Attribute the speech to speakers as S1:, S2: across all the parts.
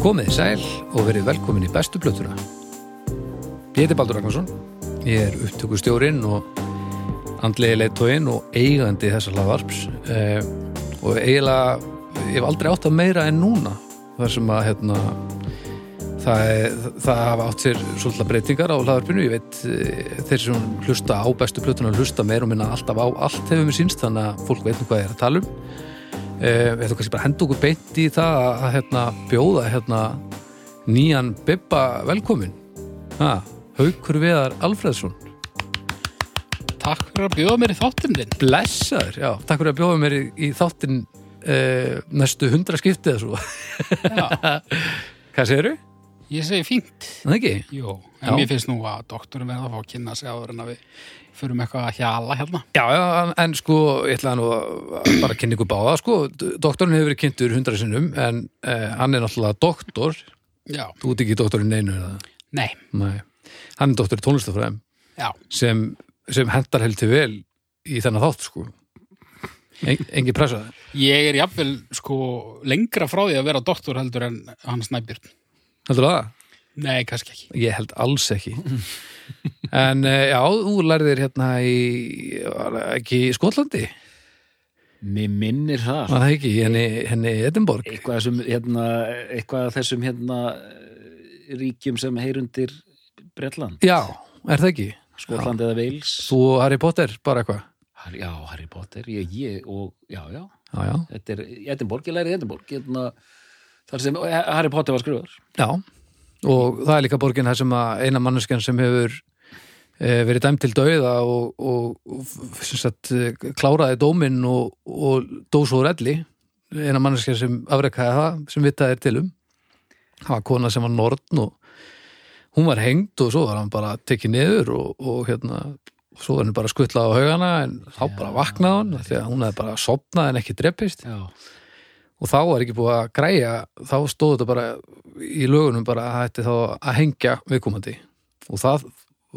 S1: Komið sæl og verið velkomin í bestu blötuna. Ég heiti Baldur Ragnarsson, ég er upptökustjórinn og andlegi leittóinn og eigandi þessa hlaðvarps eh, og eiginlega, ég hef aldrei átt að meira en núna þar sem að hérna, það, er- það hafa átt sér svolítið breytingar á hlaðvarpinu, ég veit eh, þeir sem hlusta á bestu blötuna hlusta meira og minna alltaf á allt hefur mér sínst þannig að fólk veit nú hvað ég er að tala um Eh, við ætlum kannski bara að henda okkur beint í það að, að hérna, bjóða hérna, nýjan Bibba velkomin ha, Haukur Viðar Alfreðsson
S2: Takk fyrir að bjóða mér í þáttinn þinn.
S1: Blessaður, já, takk fyrir að bjóða mér í, í þáttinn eh, næstu hundra skiptið eða svo
S2: Já,
S1: Hvað segirðu?
S2: ég segi fínt.
S1: Það ekki?
S2: Jó,
S1: Já.
S2: en mér finnst nú að doktorum verða að fá að kynna sig áður en að við förum eitthvað að hjala hérna.
S1: Já, já, en, en sko, ég ætlaði nú að bara kynna ykkur báða, sko doktorinn hefur verið kynntur hundra sinnum en eh, hann er náttúrulega doktor
S2: Já,
S1: þú ert ekki doktorinn einu eða?
S2: nei,
S1: Nei, hann er doktor í tónlistafræðum
S2: já,
S1: sem, sem hendar heldur vel í þennan þátt sko en, engi pressa þær
S2: ég er jafnvel sko lengra frá því að vera doktor heldur en hann snæbjörn.
S1: heldur það?
S2: Nei, kannski ekki.
S1: Ég held alls ekki en eh, já, þú lærðir hérna í var það ekki í Skotlandi
S3: Mér minnir það.
S1: var það ekki, í henni, henni í Edinborg
S3: Eitthvað, sem, hérna, eitthvað af þessum hérna, ríkjum sem heyrundir Bretland,
S1: já, er það ekki?
S3: Skotland eða Wales.
S1: Þú og Harry Potter, bara eitthvað
S3: Har- Já, Harry Potter, ég, ég og, já, já,
S1: já, já,
S3: þetta er Edinborg, ég lærið Edinborg, hérna, þar sem eh, Harry Potter var skrifar.
S1: já og það er líka borgin þar sem að eina manneskjan sem hefur eh, verið dæmt til dauða og, og, og sem sagt, eh, kláraði dóminn og, og dó svo relli eina manneskja sem afrekaði það sem vitað er til um það var kona sem var nortn og hún var hengd og svo var hann bara tekið niður og, og hérna svo var hann bara skuttlað á haugana en þá bara vaknaði hann af því að hún hefði bara sopnað en ekki dreppist
S3: Já,
S1: og þá var ekki búið að græja þá stóð þetta bara í lögunum bara að hætti þá að hengja viðkomandi og það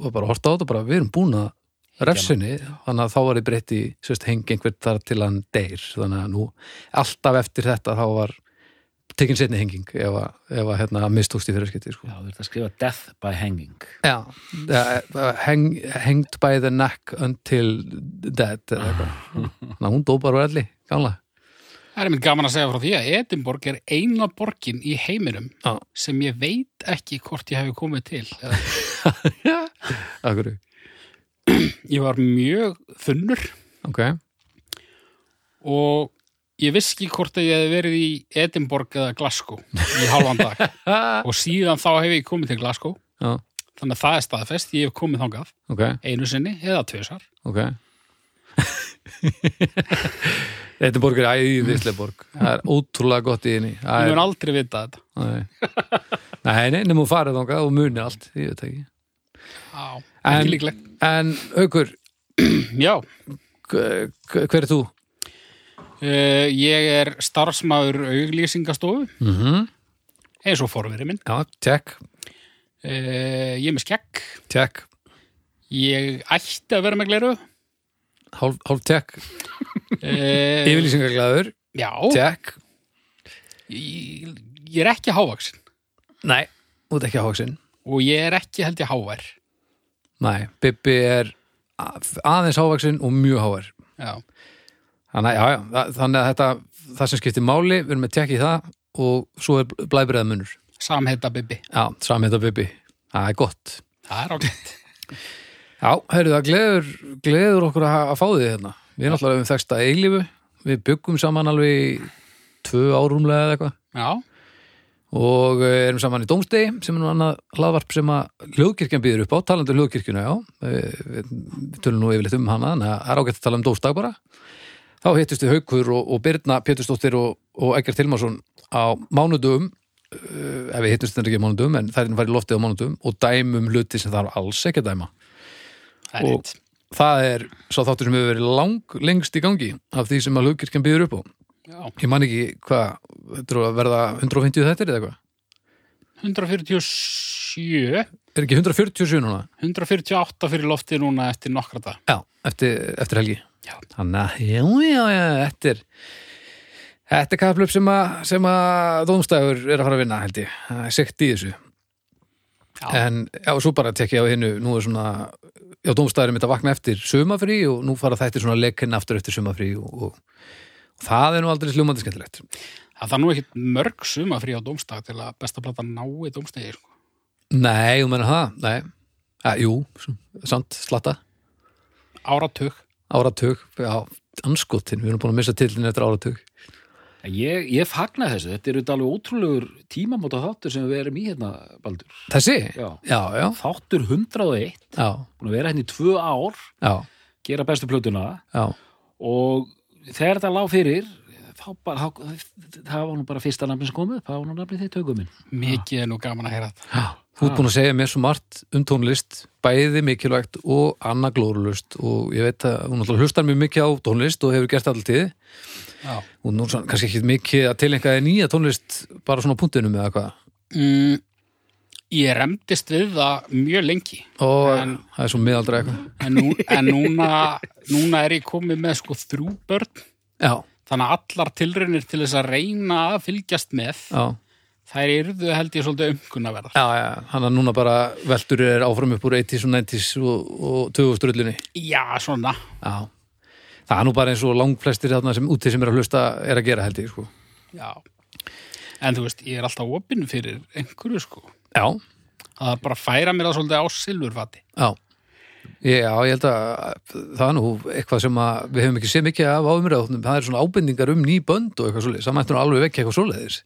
S1: var bara að horta á þetta bara við erum búin að refsinni þannig að þá var ég breytt í sérst, hengi einhvern þar til hann deyr þannig að nú alltaf eftir þetta þá var tekin setni henging ef að, ef að hérna, mistókst í fyrirskipti sko.
S3: já, þú ert að skrifa Death by Hanging.
S1: Já, eh, heng, henged by the neck until dead eða eitthvað þannig að hún dó bara allir, gamla
S2: Það er mér gaman að segja frá því að Edinborg er eina borgin í heiminum
S1: Já.
S2: sem ég veit ekki hvort ég hefði komið til. Eða-
S1: Akkur,
S2: Ég var mjög þunnur
S1: ok
S2: og ég vissi ekki hvort að ég hefði verið í Edinborg eða Glasgow í halvan dag
S1: Ha,
S2: og síðan þá hef ég komið til Glasgow
S1: Já,
S2: þannig að það er staðfest, ég hef komið þangað
S1: ok,
S2: einu sinni eða tvisar
S1: ok Edinborg er æðislega borg Það er ótrúlega gott í henni Það
S2: ég
S1: er-
S2: mun aldrei vita þetta
S1: Nei, Nei, nei, nema hún farið þangað og muni allt Ég veit það ekki
S2: Já,
S1: En-
S2: ekki líklegt.
S1: En aukur,
S2: Já,
S1: k- k- hver er þú?
S2: uh, ég er starfsmaður auglýsingastofu
S1: Mm -hmm.
S2: eins og forverið minn
S1: Já, tjekk,
S2: uh, ég er með skekk,
S1: tjekk
S2: ég ætti að vera með gleru
S1: Hálf, hálf tjekk, Eh.
S2: uh,
S1: yfirlýsingaglæður
S2: Já,
S1: Tjekk,
S2: ég, ég er ekki hávaksin
S1: nei, út ekki háksinn
S2: og ég er ekki held ég hávær
S1: Nei, Bibbi er a- aðeins hávaksinn og mjög hávar
S2: Já,
S1: Þannig, já, já, þa- þannig að þetta, það sem skiptir máli, við erum að tekja í það og svo er blæbreða munur.
S2: samheita bibbi
S1: Já, samheita Bibi, það er gott.
S2: Það er ágætt
S1: Já, heyrðu, það gleður, gleður okkur að, ha- að fá því hérna. Við erum alltaf um þeksta eilífu, við byggum saman alveg í tvö árumlega eða eitthvað
S2: Já,
S1: og eh, erum saman í Dómstegi sem er nú annað hlaðvarp sem að hljóðkirkjan býður upp á, talandi um hljóðkirkjuna, já við, við, við tölum nú yfirleitt um hana en það er ágætt að tala um Dómstag bara þá hittust við Haukur og, og Birna Pétursdóttir og, og Egger Tilmarsson á mánudum uh, ef við hittumst þetta ekki á mánudum en það er farið í loftið á mánudum og dæmum hluti sem þarf alls ekki að dæma
S2: það er
S1: Og-
S2: rétt
S1: það er svo þáttur sem hefur verið lang lengst í gangi af því sem að hljóðkirkjan býður upp á
S2: Já,
S1: ég man ekki hvað, þetta er að verða 150 þettir eða eitthvað,
S2: 147
S1: er ekki 147 núna?
S2: 148 fyrir lofti núna eftir nokkra dag
S1: Já, eftir, eftir helgi
S2: Já.
S1: Þannig að, já, já, já, þetta er Þetta er kaplöp sem að, sem að Dómstæður er að fara að vinna, held ég. Það er Sekt í þessu.
S2: Já.
S1: En já, svo bara tekja á hennu, nú er svona, já, Dómstæður er mitt að vakna eftir sumafrí og nú fara þættir svona leikinn aftur eftir sumafrí og, og, og það er nú aldrei sljúmandi skemmtilegt.
S2: Það þarf nú ekkit mörg suma frí á dómstag til að besta plata nái dómstegi, sko.
S1: Nei, þú menna það, nei. Ja, jú, samt, slatta,
S2: Áratug.
S1: áratug, já, anskotin, við erum búin að missa tilin eftir áratug.
S3: Ég, ég fagna þessu, þetta er auðvitað alveg ótrúlegur tímamóta þáttur sem við erum í hérna, Baldur.
S1: Þessi?
S3: Já.
S1: Já, já,
S3: Þáttur 101,
S1: já,
S3: búin að vera hérna í tvö ár,
S1: já,
S3: gera bestu plötuna
S1: já.
S3: og þegar þetta lág fyrir, þá bara, þá, það var nú bara fyrsta nafni sem kom upp, það var nú nafni þitt haugum minn.
S2: Mikið er nú gaman að heyra þetta.
S1: Þú ert búin að segja mér svo margt um tónlist, bæði mikilvægt og annað glórulust og ég veit að hún alltaf hlustar mjög mikið á tónlist og hefur gert alltið
S2: Já.
S1: og nú er svona kannski ekki mikið að tilengja þér nýja tónlist bara svona á punktinum eða hvað
S2: Mm, ég remdist við það mjög lengi
S1: og
S2: En-
S1: það er svo miðaldra eitthvað
S2: en, nú, en núna, núna er ég komið með sko þrjú börn
S1: Já,
S2: þannig að allar tilraunir til þess að reyna að fylgjast með
S1: já,
S2: þær yrðu held ég svolítið umkunnaverðar
S1: já, já, hann er núna bara veldur er áfram upp úr 80s og 90s og, og 2000 rullinni
S2: Já, svona
S1: Já, það er nú bara eins og langflestir þarna sem úti sem er að hlusta er að gera held ég sko
S2: Já En þú veist, ég er alltaf opinn fyrir einhverju sko
S1: Já,
S2: að það er bara að færa mér það svolítið á silfurfati
S1: Já. Ég, já, ég held að það er nú eitthvað sem að við hefum ekki séð mikið af á umræðunum, það er svona ábendingar um ný bönd og eitthvað svoleiðis, það mættur nú alveg vekja eitthvað svoleiðis.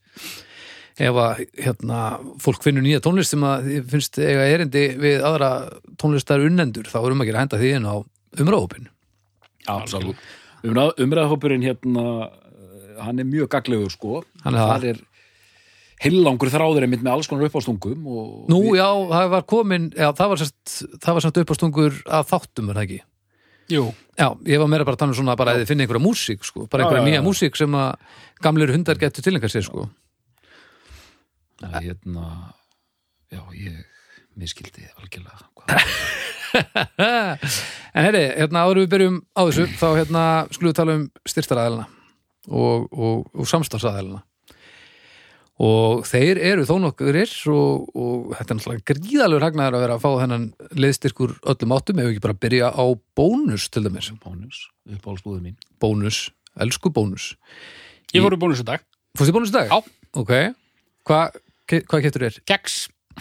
S1: Ef að hérna, fólk finnur nýja tónlist sem að þið finnst eiga erindi við aðra tónlistar unnendur, þá erum ekki að henda því inn á umræðupin.
S3: Absolutt. Umræðahópurinn hérna, eh, hann er mjög gaglegur sko.
S1: Hann er það.
S3: Þar er heillangur þráður einmitt með alls konar uppástungum og
S1: Nú, já, það var komin, já, það var samt, það var samt uppástungur að þáttum, er það ekki?
S2: Jú,
S1: Já, ég var meira bara að tala um svona bara að þið finna einhverja músík, sko, bara
S3: Já,
S1: einhverja
S3: já,
S1: nýja
S3: já.
S1: músík sem að gamlir hundar getur tilengar sér, sko.
S3: að hérna já, ég miskildi algjörlega hvað.
S1: En herri, hérna áður við byrjum á þessu þá hérna skulum við tala um styrtaraðelina og, og, og samstafsaðelina og þeir eru þó nokkurir og, og þetta er náttúrulega gríðalegur hagnaður að vera að fá þennan liðstyrkur öllum áttum ef við ekki bara byrja á bónus til dæmis,
S3: bónus, uppáhaldsbúðu mín
S1: bónus elsku bónus,
S2: ég voru búin þessu dag
S1: fórstu í bónus í dag?
S2: Já.
S1: Ok, hvað hva getur þér?
S2: Keks,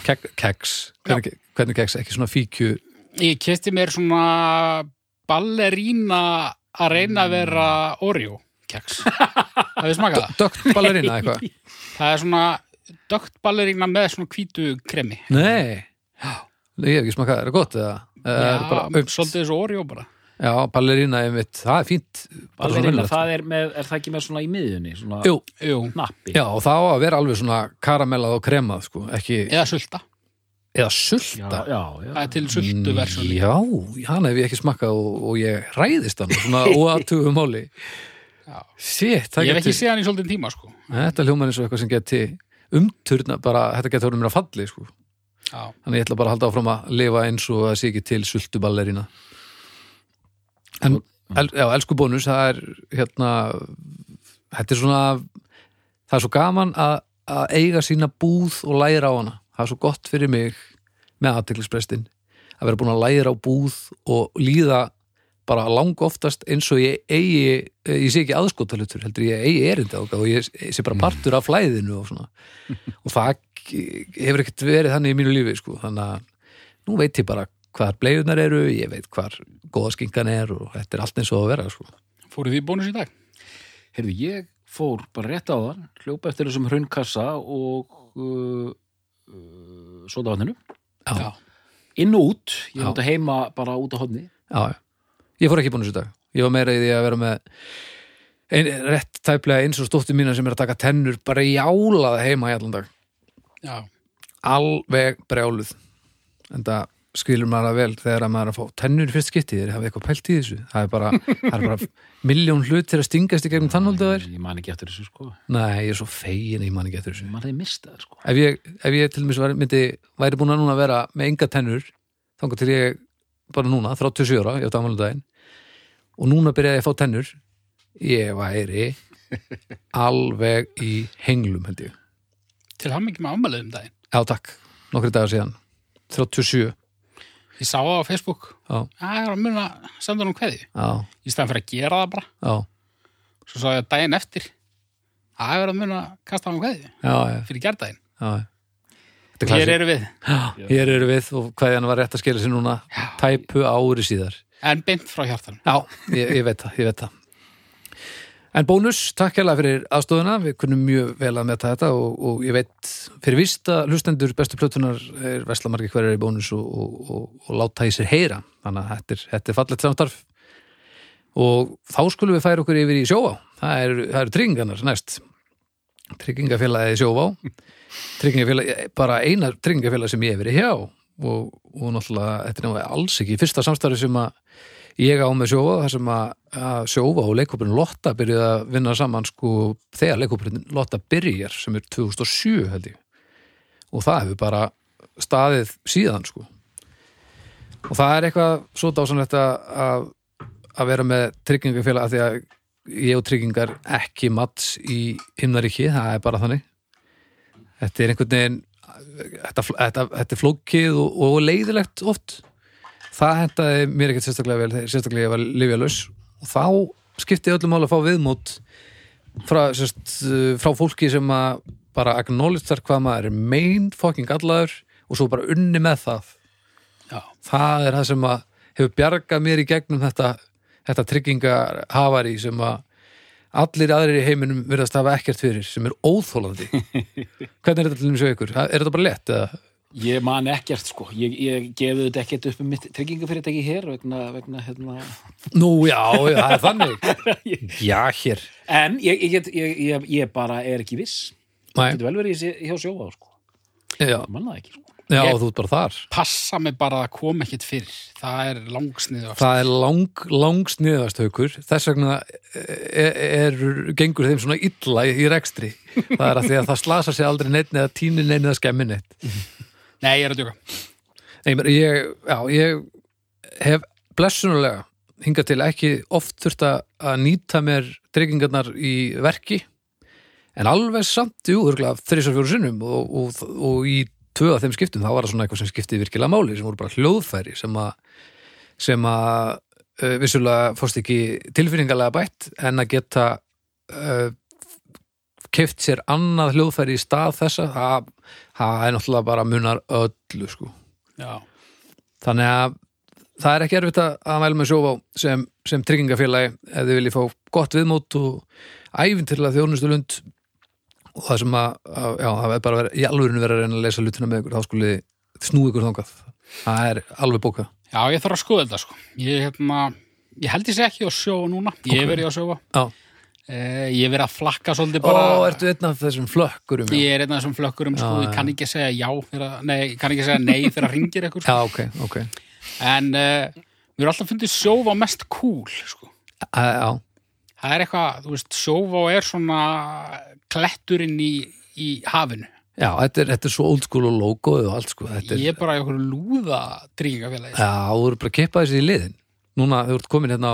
S1: Kek, keks, hvernig, hvernig keks? Ekki svona fíkju
S2: ég kesti mér svona ballerína að
S1: Mm.
S2: reyna að vera Oreo keks Það við smaka það
S1: dögt ballerina eitthvað?
S2: Það er svona dögt ballerína með svona hvítu kremi.
S1: Nei, ég hef ekki smakað, er það gott eða? Eða er
S2: Já, um,
S1: bara aumt?
S2: svolítið þessu Oreo bara.
S1: Já, ballerína er mitt, það er fínt bara svona
S3: Ballerina,
S1: venjulegt.
S3: það er, með, er það ekki með svona í miðjunni svona
S1: Jú,
S2: Jú,
S3: nappi
S1: já, og það á að vera alveg svona karamellað og kremað, sko, ekki
S2: eða sulta.
S1: eða
S3: já,
S1: sulta
S3: já,
S2: Það
S3: já.
S2: er til sultu
S1: Mm,
S2: versun líka.
S1: Já, hann hef ég ekki smakkað og, og ég ræðist hann, svona óatugum máli
S2: Já.
S1: Sitt, það
S2: Ég hef ekki
S1: geti
S2: séð hann í svolítið tíma, sko.
S1: Þetta hljóman eins og eitthvað sem geti umturna, bara, þetta geti orðið mér að falli, sko
S2: Já.
S1: Þannig ég ætla bara að halda áfram að lifa eins og að sé ekki til sultuballerina. En, el, já, elsku bónus, það er hérna, þetta er svona, það er svo gaman að, að eiga sína búð og læra á hana. Það er svo gott fyrir mig með aðteklisprestin að vera búin að læra á búð og líða bara lang oftast eins og ég eigi, ég sé ekki aðskotalutur, heldur ég eigi erindi á og ég sé bara partur af flæðinu og svona og það hefur ekkert verið þannig í mínu lífi sko. þannig að nú veit ég bara hvar bleiðunar eru, ég veit hvar góða skinkan er og þetta er allt eins og að vera sko.
S2: Fóruð því bónus í dag?
S3: Heyrðu, ég fór bara rétt á þann hljópa eftir þessum hraunkassa og uh, uh, sótavatninu
S1: já, já.
S2: Já.
S3: inn og út, ég
S1: Já.
S3: er út að heima bara út á hodni
S1: já. ég fór ekki búin þessu dag ég var meira í því að vera með ein, rétt tæplega eins og stóttu mína sem er að taka tennur bara jálað heima í allan dag
S2: Já.
S1: alveg brjáluð en það skilur maður það vel þegar að maður er að fá tennur í fyrst skipti þeir hafa eitthvað pælt í þessu það er bara, það er bara miljón hlut til að stingast í gegnum tannhóldu þær
S3: ég man ekki eftir þessu sko ég
S1: Nei, ég er svo fegin að ég man ekki eftir þessu.
S3: man hefði mistað sko
S1: Ef ég, ef ég til dæmis væri- myndi, væri búin að núna vera með enga tennur, þangar til ég bara núna, 37 ára, ég átti afmælum daginn, og núna byrjaði ég að fá tennur, ég væri alveg í henglum held ég
S2: Til hann ekki með ámælið um daginn.
S1: Já, takk, nokkri dagar síðan 37,
S2: Ég sá það á Facebook.
S1: já,
S2: Já, ég er að muna að senda hann um kveði.
S1: já,
S2: Í staðan fyrir að gera það bara.
S1: já
S2: Svo sá ég daginn eftir. Já, ég er að muna að kasta hann um kveði
S1: Já, já,
S2: fyrir gerdaginn.
S1: já Þetta er
S2: Hér
S1: klassik.
S2: eru við.
S1: Já, Hér eru við og hvað hann var rétt að skila sér núna tæpu ári síðar
S2: En beint frá hjartan.
S1: Já, ég, ég veit það, ég veit það. En bónus, takk hérlega fyrir aðstóðuna, við kunnum mjög vel að metta þetta og, og ég veit fyrir víst að hlustendur bestu plötunar er Vestlamarki hverjar í bónus og, og, og, og láta í sér heyra, þannig að þetta er, þetta er fallegt samstarf og þá skulum við færa okkur yfir í sjóvá, það eru það eru tryggingarnar næst, tryggingafélagið í sjóvá, tryggingafélagið, bara eina tryggingafélag sem ég hef verið hjá og, og náttúrulega, þetta er náttúrulega alls ekki fyrsta samstarfi sem að ég á með sjófa þar sem að, að sjófa og leikópurinn Lotta byrjuði að vinna saman sko þegar leikópurinn Lotta byrjar sem er 2007 held ég og það hefur bara staðið síðan sko og það er eitthvað svo dásanlegt að, að, að vera með tryggingafélag af því að ég og tryggingar ekki mats í himnaríki, það er bara þannig þetta er einhvern veginn þetta, þetta, þetta er flókið og, og leiðilegt oft það hendaði mér ekkert sérstaklega vel þegar- sérstaklega ég var lifjalaus og þá skipti öllum máli að fá viðmót frá, sérst, uh, frá fólki sem að bara acknowledgear hvað maður er mein fucking gallaður og svo bara unni með það
S2: Já.
S1: það er það sem að hefur bjargað mér í gegnum þetta, þetta tryggingar hafari sem að allir aðrir í heiminum verðast hafa ekkert fyrir sem er óþólandi hvernig er þetta til nýmsjö ykkur? Er þetta bara lett? Eða?
S3: Ég man ekkert, sko. Ég, ég gefið þetta ekkert upp um mitt tryggingafyrirtæki hér vegna, vegna, hérna...
S1: Nú, já, já, það er þannig Já, hér
S3: En ég, ég, get- ég, ég, ég bara er ekki viss.
S1: Nei.
S3: Getur vel verið í sé- hjá sjófa, sko.
S1: Já,
S3: Ég man það ekki, sko.
S1: já
S2: Ég-
S1: þú ert bara þar
S2: Passa mig bara að koma ekkit fyrr. Það er langsniðu.
S1: Það er lang, langst niðast haukur Þess vegna er, er, gengur þeim svona illa í, í rekstri Það er að því að það slasa sig aldrei neitt eða tíni neitt eða skemmi neitt
S2: Nei, ég er að djóka.
S1: Nei, ég meina, ég, já, ég hef blessunulega hingað til ekki oft þurft að að nýta mér dreikingarnar í verki en alveg samt, jú, örgulega þrísar fjóru sinnum og, og, og í tvö af þeim skiptum þá var það svona eitthvað sem skipti virkilega máli sem voru bara hljóðfæri sem að sem að uh, vissulega fórst ekki tilfinningalega bætt en að geta uh, keft sér annað hljóðfæri í stað þessa það, það er náttúrulega bara munar öllu sko
S2: Já.
S1: þannig að það er ekki erfitt að að mæla með sjófá sem, sem tryggingafélagi ef þið viljið fá gott viðmót og æfintirlega þjónustu lund og það sem að, að já, það er bara að vera, í alvörinu vera að reyna að lesa lutina með ykkur þá skulle snú ykkur þangað það er alveg bóka
S2: Já, ég þarf að skoða þetta, sko. Ég, hérna, ég held ég sé ekki á sjóa núna. Ég
S1: Ok.
S2: hef verið á sjóa.
S1: Já.
S2: Eh, ég hef verið að flakka svolítið
S1: bara,
S2: bara.
S1: Ó, ertu einn af þessum flökkurum já?
S2: Ég er einn af þessum flökkurum, sko,
S1: Já,
S2: ég
S1: já.
S2: kann ekki segja já, þegar, nei, ég kann ekki segja nei þegar ringir ekkur,
S1: já,
S2: sko.
S1: ok, ok
S2: En uh, mér er alltaf fundið sjófa mest cool, sko.
S1: Æ, já,
S2: Það er eitthvað, þú veist, sjófa er svona kletturinn í, í hafinu.
S1: já þetta, er, þetta er svo old school og logoið og allt sko þetta er,
S2: Ég er bara í okkur lúða dríkingafélagi.
S1: já, þú eru bara að kippa þessi í liðin núna þú ert komin hérna á,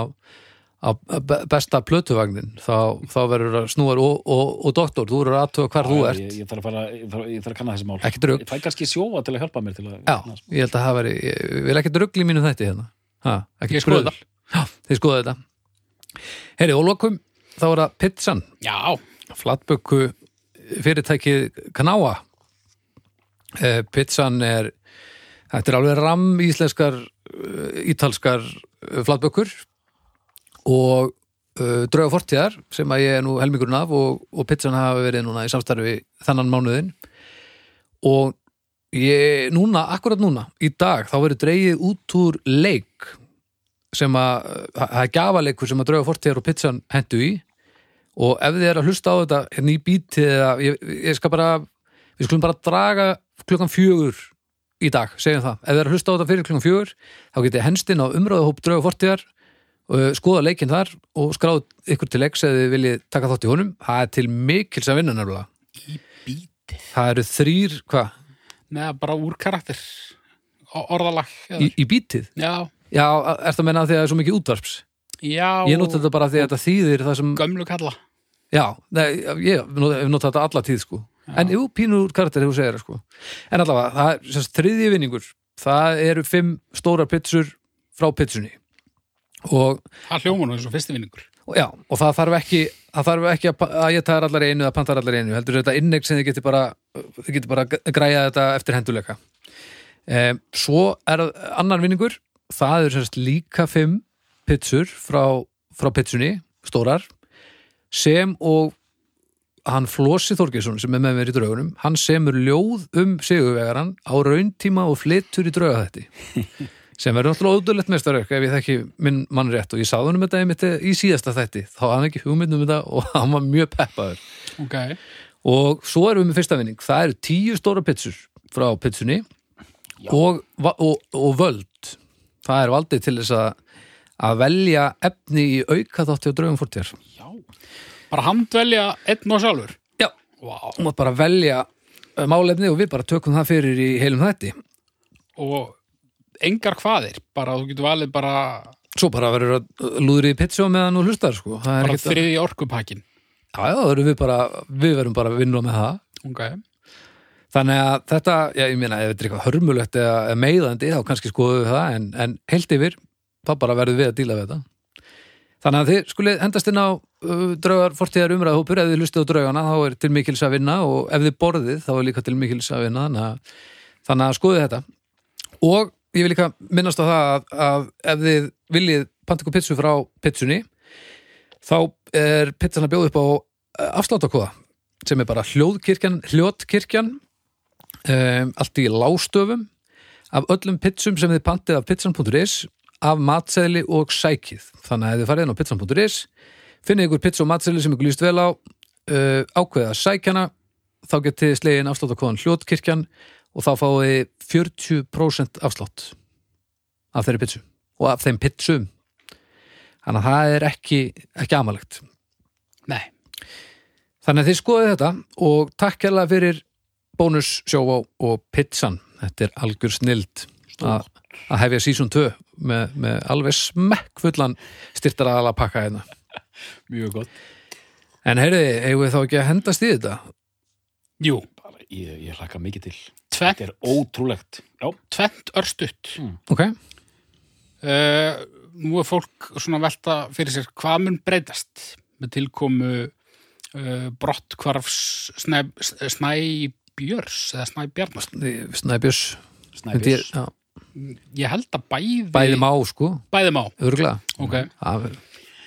S1: á be- besta plötuvagnin þá, þá verður að snúar og, og, og doktor, þú verður aðtöga hvar þú ert
S3: Ég, ég þarf að fara, ég þarf, ég þarf að kanna þessi mál.
S1: Ekki drugg.
S3: Ég fæ kannski sjófa til að hjálpa mér til að...
S1: já, ég held að það veri, ég vil ekki drugli mínu þetta hérna, ha, ekki
S2: Ég skoða
S1: spröðl. já, þið skoða þetta heyri, og lokum, þá er það pizzan
S2: Já,
S1: flatböku fyrirtækið Knáa e, pizzan er þetta er alveg ram íslenskar eh, ítalskar eh, flatbökur og e, drauga fortíðar sem að ég er nú helmingurinn af og, og pizzan hafa verið núna í samstarfi þennan mánuðin og ég, núna, akkurat núna í dag, þá verið dreigið út úr leik sem að eh, það er gafaleikur sem að drauga fortíðar og pizzan hendu í og ef þið er að hlusta á þetta hérna í bítið eða ég, ég skal bara við skulum bara draga klukkan fjögur í dag, segjum það ef þið er að hlusta á þetta fyrir klukkan fjögur þá getið henstinn á umröðahóp drauga fortíðar uh, skoða leikinn þar og skráð ykkur til leiks eða þið viljið taka þátt í honum það er til mikils að vinna nefnilega
S2: bítið.
S1: það eru þrýr, hvað,
S2: Neða, bara úr karakter, O- orðalag.
S1: í,
S2: Eða.
S1: í bítið
S2: Já,
S1: já, er það að menna af því að það er svo mikið útvarps
S2: já,
S1: ég nota þetta bara af því að þetta þýðir það sem
S2: gömlu kalla.
S1: Já, nei, ég hef not- hef notað þetta alla tíð sko En jú, pínur karakter hefur segir það sko En allavega, það er sérst þriðji vinningur Það eru fimm stórar pitsur frá pitsunni og,
S2: Það hljóma nú eins og fyrsti vinningur.
S1: og já, og það þarf ekki það þarf ekki að, pa- að ég taðar allar í einu eða pantar allar í einu, heldur þetta innegg sem þið getur bara þið getur bara græja þetta eftir henduleika um, Svo er annar vinningur það eru sérst líka fimm pitsur frá, frá pitsunni stórar sem og hann Flósi Þorgesson sem er með mér í draugunum hann semur ljóð um sigurvegaran á rauntíma og flyttur í drauga þetta sem verður náttúrulega ódulegt mestarök ef ég þekki minn mann rétt og ég sagði hann um þetta einmitt í síðasta þætti þá hafði hann ekki hugmynd um þetta og hann var mjög peppaður
S2: Ok.
S1: og svo erum við með fyrsta vinning það eru tíu stóra pitsur frá pitsunni og, va- og, og völd það er valdið til þess að að velja efni í auka þátti á draugum fórtjar
S2: Já. Bara handvelja einn og sjálfur.
S1: Já,
S2: Vá.
S1: þú mátt bara velja eh, málefni og við bara tökum það fyrir í heilum þætti
S2: Og engar hvaðir. Bara þú getur valið bara,
S1: svo bara verður að lúðrið í pizza meðan og hlustar sko það er
S2: bara
S1: ekkert að-
S2: þriði orkupakkin.
S1: já, já, það verður við bara, við verðum bara að vinna með það
S2: Ok.
S1: þannig að þetta, já, ég meina ef þetta er eitthvað hörmulegt eða, eða meiðandi þá kannski skoðum við það en, en heilt yfir þá bara verðum við að díla við þetta þannig að þið skulið hendast inn á uh, draugar fortíðar umræðhópur ef þið hlustið á draugana þá er til mikils að vinna og ef þið borðið þá er líka til mikils að vinna þannig að, þannig að skoðið þetta og ég vil líka minnast á það að, að ef þið viljið panta ykkur pitsu frá pitsunni þá er pizzan að bjóða upp á eh, afsláttarkóða sem er bara hljóðkirkjan hljótkirkjan um, allt í lástöfum af öllum pitsum sem þið pantið af pizzan.is af matseðli og sækið þannig að ef þið farið inn á pizzan.is finnið ykkur pizza og matseðli sem ykkur líst vel á uh, ákveða að sækja hana þá getið þið slegin afsláttakóðan hljótkirkjan og þá fáið þið 40% afslátt af þeirri pizzu og af þeim pizzum þannig að það er ekki, ekki amalegt
S2: Nei.
S1: Þannig að þið skoðið þetta og takk kærlega fyrir bónus sjóvá og pizzan. Þetta er algjör snild að að hefja season 2 með, með alveg smekkfullan styrtar aðala pakka hérna.
S3: Mjög gott.
S1: En heyrði, eigum við þá ekki að hendast í þetta?
S2: Jú.
S3: Ég, ég hlakka mikið til. Þetta
S2: Tvennt,
S3: er ótrúlegt. Já.
S2: tvennt örstutt.
S1: Ok,
S2: Uh, nú er fólk svona að velta fyrir sér hvað mun breytast með tilkomu uh, brottkvarfs snæ, snæbjörs eða snæbjarnast.
S1: snæbjörs.
S3: Snæbjörns.
S1: Já,
S2: Ég held að bæði...
S1: Bæði má, Mhm. sko,
S2: Bæði má,
S1: örgla.
S2: ok.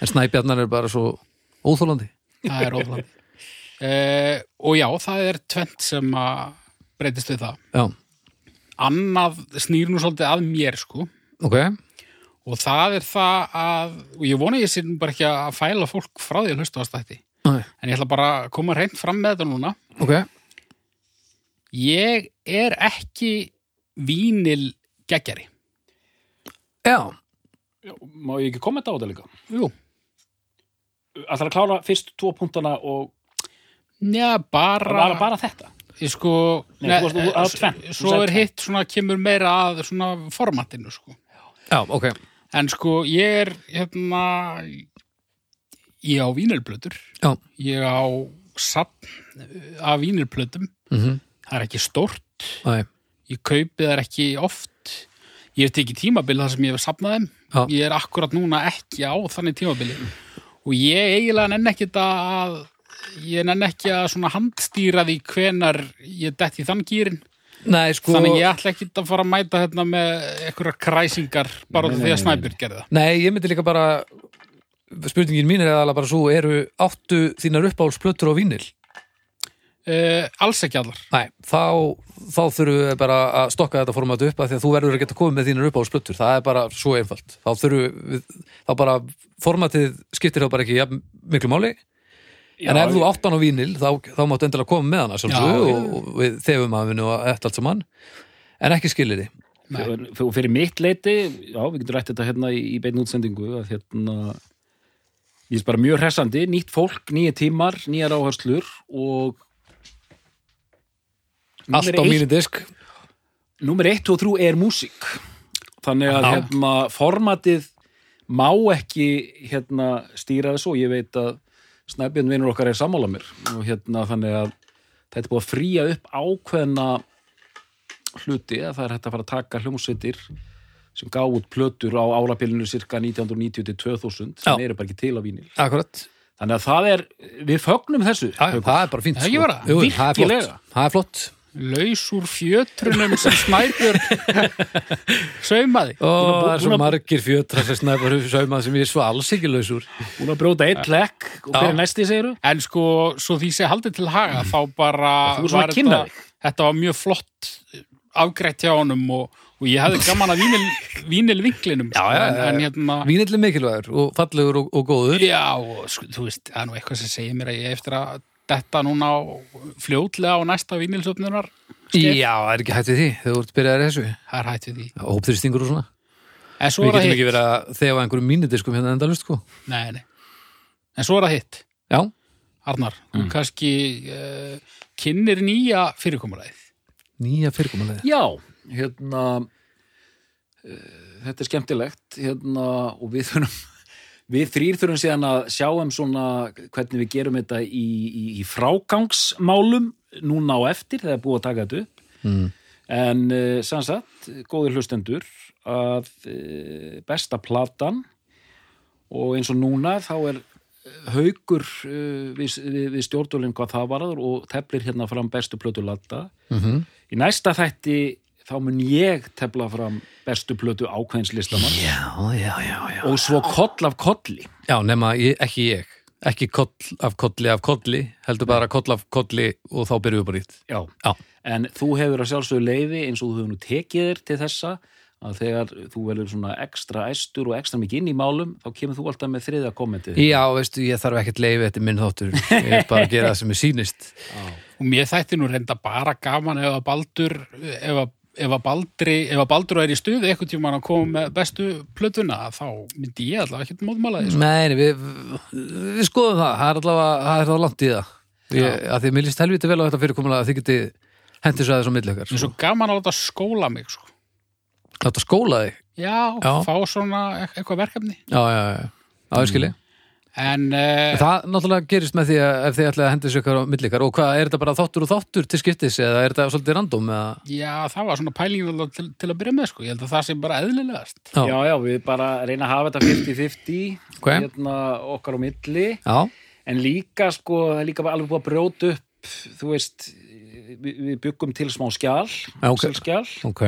S1: En snæbjarnar er bara svo óþólandi.
S2: Það er óþland. uh, og já, það er tvent sem að breytist við það.
S1: Já,
S2: Annað snýr nú svolítið að mér, sko.
S1: ok.
S2: Og það er það að, og ég vona að ég sér nú bara ekki að fæla fólk frá því að hlusta á stætti.
S1: Nei.
S2: En ég ætla bara að koma reynd fram með þetta núna.
S1: Ok,
S2: Ég er ekki vínil geggjari.
S1: já,
S3: Já, Má ég ekki kommenta á þetta líka?
S2: Jú.
S3: Ætlar að klára fyrst tvo punktana og
S2: Já, bara...
S3: bara, bara þetta?
S2: Ég sko...
S3: Nei, þú varst- þú- það var tvennt. Þú
S2: Svo
S3: sagði
S2: er hitt svona, kemur meira að svona formatinu, sko.
S1: já, ok.
S2: En sko, ég er, hérna... Ég á vínilblötur.
S1: Já.
S2: Ég á safn eh, af vínilblötum.
S1: Mm
S2: Það er ekki stórt.
S1: Æ,
S2: Ég kaupi þær ekki oft. Ég hef tekið tímabil þar sem ég hef safnað þeim.
S1: Já.
S2: Ég er akkurat núna ekki á þannig tímabili. Og ég eiginlega nenn ekki að ég nenn ekki að svona handstýra því hvenar ég detti í þann gýrin.
S1: Nei, sko.
S2: Þannig ég ætla ekki að fara að mæta hérna með einhverjar kræsingar bara út af því að Snæbjörn gerði það.
S1: Nei, ég myndi líka bara spurningin mín er aðalega bara svo eru áttu þínar uppáhalsplötur á vínil
S2: Uh, alls ekki allar.
S1: Nei, þá, þá þurfum við bara að stokka þetta format upp af því að þú verður að geta komið með þínar uppáhalsplötur það er bara svo einfalt þá þurfum við, þá bara formatið skiptir þá bara ekki jafn, miklu máli en ef þú
S3: ég-
S1: áttan á vínil þá, þá máttu endilega koma með hana sjálfsögðu
S2: Já,
S1: og, og við þefum að vinna og eftir allt saman en ekki skilir því
S3: Fyrir, fyrir- fyrir mitt leiti, já, við getum rætt þetta hérna í, í beinu útsendingu að hérna ég er bara mjög hressandi, nýtt fólk, nýja tímar, nýjar áherslur og
S1: Allt á mínu disk
S3: Númer 1 og 3 er músík þannig að
S1: Já.
S3: hérna, formatið má ekki hérna, stýra þessu og ég veit að snæbjörn vinur okkar er sammála mér og hérna þannig að þetta er búið að fríja upp ákveðna hluti að það er hægt að fara að taka hljómsveitir sem gá út plötur á árabilinu cirka 1990-2000 sem
S1: Já.
S3: eru bara ekki til á vínil
S1: Akkurat,
S3: þannig að það er, við fögnum þessu
S1: Já, já, það er bara fínt sko.
S2: Það er ekki bara,
S1: Jú, það er flott,
S3: virkilega.
S1: það er flott.
S2: laus úr fjötrunum sem snæbjörn saumaði
S1: Ó, það
S3: búin
S1: er svo
S3: að-
S1: margir fjötra sem snæpar sauma sem ég er svo alls ekki lausur
S3: hún að bróta einn plekk og hver er næsti segiru?
S2: En sko, svo því sé haldið til haga þá bara
S3: Þú ert svona að kynna
S2: þetta, þetta var mjög flott eh, afgreitt hjá honum og, og ég hefði gaman að vínil, vínil vinklinum já,
S1: já,
S2: sko, en,
S1: já,
S2: en hérna
S1: Vínill er mikilvægur og fallegur og, og góður
S2: Já, og sko, þú veist, það er nú eitthvað sem segir mér að ég eigi eftir að detta núna á, fljótlega á næsta vínilsöfnunar Skeið.
S1: Já, það er ekki hætt við því þegar þú ert byrjaðir í þessu
S2: það er hætt við því
S1: Hópþyrstingur og svona
S2: En svo
S1: Við
S2: er það
S1: getum ekki
S2: hitt
S1: verið að þefa einhverjum mínudiskum hérna endalust sko
S2: nei, nei. En svo er það hitt,
S1: Já,
S2: Arnar þú kannski uh, kynnir nýja fyrirkomulæð
S1: nýja fyrirkomulega
S3: Já, hérna eh, þetta er skemmtilegt hérna, og við þurfum við þrýr þurfum síðan að sjáum svona hvernig við gerum þetta í, í, í frágangsmálum núna á eftir þegar búið að taka þetta upp
S1: mm.
S3: en uh, sannsagt, góðir hlustendur að uh, besta platan og eins og núna þá er eh, haukur uh, við, við, við stjórnvölinn hvað það varður og teflir hérna fram bestu plötu latta
S1: Mm
S3: Í næsta þætti þá mun ég tefla fram bestu plötu ákveðinslistamann
S1: Já, já, já, já
S3: og svo koll af kolli.
S1: Já, nema ég, ekki ég ekki koll af kolli af kolli heldur bara koll af kolli og þá byrjum við bara ít
S3: Já.
S1: Já.
S3: En þú hefur að sjálfsögðu leiði eins og þú hefur nú tekið þér til þessa að þegar þú velur svona ekstra æstur og ekstra mikið inn í málum þá kemur þú alltaf með þriða kommentið.
S1: Já, veistu, ég þarf ekkert leiði þetta er minn þáttur, ég er bara að gera það sem er sýnist
S2: og mér þætti nú reynda bara gaman ef að Baldur ef að, ef að, Baldri, ef að Baldur er í stuði eitthvað tíma að koma með bestu plötuna þá myndi ég allavega ekkert mótmála því sko.
S1: Nei, nei, við, við skoðum það, það er allavega, það er það langt í það. Ég, að því að mér líst helviti vel á þetta fyrirkomulega að þið geti hendur svo aðeins á milli okkar.
S2: en svo gaman að láta skóla mig sko.
S1: Láta skóla þig.
S2: já,
S1: Já.
S2: fá svona e- eitthvað verkefni
S1: Já, já, já, Mm. já, ég skilji.
S2: en uh,
S1: Það náttúrulega gerist með því að ef þið ætlaði að hendur svo okkar á milli okkar og hvað, er þetta bara þáttur og þáttur til skiptis eða er þetta svolítið random eða?
S2: já, það var svona pælingin allavega til, til að byrja með sko. ég held að það sé bara eðlilegast
S1: Já,
S3: Já, já, við bara reyna að hafa þetta 50-50
S1: Ok.
S3: hérna okkar á milli
S1: já,
S3: en líka sko, það er líka bara alveg búið að brjóta upp, þú veist við, við byggum til smá skjál,
S1: Já, ok.
S3: selskjál
S1: ok.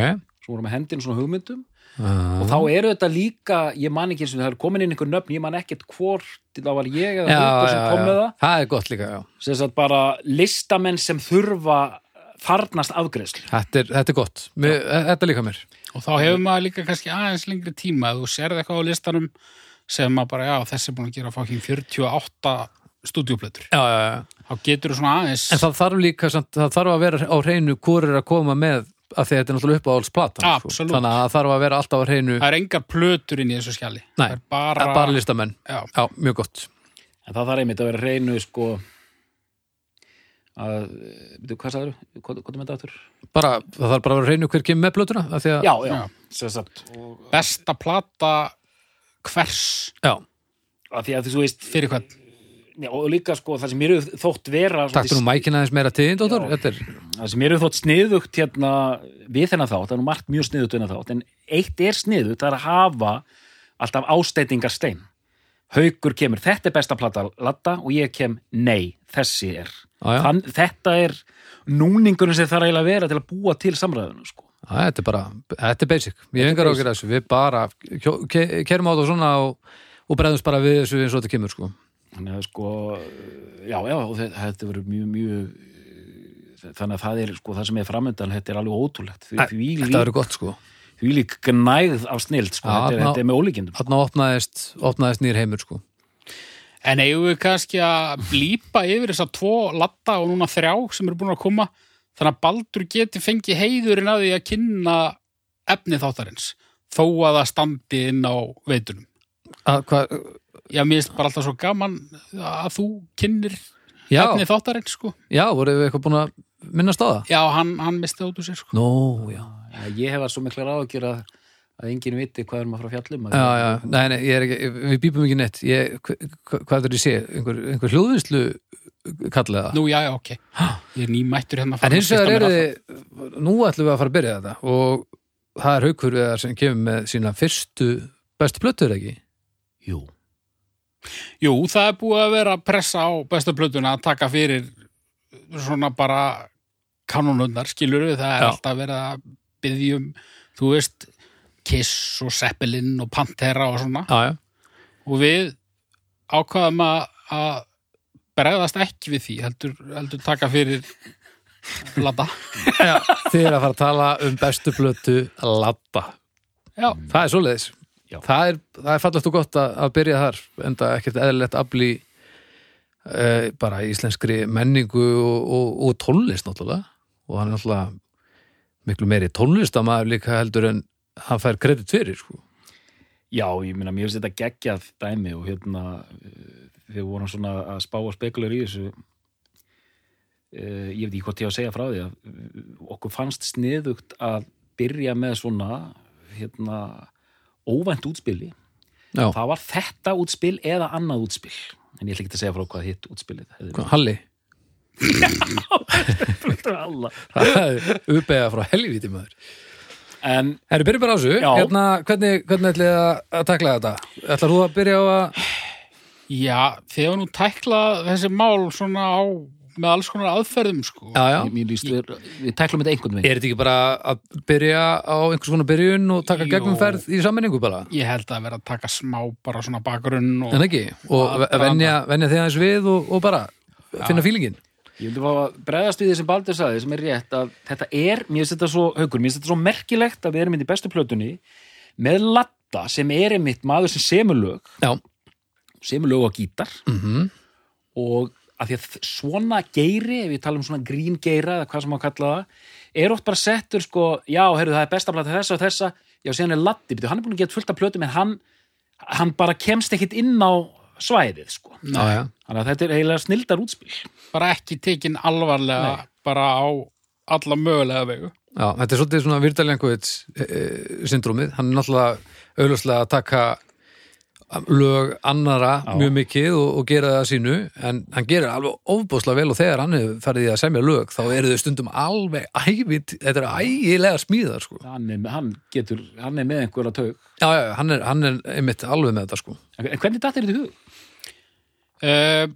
S3: svo vorum við hendin svona hugmyndum
S1: Uh,
S3: og þá eru þetta líka, ég man ekki eins og það er komin inn einhver nöfn, ég man ekkert hvort það var ég eða
S1: já,
S3: hlutur
S1: já,
S3: sem kom
S1: já,
S3: með það
S1: það er gott líka, já.
S3: sem sagt bara listamenn sem þurfa farnast afgreðslu
S1: Þetta er, þetta er gott, mér, e, þetta líka mér.
S2: og þá hefur maður líka kannski aðeins lengri tíma ef þú sérð eitthvað á listanum sem maður bara, já, þessi er búin að gera fákinn 48 stúdíuplötur
S1: Já, já, já.
S2: þá getur þú svona aðeins
S1: En það þarf líka, samt, það þarf að vera á hreinu hvort er að koma með að því að þetta er náttúrulega uppáhaldsplatan sko.
S2: Absolutt.
S1: Þannig að það þarf að vera alltaf á hreinu
S2: Það er engar plötur inn í þessu skjali. Það er bara...
S1: bara listamenn.
S2: Já,
S1: Já, mjög gott.
S3: en það þarf einmitt að vera reynu sko að, veitu, hvað sagður, hvað, hvað er með þetta aftur?
S1: Bara, það þarf bara að vera á hreinu hver kemur með plötuna af því að,
S3: Já, já,
S2: Já.
S3: sem sagt og,
S2: besta plata hvers
S1: já,
S3: að því að þú veist
S2: fyrir hvern.
S3: já, og líka sko það sem mér hefur þótt vera
S1: taktu nú mækina aðeins meira tíðin, dóttur
S3: Já.
S1: Þetta er,
S3: það sem mér hefur þótt sniðugt hérna við þennan þátt, það er nú margt mjög sniðugt við þennan þátt, en eitt er sniðugt, það er að hafa alltaf ásteytingarstein haukur kemur, þetta er besta plata latta og ég kem, nei, þessi er
S1: á, já,
S3: Þann, þetta er núningurinn sem þarf eiginlega að vera til að búa til samræðunum sko.
S1: á, þetta er bara þetta er basic, ég hef engar á að gera þessu við bara, kjó- ke- kerum á þetta svona og, og bregðumst bara við þessu eins og þetta kemur sko.
S3: þannig að sko já, já, og þe- þetta verður mjög, mjög þannig að það er sko það sem er framöndan, þetta er alveg ótrúlegt því, því,
S1: Þetta
S3: lík,
S1: verður gott sko
S3: því lík gnæð af snild sko,
S1: Já,
S3: þetta, er,
S1: ná-
S3: þetta er með ólíkindum sko.
S1: Þarna opnaðist, opnaðist nýr heimur sko
S2: En eigum við kannski að blípa yfir þess að tvo latta og núna þrjá sem eru búin að koma þannig að Baldur geti fengið heiðurinn að því að kynna efni þáttarins þó að það standi inn á veitunum.
S1: að, hvað,
S2: Já, mér finnst bara alltaf svo gaman að þú kynnir
S1: Já,
S2: efni þáttarins, sko.
S1: já, voruð við eitthvað búin að minnast á það?
S2: Já, hann, hann misti út úr sér, sko.
S1: Nó, já
S3: Já, ég hef að svo mikla ráðgjur að að um, enginn viti hvað er maður frá fjallum
S1: Já, já, nei, nei, ég er ekki, við býpum ekki neitt ég, hva- hva- Hvað er það ég sé? Einhver, einhver hljóðvinslu kallaði það
S2: Nú, já, já, ok. Ég er nýmættur hérna að
S1: En
S2: fara að
S1: hins vegar
S2: skipta mér
S1: eru
S2: af það.
S1: þið Nú ætlum við að fara að byrja þetta og það er haukur við sem kemur með sína fyrstu bestu plötur ekki
S3: Jú
S2: Jú, það er búið að vera að pressa á besta plötuna að taka fyrir svona bara kanonundar, skilur við, það er
S1: Já.
S2: alltaf verið að byggja um, þú veist, Kiss og Zeppelin og Pantera og svona.
S1: Já, já,
S2: Og við ákvaðum að, að bregðast ekki við því, heldur, heldur taka fyrir Lada.
S1: þið er að fara að tala um bestu plötu Labba
S2: Já,
S1: Það er svoleiðis.
S3: Já.
S1: Það er, það er fallast og gott að, að byrja þar, enda ekkert eðlilegt afli uh, bara íslenskri menningu og, og, og tónlist náttúrulega. Og hann er náttúrulega miklu meiri tónlistamæður líka heldur en hann fær kredit fyrir, sko.
S3: Já, ég meina, mér finnst þetta geggjað dæmi og hérna eh, við vorum svona að spá og spekulur í þessu Eh, ég veit ekki hvort ég á að segja frá því að eh, okkur fannst sniðugt að byrja með svona hérna óvænt útspili
S1: Já,
S3: það var þetta útspil eða annað útspil en ég ætla ekki að segja frá hvað hitt útspilið hefði
S1: Hvað, Halli,
S3: verið. Alla.
S1: það er uppeyða frá helvíti maður.
S3: en
S1: Herru, byrjum bara á þessu.
S3: Já.
S1: Hérna, hvernig, hvernig ætlið þið að- að takla þetta? Ætlar þú að byrja á að...
S2: já þegar nú tækla þessi mál svona á með alls konar aðferðum, sko.
S1: Já, já.
S3: mér líst við, við tæklum þetta einhvern veginn
S1: Er þetta ekki bara að byrja á einhvers konar byrjun og taka
S2: Jú.
S1: gegnumferð í sammenningu bara?
S2: Ég held að vera að taka smá bara svona bakgrunn og
S1: En ekki, og
S2: Bara-
S1: venja, venja þeir aðeins við og, og bara finna fílingin
S3: ég vildi fá að bregðast við því sem Baldur saði sem er rétt að þetta er, mér finnst þetta svo haukur, mér finnst þetta svo merkilegt að við erum inn í bestu plötunni með Latta sem er einmitt maður sem semur lög
S1: Já,
S3: semur lög á gítar
S1: mm
S3: og að því að svona geiri ef við tala um svona grín geira eða hvað sem má kalla það er oft bara settur sko, já, heyrðu, það er besta plata þessa og þessa já, síðan er Latti, betur, hann er búin að geta fullt af plötum en hann, hann bara kemst ekkit inn á svæðið sko
S1: já, já,
S3: þannig að þetta er eiginlega snildar útspil
S2: bara ekki tekin alvarlega
S3: Nei.
S2: bara á alla mögulega vegu.
S1: já, þetta er svolítið svona virtalenguðið e, syndrómið, hann er náttúrulega auðlauslega að taka lög annara
S3: Já.
S1: mjög mikið og, og gera það að sínu en hann gerir alveg ofbúslega vel og þegar hann hefur farið í að semja lög þá eru þau stundum alveg ævitt þetta eru ægilega smíðar sko
S3: hann er, hann getur, hann er með einhverja taug
S1: Já, já, hann er, hann er einmitt alveg með þetta sko
S3: en hvernig datt er þetta í hug?
S2: Uh,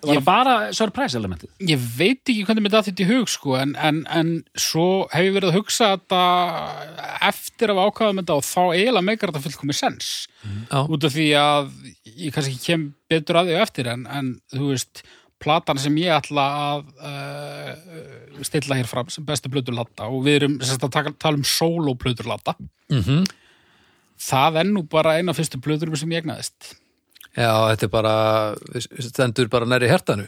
S3: Var
S2: Ég-
S3: það bara surprise elementið?
S2: ég veit ekki hvernig mér datt þetta í hug sko, en, en, en svo hef ég verið að hugsa þetta eftir að ákvaða með þetta og þá eiginlega meikar þetta fullkomi sens.
S1: Já,
S2: út af því að ég kannski kem betur að því á eftir en, en þú veist, platan sem ég ætla að uh, stilla hér fram sem bestu plötur latta og við erum sérst að taka, tala um solo plötur latta
S1: mm
S2: það er nú bara eina af fyrstu plöturum sem ég egnaðist
S1: já þetta er bara stendur bara næri hjartanu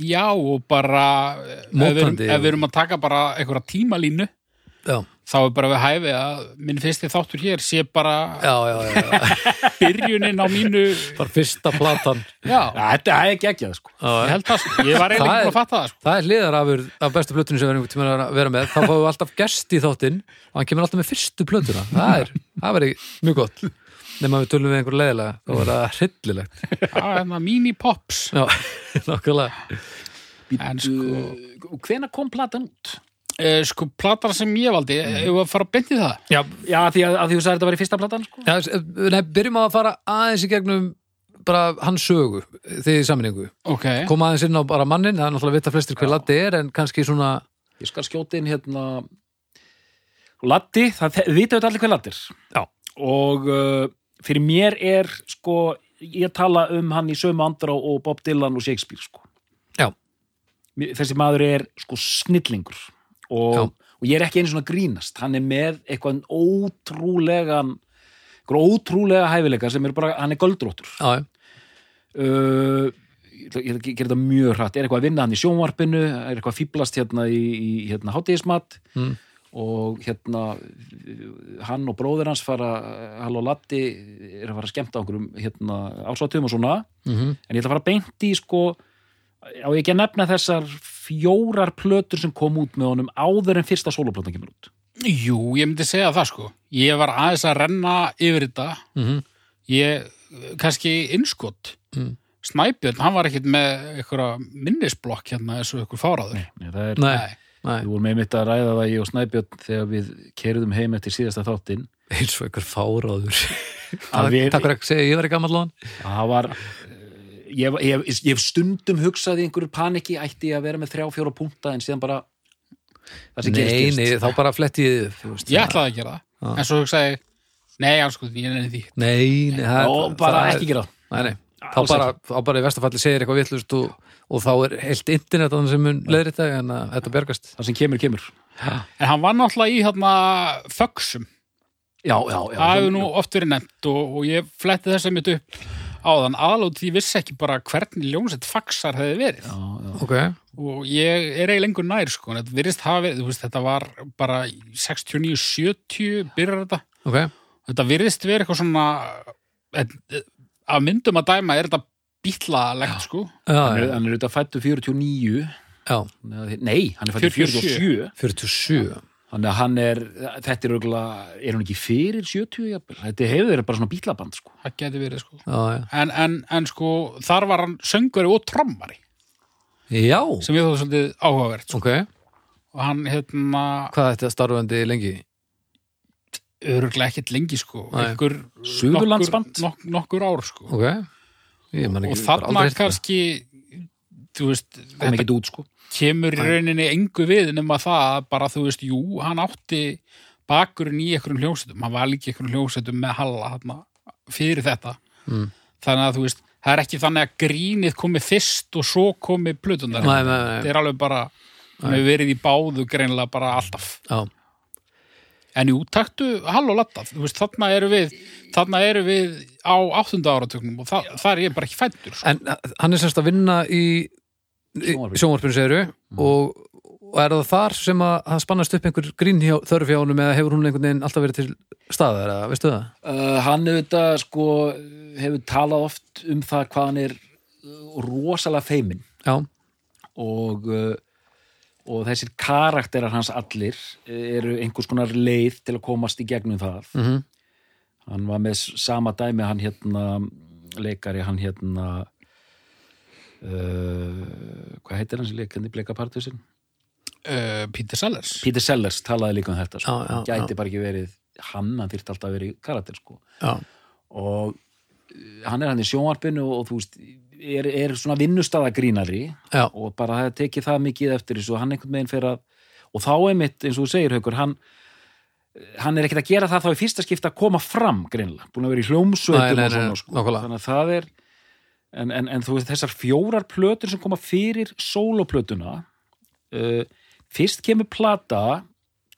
S2: já og bara eh, ef við, erum,
S1: Mótandi.
S2: ef við erum að taka bara einhverja tímalínu
S1: Já,
S2: þá er bara við hæfi að minn fyrsti þáttur hér sé bara
S1: já, já, já, já.
S2: byrjunin á mínu
S1: bara fyrsta platan
S2: já,
S3: Þetta er geggjað sko
S2: ég held það sko, ég var eiginlega
S1: Það
S2: ekki
S1: er-
S2: búin að fatta það sko
S1: það er hliðarafur af bestu plötunum sem við erum tíma að vera með þá fáum við alltaf gest í þáttinn og hann kemur alltaf með fyrstu plötuna það er, það verið mjög gott nema við tölum við einhver leiðilega þá er það hryllilegt
S2: það er hérna mini-pops
S1: já, nákvæmlega
S2: en sko
S3: uh, Hvena kom platan út?
S2: Eh, sko, platar sem ég valdi, mm. ef að fara beint í það.
S1: já,
S3: Já, af því að, að því þú sagði þetta var í fyrsta platan sko
S1: já, nei, byrjum á að fara aðeins í gegnum bara hans sögu því í sammenningu
S2: Ok.
S1: koma aðeins inn á bara mannin, það er náttúrulega vita flestir hver laddi er en kannski svona
S3: Ég skal skjóta inn hérna Latti, það þe- vita auðvitað allir hver Lattir
S1: Já.
S3: Og uh, fyrir mér er sko ég tala um hann í sömu andra og Bob Dylan og Shakespeare sko
S1: Já.
S3: Mér- Þessi maður er sko snillingur
S1: Já.
S3: og, og ég er ekki einu svona grínast hann er með eitthvað ótrúlegan eitthvað ótrúlega hæfileika sem er bara, hann er göldróttur
S1: já, já,
S3: uh, ég ætla- ég ætla að gera þetta mjög hratt er eitthvað að vinna hann í sjónvarpinu er eitthvað að fýblast hérna í, í hérna, hátíðismat
S1: Mm.
S3: og hérna uh, hann og bróðir hans fara Hall og Latti er að fara að skemmta okkur um hérna, ásátum og svona
S1: mhm,
S3: en ég ætla að fara beint í sko á ég ekki að nefna þessar fjórar plötur sem kom út með honum áður en fyrsta soloplötan kemur út
S2: Jú, ég myndi segja það sko. Ég var aðeins að renna yfir þetta.
S1: mm
S2: Ég, kannski innskot.
S1: Mm.
S2: Snæbjörn, hann var ekkit með einhverja minnisblokk hérna eins og ykkur fáraður.
S3: Nei, það er,
S1: Nei, nei,
S3: Við vorum einmitt að ræða það ég og Snæbjörn þegar við kerðum heim eftir síðasta þáttinn.
S1: eins og einhver fáráður
S3: Að við-
S1: Takk fyrir að segja, ég verið gammal lón
S3: Það var, eh, ég, hef- ég, hef- ég hef stundum hugsað í einhverju paniki, ætti ég að vera með þrjá, fjóra punta en síðan bara, það sem
S1: Nei,
S3: gerist
S1: nei,
S3: gerist.
S1: þá bara fletti ég upp, þú veist, hérna.
S2: Ég
S1: það-
S2: ætlaði að gera það.
S1: Já.
S2: En svo hugsaði, ég, nei, anskotin, ég nefnir því.
S1: Nei, nei, það
S3: Og bara
S1: það-
S3: ekki gera það.
S1: Nei, nei, þá
S3: Alls
S1: bara, þá bara í vestafalli segir eitthvað vitlust og, og þá er heilt internet þannig sem mun leiðir þetta en að þetta bergast
S3: Það sem kemur, kemur.
S2: En hann var náttúrulega í þarna föksum.
S3: Já, já, já.
S2: Það hefur nú oft verið nefnt og, og ég fletti þess að mitt upp áðan. Aðlótt því vissi ekki bara hvernig ljónsett faksar hefði verið.
S3: Já, já.
S1: Ok,
S2: Og ég er eiginlega lengur nær, sko. en Þetta virðist hafa verið, þú veist, þetta var bara í 69-70 byrjar þetta.
S1: ok
S2: Þetta virðist verið eitthvað svona, eh, af myndum að dæma er þetta bítlalegt, sko.
S1: Já,
S3: Hann er,
S1: já,
S3: hann er auðvitað fættu 49,
S1: já,
S3: nei, hann er fættu
S2: 47.
S3: 47.
S1: 47
S3: Þannig að hann er, þetta er auðvitað, er hún ekki fyrir 70 jafnvel? Þetta hefur verið bara svona bílaband sko.
S2: Það geti verið, sko.
S1: Já, já,
S2: En, en, en sko, þar var hann söngveri og trommari,
S1: já,
S2: sem ég þóð svolítið áhugavert, sko.
S1: ok
S2: Og hann, hérna,
S1: Hvað ætti að starfandi lengi?
S2: öruglega ekkert lengi, sko.
S1: Nei.
S2: Einhver,
S3: Suðurlandsband?
S2: Nok, nokkur ár, sko.
S1: Ok, ég man ekki bara aldrei
S2: og þarna
S1: heyrt um það.
S2: kannski þú veist,
S3: Kom
S2: þetta
S3: ekki út sko.
S2: kemur í rauninni engu við nema það að bara þú veist, jú, hann átti bakurinn í einhverjum hljósetum hann var líka í einhverjum hljósetum með Halla hana, fyrir þetta
S1: Mm.
S2: þannig að þú veist, það er ekki þannig að grínið komi fyrst og svo komi plötundar
S1: Nei, nei, nei.
S2: þetta er alveg bara hann hefur verið í báðu greinlega bara alltaf
S1: Já,
S2: en jú, taktu Hall og Latta þú veist, þarna eru við þarna eru við á áttunda áratögnum og það, það er ég bara ekki fættur sko.
S1: en uh, hann er semst að vinna í, í
S3: Sjónvarpinu.
S1: sjónvarpinu Mm. segiru og, og er það þar sem að það spannast upp einhver grín hjá, þörf hjá honum eða hefur hún einhvern veginn alltaf verið til staðar, eða, veistu það?
S3: Uh, hann auðvitað sko hefur talað oft um það hvað hann er uh, rosalega feiminn
S1: Já,
S3: og, uh, og þessir karakterar hans allir eru einhvers konar leið til að komast í gegnum það.
S1: mhm
S3: Hann var með s- sama dæmi hann hérna, leikari hann hérna uh, hvað heitir hans leikandi bleikapartusinn?
S2: uh, Peter Sellers
S3: Peter Sellers talaði líka um þetta sko.
S1: Já, já,
S3: hann gæti bara ekki verið hann, hann þyrfti alltaf að vera í karakter sko.
S1: Já,
S3: og eh, hann er hann í sjónvarpinu og, og þú veist, er, er svona vinnustadagrínari
S1: já,
S3: og bara það tekið það mikið eftir þessu og hann einhvern veginn fyrir að og þá einmitt, eins og þú segir haukur hann, eh, hann er ekkert að gera það þá í fyrsta skipta að koma fram greinlega, búin að vera í
S1: Nei,
S3: hljómsveitum
S1: nei,
S3: og
S1: nei,
S3: svona sko,
S1: nákvæmlega.
S3: þannig að það er en, en, en þú veist þessar fjórar plötur sem koma fyrir sóloplötuna uh, fyrst kemur plata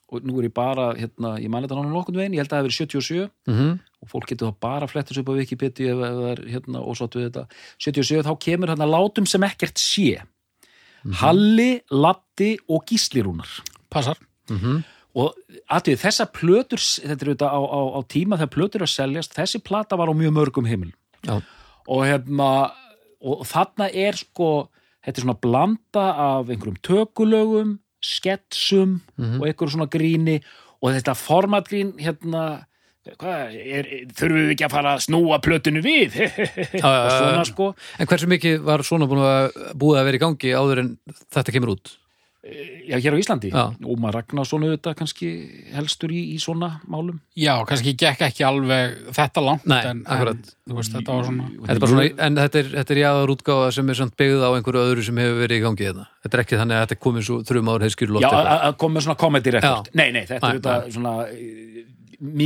S3: og nú er ég bara, hérna, ég mani þetta náttúrulega nokkurn veginn, ég held að það hafi verið 77
S1: mhm,
S3: og fólk getur þá bara að fletta þessu upp á Wikipedia ef, ef það er hérna ósátt við þetta 77 þá kemur hérna látum sem ekkert sé Halli, Latti og Gíslirúnar
S2: passar
S1: mhm
S3: og aðtöðu þessa plötur þetta er auðvitað á, á, á tíma þegar plötur er að seljast þessi plata var á mjög mörgum heimil
S1: Já.
S3: og hérna og þarna er sko þetta er svona blanda af einhverjum tökulögum sketsum
S1: Mhm.
S3: og einhverjum svona gríni og þetta formatgrín hérna hvað, er, þurfum við ekki að fara að snúa plötinu við
S1: Já, já,
S3: og
S1: já,
S3: svona
S1: já.
S3: sko
S1: En hversu mikið var svona búin að búið að vera í gangi áður en þetta kemur út?
S3: já, hér á Íslandi,
S1: Já.
S3: Ómar Ragnarsson auðvitað kannski helstur í, í svona málum
S2: Já, kannski gekk ekki alveg þetta langt
S1: Nei,
S2: en,
S1: akkurat.
S2: en þú veist, þetta var svona
S1: Þetta er bara svona, en þetta er, þetta er jáður útgáfa sem er samt byggð á einhverju öðru sem hefur verið í gangi þetta. Þetta er ekki þannig að þetta er komið svo þrjum ár heiskýrlótt
S3: Já, að að koma með svona comedy record
S1: Já.
S3: Nei, nei, þetta
S1: Nei,
S3: er þetta svona eh,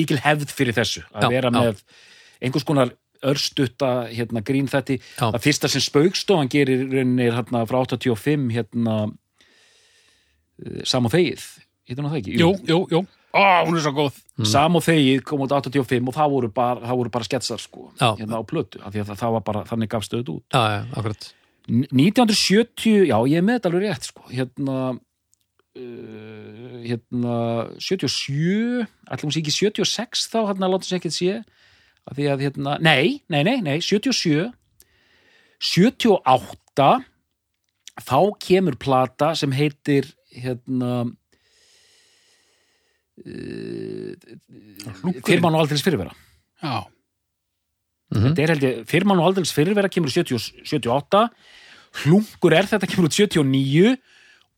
S3: mikil hefð fyrir þessu að
S1: Já,
S3: vera
S1: já.
S3: með einhvers konar örstutta hérna, grín þetta
S1: Já.
S3: að fyrsta sem spaukstofan gerir raunir hérna, frá 85 hérna, eh, Sam og þegið Hittum það ekki? Mm.
S2: Jú, jú, jú, ó, hún er svo góð
S3: Sam og þegið kom út 85 og það voru bara, það voru bara sketsar sko,
S1: Já.
S3: hérna á plötu, af því að það, það var bara þannig gafst auðvitað út
S1: já, já, akkurat.
S3: 1970, já ég er með þetta alveg rétt sko, hérna uh, hérna 77, ætlum hún sé ekki 76 þá, hérna látum sér ekkert sé af því að hérna, nei, nei, nei, nei 77 78 uh, þá kemur plata sem heitir hérna fyrr mann og aldrei fyrirvera
S2: Já, Mhm.
S3: þetta er held ég, fyrr mann og aldrei fyrirvera kemur 70, og 78 hlungur er þetta kemur út 79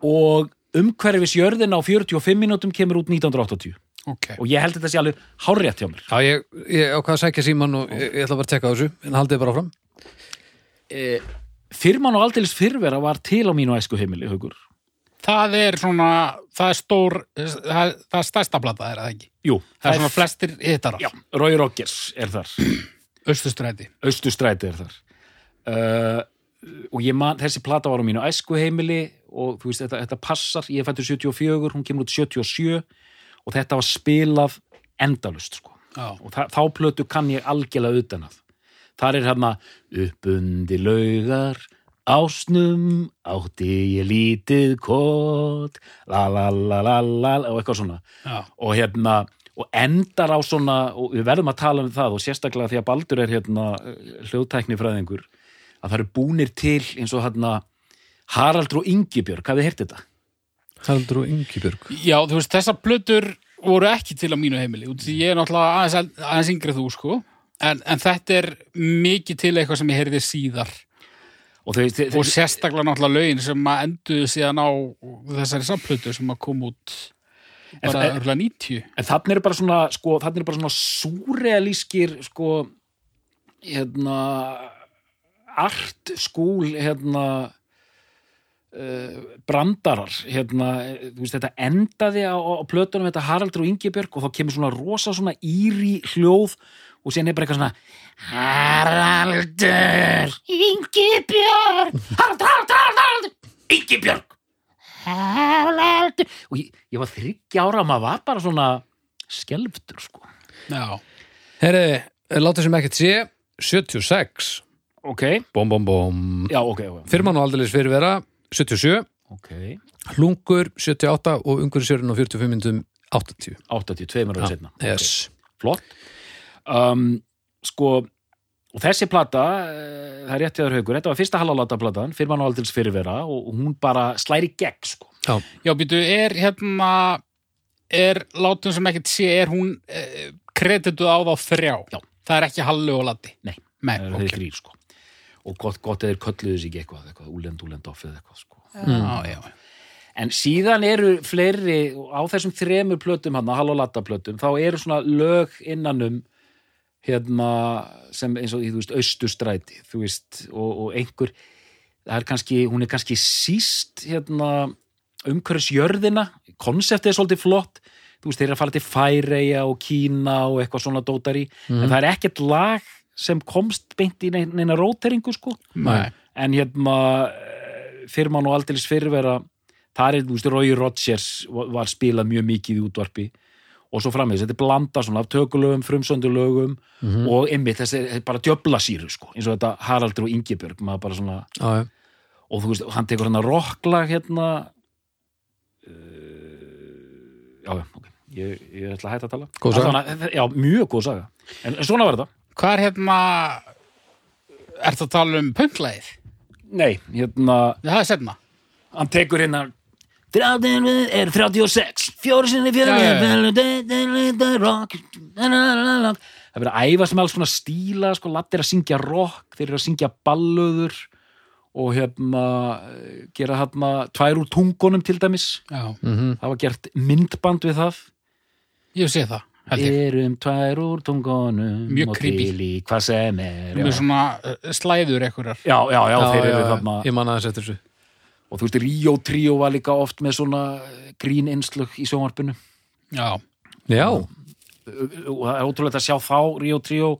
S3: og umhverfis jörðin á 45 mínútum kemur út 1980
S2: ok.
S3: og ég held þetta sé alveg hárrétt hjá mér
S1: Já, ég, ég ákvað að sækja síman og ég, ég ætla bara að tekka á þessu, en haldið bara áfram.
S3: fyrr mann og aldrei fyrirvera var til á mínu æsku heimili, haugur
S2: Það er svona, það er stór, það, það er stærsta blata er það ekki.
S3: Jú,
S2: Það er svona flestir hittarar,
S3: Já, Roy Rogers er þar
S2: austustræti.
S3: Östustræti er þar uh, og ég man, þessi plata var á mínu æskuheimili og þú veist, þetta, þetta passar ég fættur 74, hún kemur út 77 og þetta var spilað endalust, sko
S2: Já,
S3: og þa þá plötu kann ég algjörlega utan að þar er hérna uppundi laugar ásnum átti ég lítið kót la la la la la la," og eitthvað svona
S2: já,
S3: og hérna og endar á svona, og við verðum að tala um það og sérstaklega því að Baldur er hérna hljóðtæknifræðingur að það eru búnir til eins og hérna Haraldur og Ingibjörg, hafið heyrt þetta?
S1: Haldur og Ingibjörg.
S2: já, þú veist, þessar blötur voru ekki til á mínu heimili, út af því ég er náttúrulega aðeins, eld- aðeins yngri en þú, sko. En, en þetta er mikið til eitthvað sem ég heyrði síðar
S3: Og þeir, þeir,
S2: og sérstaklega náttúrulega lögin sem að enduðu síðan á þessari samplötu sem að kom út
S3: En
S2: bara
S3: það-
S2: örgulega 90
S3: en þannig eru bara svona sko, þannig eru bara svona súrealískir sko hérna art skúl hérna uh, brandarar hérna, þú veist, þetta endaði á, á plötunum þetta Haraldur og Ingibjörg og þá kemur svona rosa svona íri hljóð og síðan er bara eitthvað svona Haraldur Ingibjörg Haraldur, Haraldur, Haraldur, Haraldur Ingibjörg Haraldur og ég, ég var þriggja ára og maður var bara svona skelftur sko
S2: Já,
S1: Herri, láta sem ekkert sé, 76.
S3: ok,
S1: Bóm, bóm, bóm.
S3: já ok, já, já.
S1: Fyrir mann og aldrei fyrirvera, 77.
S3: ok,
S1: Hlungur, 78 og Ungurinsjörn á 45 minnum, 80.
S3: 82 mörgur setna
S1: Yes.
S3: flott um, sko, og þessi plata eh, það er rétt við haugur, þetta var fyrsta halalata platan fyrir mann og aldils fyrirvera og og hún bara slæri gegn sko
S2: já býtu, er hérna er látum sem ekkert sé er hún eh, kredituð á þá þrjá
S3: Já.
S2: það er ekki Hallu og Latti
S3: Nei.
S2: Nei
S3: það
S2: ok.
S3: eru þrýr sko og gott, gott eða þeir kölluðu sig eitthvað, eitthvað úlend, úlend off eða eitthvað sko
S2: Já, já.
S3: En síðan eru fleiri, á þessum þremur plötum hann, Hall og Latta plötum, þá eru svona lög innanum hérna, sem eins og, þú veist, austustræti, þú veist, og, og einhver, það er kannski, hún er kannski síst, hérna, umhverfis jörðina, konseptið er svolítið flott, þú veist, þeir eru að fara til Færeia og Kína og eitthvað svona dótari, en það er ekkert lag sem komst beint í neina, neina róteringu, sko
S2: Nei.
S3: en hérna eh, fyrir mann og aldeilis fyrirvera þar er, þú veist, Roy Rogers var var spilað mjög mikið í útvarpi og svo framvegis, þetta er blanda svona af tökulögum, frumsöndulögum
S1: Mhm.
S3: og einmitt, þessi þetta er bara djöbla síru sko, eins og þetta Haraldur og Ingibjörg maður bara svona,
S1: Já, já.
S3: og þú veist, hann tekur hann að rockla hérna uh, já, já, ok ég, ég ætla að hætta að tala
S1: Góð saga.
S3: Allavega, Já, mjög góð saga en, en svona var þetta
S2: Hvað er hérna ertu að tala um pönglæðið?
S3: Nei, hérna
S2: Það er setna
S3: hann tekur hérna Þrjáttinn við er 36 Fjóri sinni fjóri
S2: Já, já, já.
S3: Það verður að æfa sem alls svona stíla sko, Latt er að syngja rock, þeir eru að syngja ballöður og hérna eh, gera hérna tvær úr tungunum til dæmis
S2: Já,
S3: það var gert myndband við það
S2: Mhm. ég sé það held ég.
S3: erum tvær úr tungunum
S2: Mjög
S3: og
S2: creepy.
S3: til í hvað sem er
S2: Með
S3: já.
S2: svona eh, slæður einhverjar
S3: já, já, já, þeir eru þarna
S1: Ég man aðeins eftir þessu.
S3: og þú veist, Rio Trio var líka oft með svona grín einslög í sjónvarpinu
S2: Já,
S1: Já,
S3: og það er ótrúlegt að sjá þá Rio Trio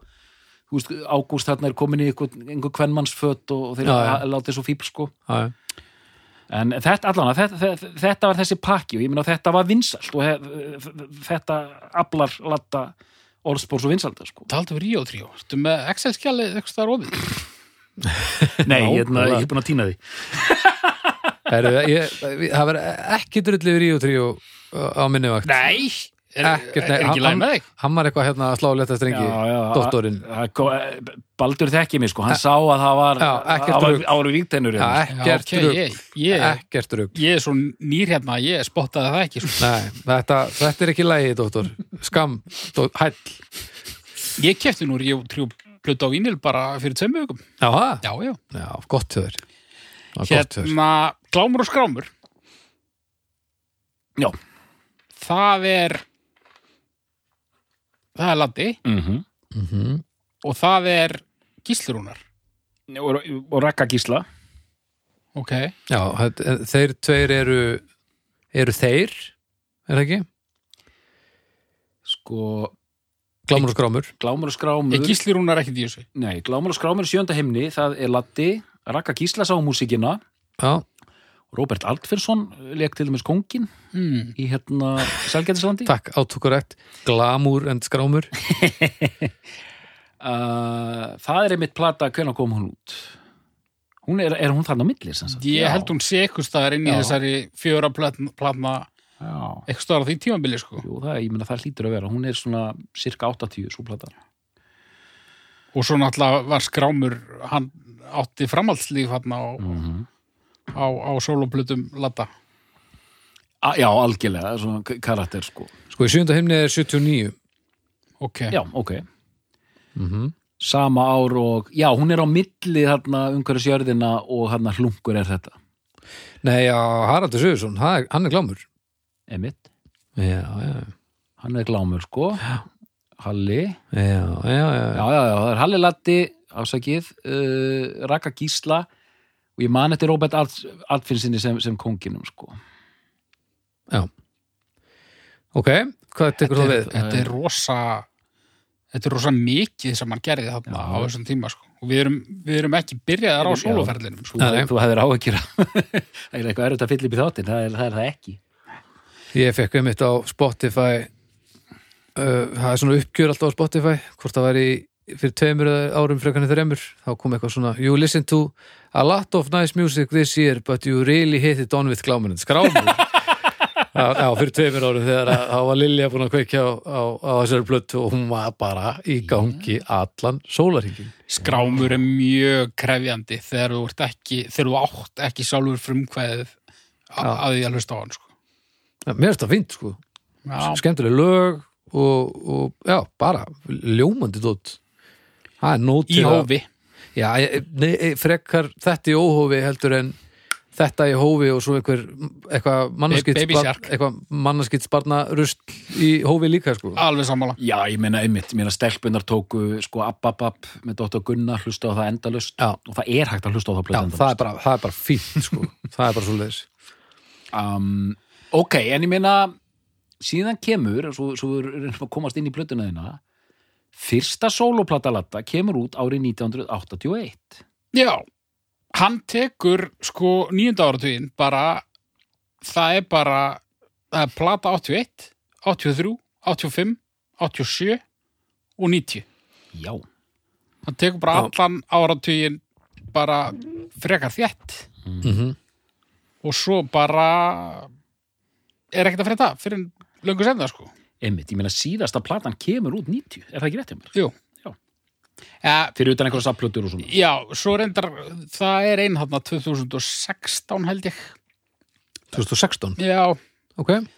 S3: þú veist, Ágúst þarna er komin í einhver, einhver kvennmannsfött og, og þeir
S1: Já, já.
S3: að- látið svo fíbl sko
S1: já, já.
S3: en þetta, allan, þetta, þetta, þetta var þessi pakki og ég meina þetta var vinsalt og hef, þetta aflar latta orðspórs og vinsalda sko
S2: taldu við Ríó 3 Ertu með Excel-skjalið eitthvað það er ofið
S3: Nei,
S1: Já,
S3: ég, hérna,
S1: nákvæmlega.
S3: ég er búin að týna því
S1: Heru, ég, það verður ekki drullu í Ríó 3 á minni vakt.
S2: Nei, er,
S1: Ekkert, nei,
S2: er ekki læg
S1: hann-
S2: með þig?
S1: hann var eitthvað hérna að slá leta strengi doktorinn.
S3: að- að- að- Baldur þekki mig sko, hann sá að það var
S1: Já, ekkert
S3: það var-
S1: rugl.
S3: það voru vígtennur
S1: Já,
S3: hérna, sko.
S1: ekkert
S2: Já, ok,
S1: rugg
S2: ég, ég,
S1: ekkert rugg
S2: ég er svo nýr hérna, ég spottaði það ekki. Sko.
S1: Nei, þetta, þetta er ekki lægi, doktor Skam, dó, hæll
S2: Ég kefti nú ég trjú plötu á vínil bara fyrir tveimur vikum.
S1: Já,
S2: Já, já.
S1: Já gott hjá þér Já, gott hjá þér
S2: Hérna, glámur og skrámur,
S3: Já,
S2: það er, það er Landi
S3: mhm.
S1: Mhm.
S2: og það er Gíslurúnar.
S3: og, og Rekka Gísla
S2: Ok,
S1: Já, þetta- þeir tveir eru eru þeir, er það ekki?
S3: sko,
S1: Glámur og skrámur
S3: Glámur og Skrámur
S2: er Gíslurúnar ekkert í þessu?
S3: Nei, Glámur og Skrámur í sjönda himni, það er Latti Rekka Gísla sá músikina
S1: Já,
S3: Robert Altfinsson leik til dæmis kongin
S2: Hmm.
S3: í hérna Selgætislandi
S1: takk, átukurrekt Glámur en skrámur
S3: uh, Það er einmitt plata, hvenær kom hún út? Hún er, er hún þarna á milli sem sagt?
S2: Ég
S3: Já.
S2: held hún sé eitthvað staðar inn í
S3: Já.
S2: þessari fjöra platna, platna
S3: Já.
S2: eitthvað staðar á því tímabili, sko.
S3: Jú, það, ég meina það hlýtur að vera, hún er svona cirka 80, svo plata
S2: Og svo náttúrulega var skrámur, hann átti framhaldslíf hérna á,
S3: -hmm.
S2: á, á sóloplutum Latta.
S3: Já, algjörlega, það er svona k- karakter sko
S1: Sko, í sjönda himni er 79
S2: Ok,
S3: Já, ok
S1: mm
S3: Sama ár og, já, hún er á milli þarna umhverjus jörðina og þarna hlungur er þetta
S1: Nei, já, Haraldur Sigursson, hann er- hann er glámur
S3: Emitt,
S1: Já, já,
S3: hann er glámur sko Halli
S1: já, já, já, já.
S3: já, já, já, það er Halli Latti ásakið, uh, Raka Gísla og ég man eftir Robert Alt, Altfinnsinni sem, sem konginum sko.
S1: Ok, hvað tekur
S2: þetta
S1: það
S2: er,
S1: við?
S2: þetta er rosa þetta er rosa mikið sem hann gerði þarna
S3: Já.
S2: á þessum tíma sko. og við erum, við erum ekki byrjaðar á
S3: Já.
S2: sóloferlinum sko.
S3: Þú,
S1: Nei, nei.
S3: þú hefðir áhyggjur af- það er eitthvað erut að fylla upp í þáttinn það er það, er það ekki
S1: Ég fekk um á Spotify uh, það er svona uppgjör alltaf á Spotify hvort það væri fyrir tveimur eða árum frekarnir þreimur, þá kom eitthvað svona You listen to a lot of nice music this year but you really hit it on with glámunin skrámur Já, já, fyrir tveimur árum þegar að- þá var Lilja búin að kveikja á, á, á þessari blötu og hún var bara í gangi allan sólarhingin.
S2: skrámur er mjög krefjandi þegar þú, ert ekki, þegar þú átt ekki sjálfur frumkvæðið a-
S1: Já.
S2: að því að hlusta á hann sko.
S1: Ja, Mér finnst það fínt, sko.
S2: Já.
S1: Skemmtileg lög og, og já, bara ljómandi dótt. Það er nót
S2: í
S1: til að-
S2: hófi
S1: Já, ég- nei, ég- frekar þetta í óhófi heldur en þetta í hófi og svo einhver eitthvað
S2: Baby Shark.
S1: mannarskitt sparna rust í hófi líka sko.
S2: alveg sammála
S3: já, ég meina einmitt, ég meina stelpunar tóku sko app, app, app með Dóttar Gunnar hlusta á það endalust
S1: Já.
S3: og það er hægt að hlusta á það
S1: Já,
S3: plötu
S1: það er bara, það er bara fínt sko. það er bara svo leiðis.
S3: um, ok, en ég meina síðan kemur, svo, svo við reynum að komast inn í plötuna þína fyrsta sóloplata latta kemur út árið 1981
S2: já, hann tekur sko nýjunda áratugin bara það er bara það er plata 81 83, 85, 87 og 90
S3: já
S2: hann tekur bara
S1: Já.
S2: allan áratugin bara frekar þétt
S1: Mm
S2: Mhm. og svo bara er ekkert að frétta fyrir löngu senda sko
S3: Einmitt, ég meina síðasta platan kemur út 90, er það ekki rétt hjá mér?
S2: Jú.
S3: Já.
S2: Eh,
S3: Fyrir utan einhverja sapplötur og svona.
S2: já, svo reyndar það er einn hann 2016 held ég
S1: 2016,
S2: já,
S1: ok? Ég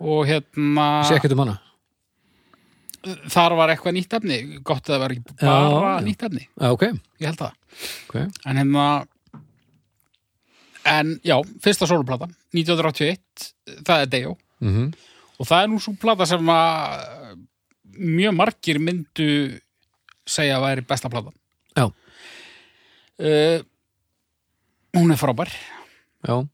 S2: og hérna
S1: sé ekkert um hana.
S2: þar var eitthvað nýtt efni gott að það var ekki bara
S1: Já, já.
S2: nýtt efni
S1: Já, Ah, ok,
S2: ég held það
S1: ok.
S2: En hérna En já, fyrsta sóluplata 1981, það er Dejo
S1: Mm
S2: og það er nú svo plata sem að eh, mjög margir myndu segja að væri besta plata
S1: Já.
S2: Eh, Hún er frábær
S1: Já,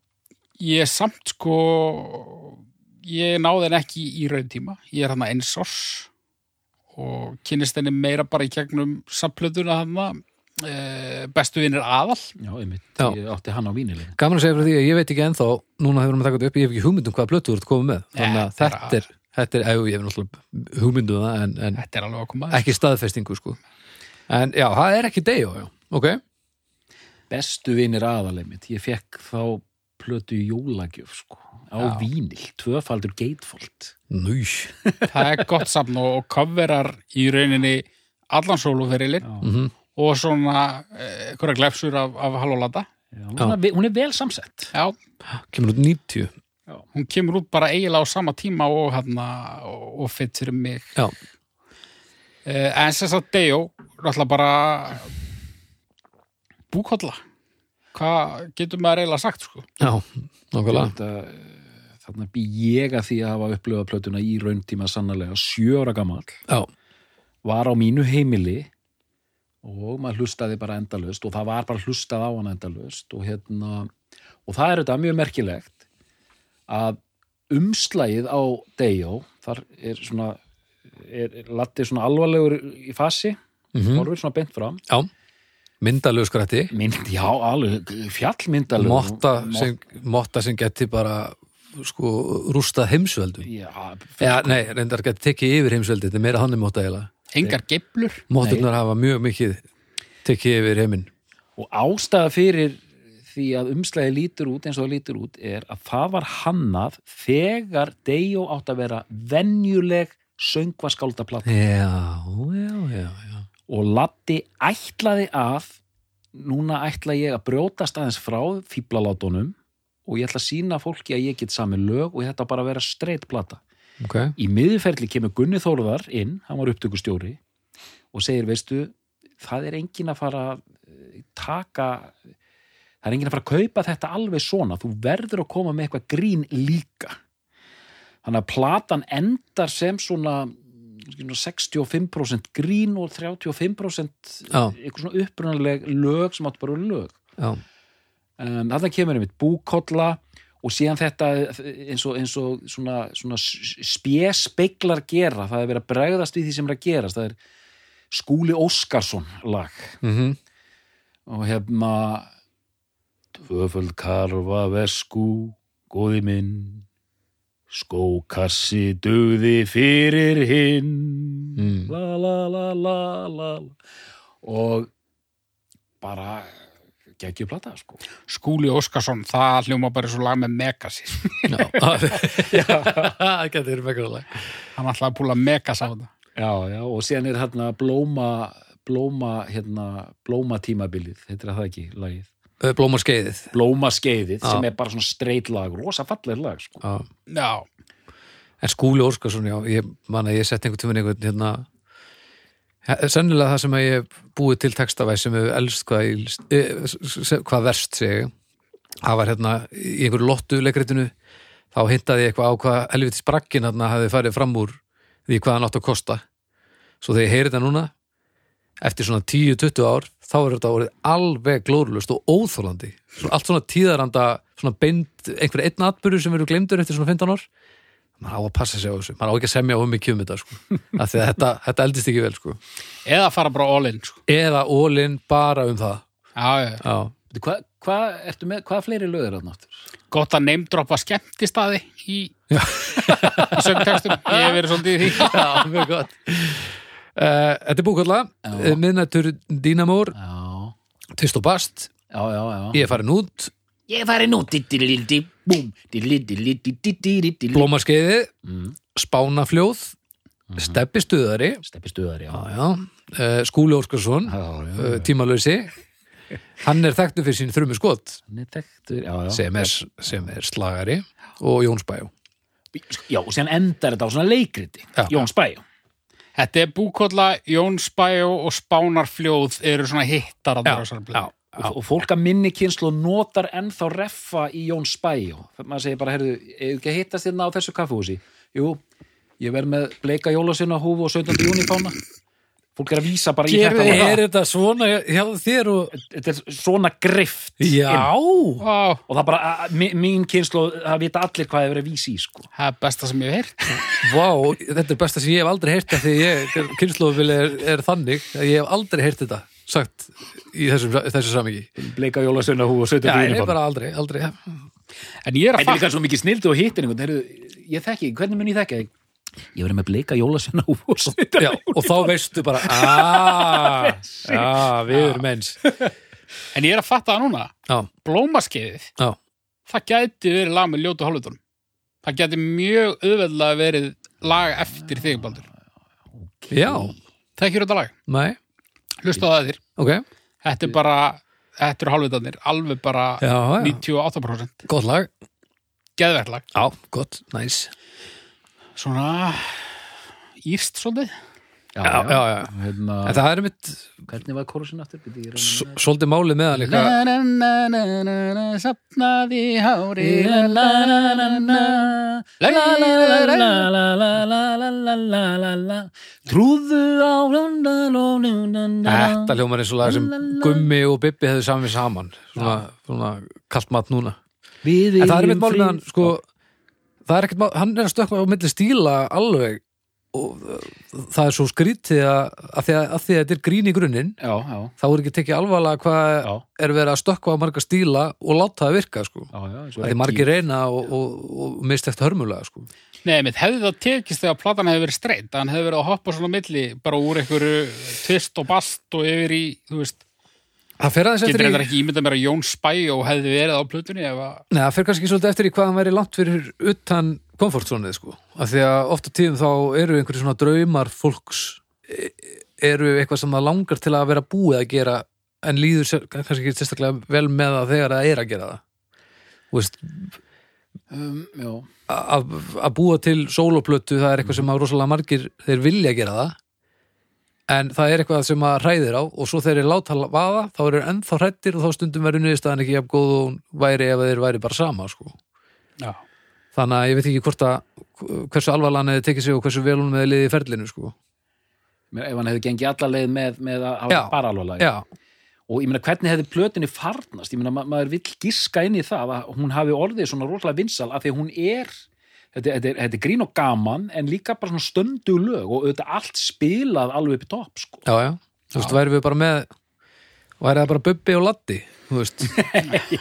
S2: Ég er samt sko ég náði henni ekki í raun tíma ég er hann eins árs og kynnist henni meira bara í gegnum samplöðuna hann bestu vinnir aðal
S3: Já, einmitt,
S1: Já.
S3: ég átti hann á vínilegin.
S1: gaman að segja frá því að ég veit ekki ennþá, núna hefur hann að taka þetta upp, ég hef ekki hugmynd um hvaða blötu þú ert komið með. Þannig að
S2: Nei, bara-
S1: þetta er, þetta er, ef ég hef náttúrulega hugmynd um það en, en
S2: Þetta er alveg að koma að
S1: ekki staðfestingu sko. En já, það er ekki degjó, já, ok?
S3: Bestu vinir aðal, einmitt. Ég fekk þá plötu í jólagjöf sko, á
S2: Já.
S3: vínil, tvöfaldur geitfolt
S1: Núj.
S2: það er gott safn og, og coverar í rauninni allan sóluferilinn
S3: Já.
S1: Mhm.
S2: og svona eh, einhverja glepsur af, af halólata
S3: Já, hún, er, hún er vel samsett
S2: já,
S1: Kemur út 90.
S3: Já.
S2: hún kemur út bara eiginlega á sama tíma og hérna og, og fitt fyrir mig
S1: Já.
S2: eh, en sem sagt Dejo náttúrulega bara búkolla hvað getur maður eiginlega sagt sko
S1: Já, nákvæmlega.
S3: Þetta, eh, þarna bý ég að því að hafa upplifað plötuna í rauntíma sannarlega sjö ára gamall
S1: Já.
S3: var á mínu heimili og maður hlustaði bara endalaust og það var bara hlustað á hann endalaust og hérna og það er þetta mjög merkilegt að umslagið á Dejo, þar er svona er, er latið svona alvarlegur í fasi,
S1: Mm
S3: horfir svona beint fram
S1: Já. Myndalög skrætti.
S3: mynd, já, alveg, fjallmyndalög
S1: Motta sem, motta sem geti bara sko rústað heimsveldu.
S3: já,
S1: Já, nei, reyndar geti tekið yfir heimsveldi. Þetta er meira hann er motta eiginlega.
S2: engar geiflur
S1: Mótturnar hafa mjög mikið tekið yfir heiminn.
S3: Og ástæða fyrir því að umslæði lítur út eins og það lítur út er að það var hannað þegar Dejo átt að vera venjuleg söngvaskáldaplata
S1: Já, já, já, já.
S3: og Latti ætlaði að núna ætla ég að brjótast aðeins frá fíblalátunum og ég ætla að sína fólki að ég get sami lög og þetta á bara að vera streitt plata
S1: Ok.
S3: í miðurferli kemur Gunni Þórðar inn, hann var upptökustjóri og segir, veistu, það er engin að fara að taka það er engin að fara að kaupa þetta alveg svona, þú verður að koma með eitthvað grín líka þannig að platan endar sem svona svona 65% grín og 35%
S1: Já,
S3: eitthvað svona upprunaleg lög sem áttu bara að vera lög
S1: já.
S3: en Um, þarna kemur einmitt búkolla og síðan þetta eins og, eins og svona, svona spjespeglar gera, það er verið að bregðast við því sem er að gerast, það er Skúli Óskarsson lag
S1: Mm
S3: og hérna, hefna Tvöföld karfa vesku góði minn skókassi dugði fyrir hinn
S1: Mm.
S3: la la la la la la. og bara geggjum plata sko
S2: Skúli Óskarsson, það hljóma bara svo lag með Megasir
S1: Já, það getur verið mekkaralega.
S2: hann ætlaði að púla Megas á þetta
S3: Já, já, og síðan er hérna blóma, blóma, hérna, blóma tímabilið, heitir það ekki, lagið.
S1: Blómar skeiðið.
S3: Blóma skeiðið,
S1: Já.
S3: sem er bara svona streit lag, rosa falleg lag, sko.
S1: Já.
S2: já,
S1: En Skúli Óskarsson, já, ég man að ég sett einhvern tíminn einhvern hérna he- sennilega það sem að ég hef búið til textavæð sem hefur elst hvað, ég, eh, s- s- hvað verst segi það var hérna í einhverju lottu leikritinu þá hintaði ég eitthvað á hvað helvitis brakkin hérna hafði farið fram úr því hvað hann átt að kosta svo þegar ég heyri þetta núna eftir svona 10-20 ár þá er þetta orðið alveg glórulust og óþólandi svona, allt svona tíðaranda svona beint, einhver einn atbyrður sem eru glemdur eftir svona 15 ár maður á að passa sig á þessu, maður á ekki að semja um mikið um þetta sko, af því að þetta, þetta eldist ekki vel sko,
S2: eða fara bara all in sko.
S1: eða ólinn bara um það,
S2: já, já, já.
S1: já,
S3: Veitu, Hvað hva, ertu með, hvað fleiri lög er þarna áttur?
S2: gott að neymdroppa skemmtistaði í, í söngtextum ég hef verið svolítið í því
S1: já, mjög gott uh, Eh, Þetta er búkvölda miðnættur dínamór
S3: Já,
S1: tvist og bast,
S3: já, já, já.
S1: ég er farin út
S3: Ég fari nú, diddilildi, búm, diddilildi, diddilildi,
S1: blómarskeiði,
S3: Mm.
S1: spánafljóð steppi stuðari
S3: steppi stuðar, já.
S1: já, já, uh, Skúli Óskarsson
S3: Já,
S1: uh,
S3: já, já.
S1: tímalösi hann er þekktu fyrir sín þrjumu skot
S3: Hann er þekktur, já, já.
S1: sem er, sem er slagari og Jónsbæjó
S3: sko, Já, og síðan endar þetta á svona leikriti,
S1: Já.
S3: Jón Spæjó.
S2: þetta er búkolla, Jónsbæjó og Spánarfljóð eru svona hittar að þessar blöð.
S1: já, já.
S3: og, og fólk að minni kynslu notar ennþá reffa í Jóns bæjó maður segir bara, heyrðu, eigum ekki að hittast þérna á þessu kaffehúsi jú, ég verð með bleika jólasina húfu og 17. júnifána fólk er að vísa bara í
S1: Gerðu,
S3: þetta
S1: er þetta svona hjá þér og...
S3: þetta er svona grift inn.
S1: Já,
S2: Vá,
S3: og það bara, að- mi- mín kynslu það vita allir hvað er verið að vísa í sko.
S2: það er besta sem ég hef heyrt
S1: vá, þetta er besta sem ég hef aldrei heyrt af því ég, kynnslóðumvili er, er þannig að ég hef aldrei heyrt þetta sagt í þessum, þessu samingi
S3: bleika jólasina húfu og 17.
S1: Já, ég er
S3: júnifána
S1: bara aldrei, aldrei já.
S2: en ég er að
S3: þetta er
S2: fatta
S3: líka svo mikið snildu og hittin einhvern, heyrðu, ég þekki, hvernig mun ég þekki þig? ég verð með bleika jólasina húfu og 17.
S1: Já, og þá veistu bara aaa, já, við erum eins
S2: en ég er að fatta það núna,
S1: Já,
S2: blómaskeiðið
S1: já,
S2: það gæti verið lag með ljótu hálfutónum það gæti mjög auðveðlega verið lag eftir þig Baldur
S1: Já,
S2: þekkir þetta lag,
S1: nei,
S2: hlusta það þér
S1: ok
S2: þetta er bara, þetta eru hálfutónir alveg bara
S1: Já, já,
S2: 98%
S1: gott lag
S2: geðverðlag,
S1: Já, gott, næs
S2: svona írst svolítið
S1: Já, já, já
S3: Hérna,
S1: En það er mitt
S3: hvernig var kórusin aftur? Bíddu, ég er að reyna að-
S1: svolítið málið meðan líka
S2: na na na na na na sapnaði hári
S3: La, la, la, la, la. La, la, la, la, la, la, la, la, la, la, la, la. Trúðu á
S1: Þetta hljómar eins og lag sem Gummi og Bibbi hefðu samið saman svona, svona kalt mat núna
S3: Við
S1: En það er mitt
S3: viljum
S1: málið meðan,
S3: frið.
S1: sko Það er ekkert mál, hann er að stökkva á milli stíla alveg og uh, það er svo skrítið að, að, því að, að því að þetta er grín í grunninn
S3: Já, já,
S1: þá er ekki tekið alvarlega hvað
S3: já,
S1: er verið að stökkva á marga stíla og láta það virka sko.
S3: já, já eins og
S1: Það er
S3: Reggi.
S1: margir reyna og, og, og mist eftir hörmulega sko.
S2: Nei, mitt hefði það tekist þegar platan hefði verið streitt, hann hefði verið að hoppa svona á milli bara úr einhverju tvist og bast og yfir í, þú veist,
S1: Það fer aðeins
S2: getur
S1: eftir í
S2: þetta ekki ímyndað mér að Jón Spæ og hefði verið á plötunni ef að,
S1: Nei, það fer kannski svolítið eftir í hvað hann væri langt fyrir utan komfortzónið sko. af því að ofta tíðum þá eru einhverju svona draumar fólks e- eru eitthvað sem það langar til að vera búið að gera en líður sér, kannski ekki sérstaklega vel með það þegar það er að gera það Þú veist,
S3: um, Já,
S1: að, að búa til sóloplötu það er eitthvað sem að rosalega margir þeir vilja gera það en það er eitthvað sem að hræðir á og svo þeir eru láta vaða þá eru þeir ennþá hrættir og þá stundum verður niðurstaðan ekki jafn góð og hún væri ef þeir væri bara sama sko.
S2: já,
S1: þannig að ég veit ekki hvort að hversu alvarlan hefði tekið sig og hversu vel hún með liði í ferlinu sko.
S3: Mér- ef hann hefði gengið alla leið með, með að hafa
S1: Já.
S3: bara alveg lag
S1: já,
S3: og ég meina hvernig hefði plötunni farnast ég meina ma maður vill giska inn í það að hún hafi orðið svona rótlega vinsal af því að hún er þetta, þetta, er- þetta er grín og gaman en líka bara svona stöndu lög og auðvitað allt spilað alveg upp í topp sko.
S1: já, já þú veist, væri við bara með væri það bara Bubbi og Laddi þú veist,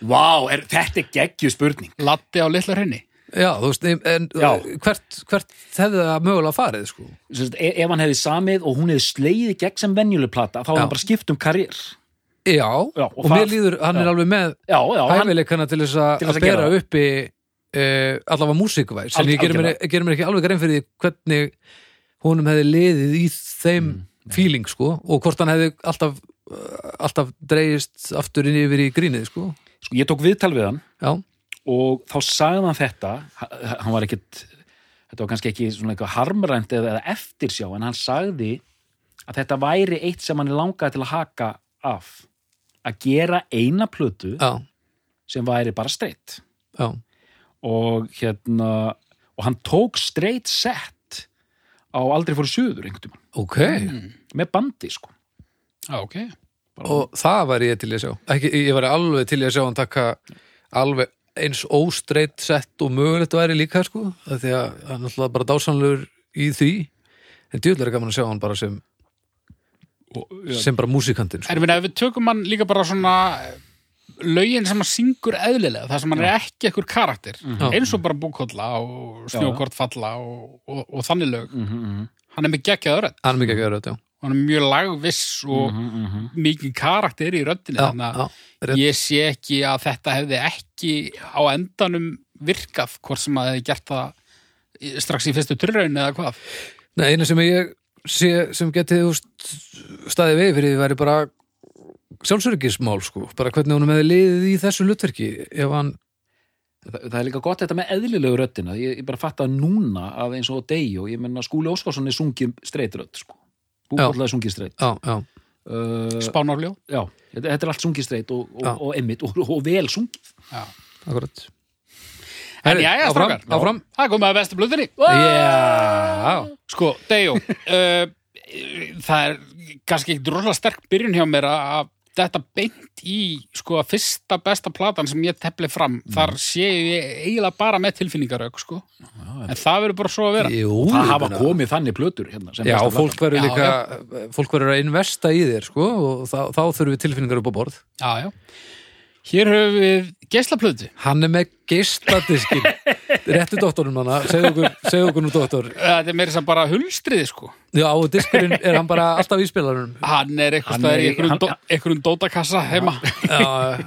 S3: Vá, er, þetta er geggju spurning
S2: Latti á litla hrinni.
S1: já, þú veist en,
S3: Já.
S1: hvert, hvert hefði það mögulega farið sko?
S3: Sest, e ef hann hefði samið og hún hefði slegið í gegn sem venjuleg plata þá hefði
S1: Já.
S3: hann bara skipt um karriér
S1: já,
S3: Já,
S1: og,
S3: og
S1: mér
S3: það-
S1: líður, hann er
S3: já.
S1: alveg með
S3: já, já, hann,
S1: hæfileikana til þess að,
S3: Til þess
S1: að
S3: að gera
S1: bera
S3: það.
S1: uppi uh, allavega músikvæs en
S3: Alg-
S1: ég gerir mér,
S3: algjörlega.
S1: gerir mér ekki alveg grein fyrir því hvernig honum hefði liðið í þeim
S3: Mm,
S1: feeling sko og hvort hann hefði alltaf uh, alltaf dreigist aftur inn yfir í grínið sko
S3: sko, ég tók viðtal við hann
S1: já,
S3: og þá sagði hann þetta h- hann var ekkit þetta var kannski ekki svona eitthvað harmrænt eða, eða eftirsjá en hann sagði að þetta væri eitt sem hann langaði til að haka af að gera eina plötu
S1: já,
S3: sem væri bara streitt
S1: já,
S3: og hérna og hann tók streitt sett á aldrei fóru suður einhvern tímann
S1: ok
S3: Mm. með bandi sko
S2: Já, ok.
S1: og það var ég til í að sjá ekki, ég var alveg til í að sjá hann taka alveg eins óstreitt sett og mögulegt væri líka sko af því að hann er alltaf bara dásanlegur í því en djúlega er gaman að sjá hann bara sem sem bara músikantinn sko.
S2: Er minna, ef við tökum hann líka bara svona lögin sem hann syngur eðlilega, það sem hann er ekki ekkur karakter,
S1: Mhm. Já.
S2: eins og bara búkolla og snjókort falla og, og, og þannig lög.
S3: mm -hmm,
S2: Hann er með geggjað rödd,
S1: hann er mikið að gera þetta, já.
S2: hann er mjög lagviss og
S3: mm -hmm.
S2: mikið karakter í röddinni, þannig að
S1: Mhm. já, já, rétt.
S2: ég sé ekki að þetta hefði ekki á endanum virkað hvort sem að hefði gert það í- strax í fyrstu turraun eða hvað
S1: Nei, eina sem ég sé sem getið úst, staðið við fyrir því væri bara sjálfsörgismál sko, bara hvernig honum hefði liðið í þessu hlutverki ef hann,
S3: Það, það er líka gott þetta með eðlilegu röddina. Ég, ég bara fatta núna að eins og á degi og ég menna Skúli Óskarsson er sungið streitrödd, sko. Búkvöldlega er sungið streitt.
S1: já, já Eh,
S3: Uh,
S2: spánarljó
S3: já, þetta, þetta er allt sungið streitt og, og,
S1: Já.
S3: og emmitt og, og vel sungið.
S1: akkurat
S2: en jæja
S1: áfram,
S2: strákar,
S1: áfram
S2: það er komið að bestu blöðinni
S1: Já,
S2: sko, Dejo uh, það er kannski ekki droslega sterk byrjun hjá mér að þetta beint í sko að fyrsta besta platan sem ég tepli fram þar sé ég eiginlega bara með tilfinningarauk sko, en það verður bara svo að vera
S1: jú,
S3: Það hafa
S1: ég meina-
S3: komið þannig plötur hérna. sem
S1: Já,
S3: besta
S1: fólk
S3: platan.
S1: verður
S2: Já,
S1: líka fólk verður að investa í þér sko og þá, þá þurfum við tilfinningar upp á borð
S2: já, já. hér höfum við geislaplöðu
S1: Hann er með geistadiskin Réttu dóttorinn manna, segðu okkur, segðu okkur nú dóttor
S2: Þetta er meira sem bara hulstriði sko
S1: Já, og diskurinn er hann bara alltaf í spilarunum
S2: Hann er
S3: Hann
S2: eitthvað
S3: er
S2: í
S3: í-
S2: einhverjum,
S3: hann-
S2: dó, einhverjum dótakassa heima
S1: Já,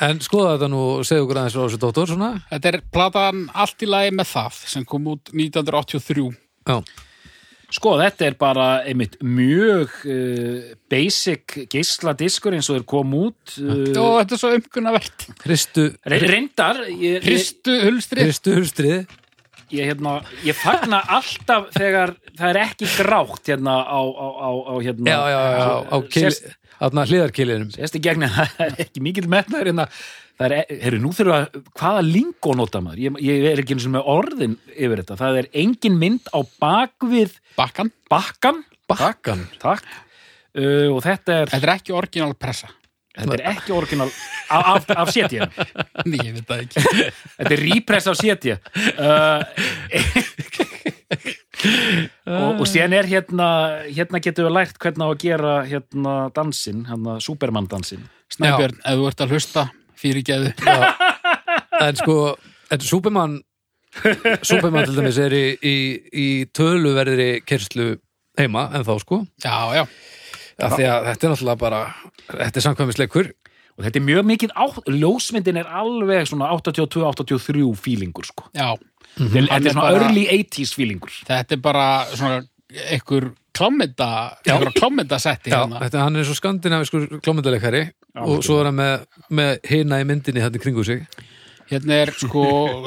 S1: En skoða þetta nú og segja okkur aðeins frá þessu dóttur svona.
S2: Þetta er platan allt í lagi með það sem kom út 1983
S1: Já,
S3: Sko, þetta er bara einmitt mjög uh, basic geisladiskur eins og þeir kom út
S2: Jó,
S3: uh,
S2: þetta er svo umkunnavert
S1: Hristu,
S3: re- reyndar ég, ég,
S2: Hristu hulstrið
S1: hristu hulstrið.
S3: ég, hérna, ég fagna alltaf þegar það er ekki grátt hérna á, á, á, á hérna, uh,
S1: Já, já, já, já, á kili,
S3: Sérst-
S1: aðna hliðarkilinum.
S3: Sérst í gegn að það er ekki mikill metnaður en að það er, heyrðu, nú þurfa að, hvaða lingó nota maður? Ég, ég er ekki eins og með orðin yfir þetta. Það er engin mynd á bakvið
S2: bakkan
S3: bakkan,
S1: Bakkan.
S3: takk, uh, og þetta er,
S2: Þetta er ekki orginal pressa
S3: þetta er ekki orginal af, af, af setja.
S2: Nei, ég veit það ekki
S3: Þetta er repress af setja. Uh, og, og síðan er hérna, hérna getum við lært hvernig á að gera hérna dansinn, hérna Superman-dansinn.
S2: Snæbjörn, ef þú ert að hlusta fyrirgeðu
S1: En sko, þetta Superman, Superman til dæmis er í, í, í töluverðri kyrslu heima en þá sko.
S2: Já, já,
S1: Af því að þetta er náttúrulega bara, þetta er samkvæmisleikur.
S3: og þetta er mjög mikið á, ljósmyndin er alveg svona 82-83 fílingur sko
S2: já
S3: þetta er-
S2: Mhm. Hann
S3: þetta
S2: er
S3: er svona
S2: bara-
S3: early 80s fílingur
S2: Þetta er bara svona einhver klámynda einhver klámynda setti
S1: Já,
S2: hérna
S1: þetta, hann er svo skandinaviskur klómyndaleikari og svo er hann með, með hina í myndinni þarna í kringu sig.
S2: Hérna er sko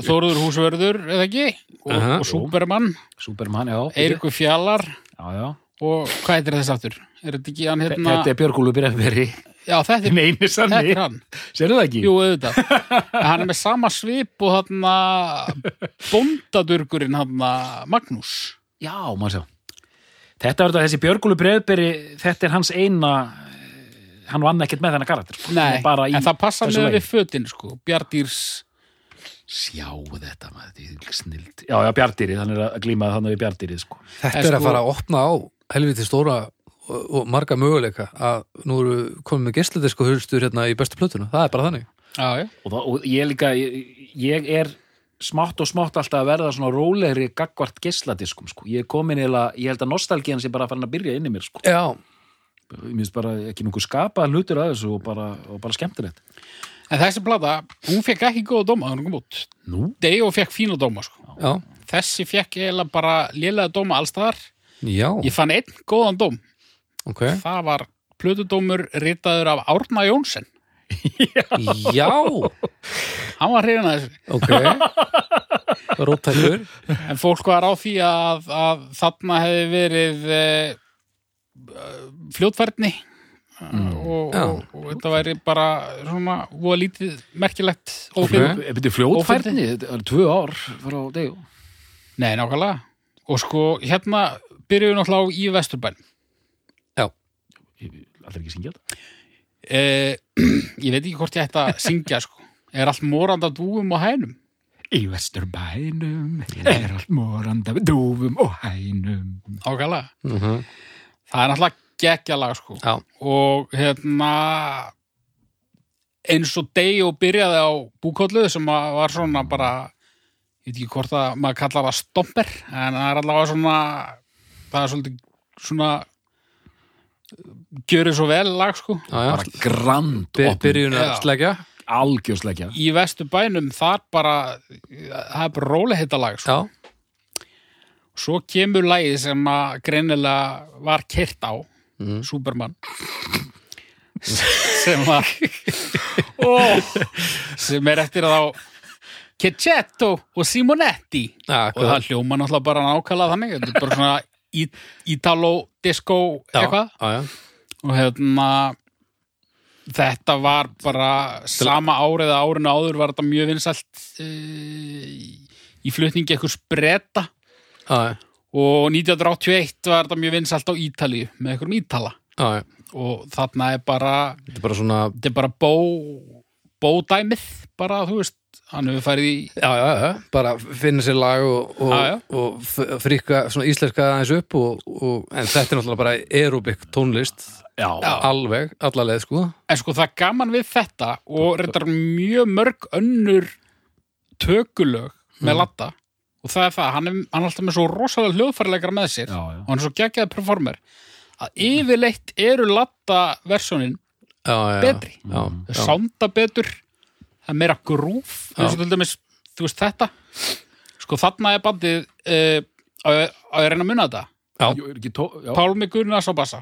S2: Þóruður Húsvörður, eða ekki og,
S1: Aha.
S2: og Superman,
S3: Superman, já,
S2: Eirikur Fjallar
S3: já, já.
S2: og hvað heitir þess aftur? Er þetta ekki hann hérna?
S3: þetta er Björgúlu Brefveri
S2: Já, þetta er,
S3: neini
S2: þetta
S3: sannig,
S2: er hann
S3: sérðu það ekki?
S2: Jú, auðvitað. En hann er með sama svip og þarna bóndadurgurinn þarna Magnús.
S3: já, maður sjá þetta er þetta, þessi Björgúlu Brefveri þetta er hans eina eh, hann vann ekkert með þennan karakter sko. Hann
S2: Nei,
S3: er bara í
S2: en það passa
S3: þessu
S2: með
S3: lagi.
S2: við fötin, sko. Bjardýrs,
S3: sjá þetta maður, þetta er snild já, já, Bjardýrið, hann er að glíma þannig við Bjardýrið sko
S1: Þetta
S2: En
S1: er að
S2: sko-
S1: fara að opna á helviti stóra og, og marga möguleika að nú eru komið með geisladisko hulstur hérna í bestu plötuna. Það er bara þannig.
S2: já, já.
S3: og, það, og ég líka, ég, ég er smátt og smátt alltaf að verða svona rólegri gagvart geisladiskum sko. ég er komin eða, ég held að nostalgían sé bara farin að byrja inn í mér sko.
S1: Já,
S3: ég minnst bara ekki nokkuð skapa hlutur að þessu og bara, og bara skemmtilegt
S2: En þessi plata, hún fekk ekki góða dóma, þannig kom út.
S3: nú,
S2: Deo fekk fína dóma, sko.
S1: já,
S2: Þessi fekk eiginlega bara lélega dóma allstaðar.
S1: já,
S2: Ég fann einn góðan dóm.
S1: ok.
S2: Það var plötudómur ritaður af Árna Jónsson.
S1: Já,
S2: Hann var hrifin að þessu.
S1: ok. Róttækur.
S2: En fólk var á því að, að þarna hefði verið e, fljótfærni og,
S1: Já.
S2: og, og þetta væri bara svona voða lítið merkilegt
S1: Ok.
S2: óflýðum.
S3: ef þetta er fljóðfærni, Eh, þetta er tvö ár frá degu
S2: Nei, nákvæmlega. Og sko, hérna byrjuðu náttúrulega á í Vesturbæn.
S1: Já,
S3: allir ekki syngja þetta
S2: E, ég veit ekki hvort ég ætti að syngja, sko. Er allt morand af dúum og hænum?
S3: í vesturbænum er allt morand af dúfum og hænum
S2: Nákvæmlega.
S1: mm
S2: Mhm. Það er náttúrulega geggjalag, sko.
S1: já,
S2: og hérna eins og Dejo byrjaði á búkollu sem að var svona bara ég veit ekki hvort að maður kallar það stomper en það er allavega svona það er svolítið svona gjörið svo vel lag sko
S1: já, já.
S3: bara grand
S1: By-
S3: opn,
S1: Byrjun að
S2: Já.
S1: slegja.
S3: algjörsleikja
S2: í vestu bænum þar bara það er bara róli heita lag
S1: Já,
S2: sko. svo kemur lagið sem að greinilega var kert á
S1: Mhm.
S2: Superman sem að oh, sem er eftir þá Kecetto og Simonetti
S1: já,
S2: og það hljóma náttúrulega bara nákvæmlega þannig þetta er bara svona í- Italo disco eitthvað
S1: Já, já,
S2: og hérna þetta var bara sama árið að árinu áður var þetta mjög vinsælt uh, í flutningi eitthvað spreta
S1: já, já,
S2: og 1981 var þetta mjög vinsælt á Ítalíu með einhverjum Ítala
S1: já, já.
S2: og þarna er bara
S1: Þetta er bara svona,
S2: þetta er bara bó bódæmið bara þú veist hann hefur farið í
S1: já, já, já, bara finna sér lag og, og,
S2: Já, já.
S1: og f- fríkka svona íslenska aðeins upp og, og, en þetta er náttúrulega bara aerobik tónlist,
S3: já,
S1: alveg, allarleið, sko.
S2: en sko það er gaman við þetta og reyndar mjög mörg önnur tökulög með latta og það er það, hann er, hann er alltaf með svo rosalega hljóðfærleikar með sér
S3: já, já.
S2: og hann er svo geggjaði performer að yfirleitt eru latta versjónin
S1: Já, já, já.
S2: betri
S1: Já,
S2: þau sánda betur það er meira grúf
S1: Já.
S2: eins og til dæmis, þú veist þetta sko þarna er bandið uh, á á ég að reyna að muna þetta
S1: Já.
S3: Jú, er ekki tó... Já,
S2: Pálmi Gunnars á bassa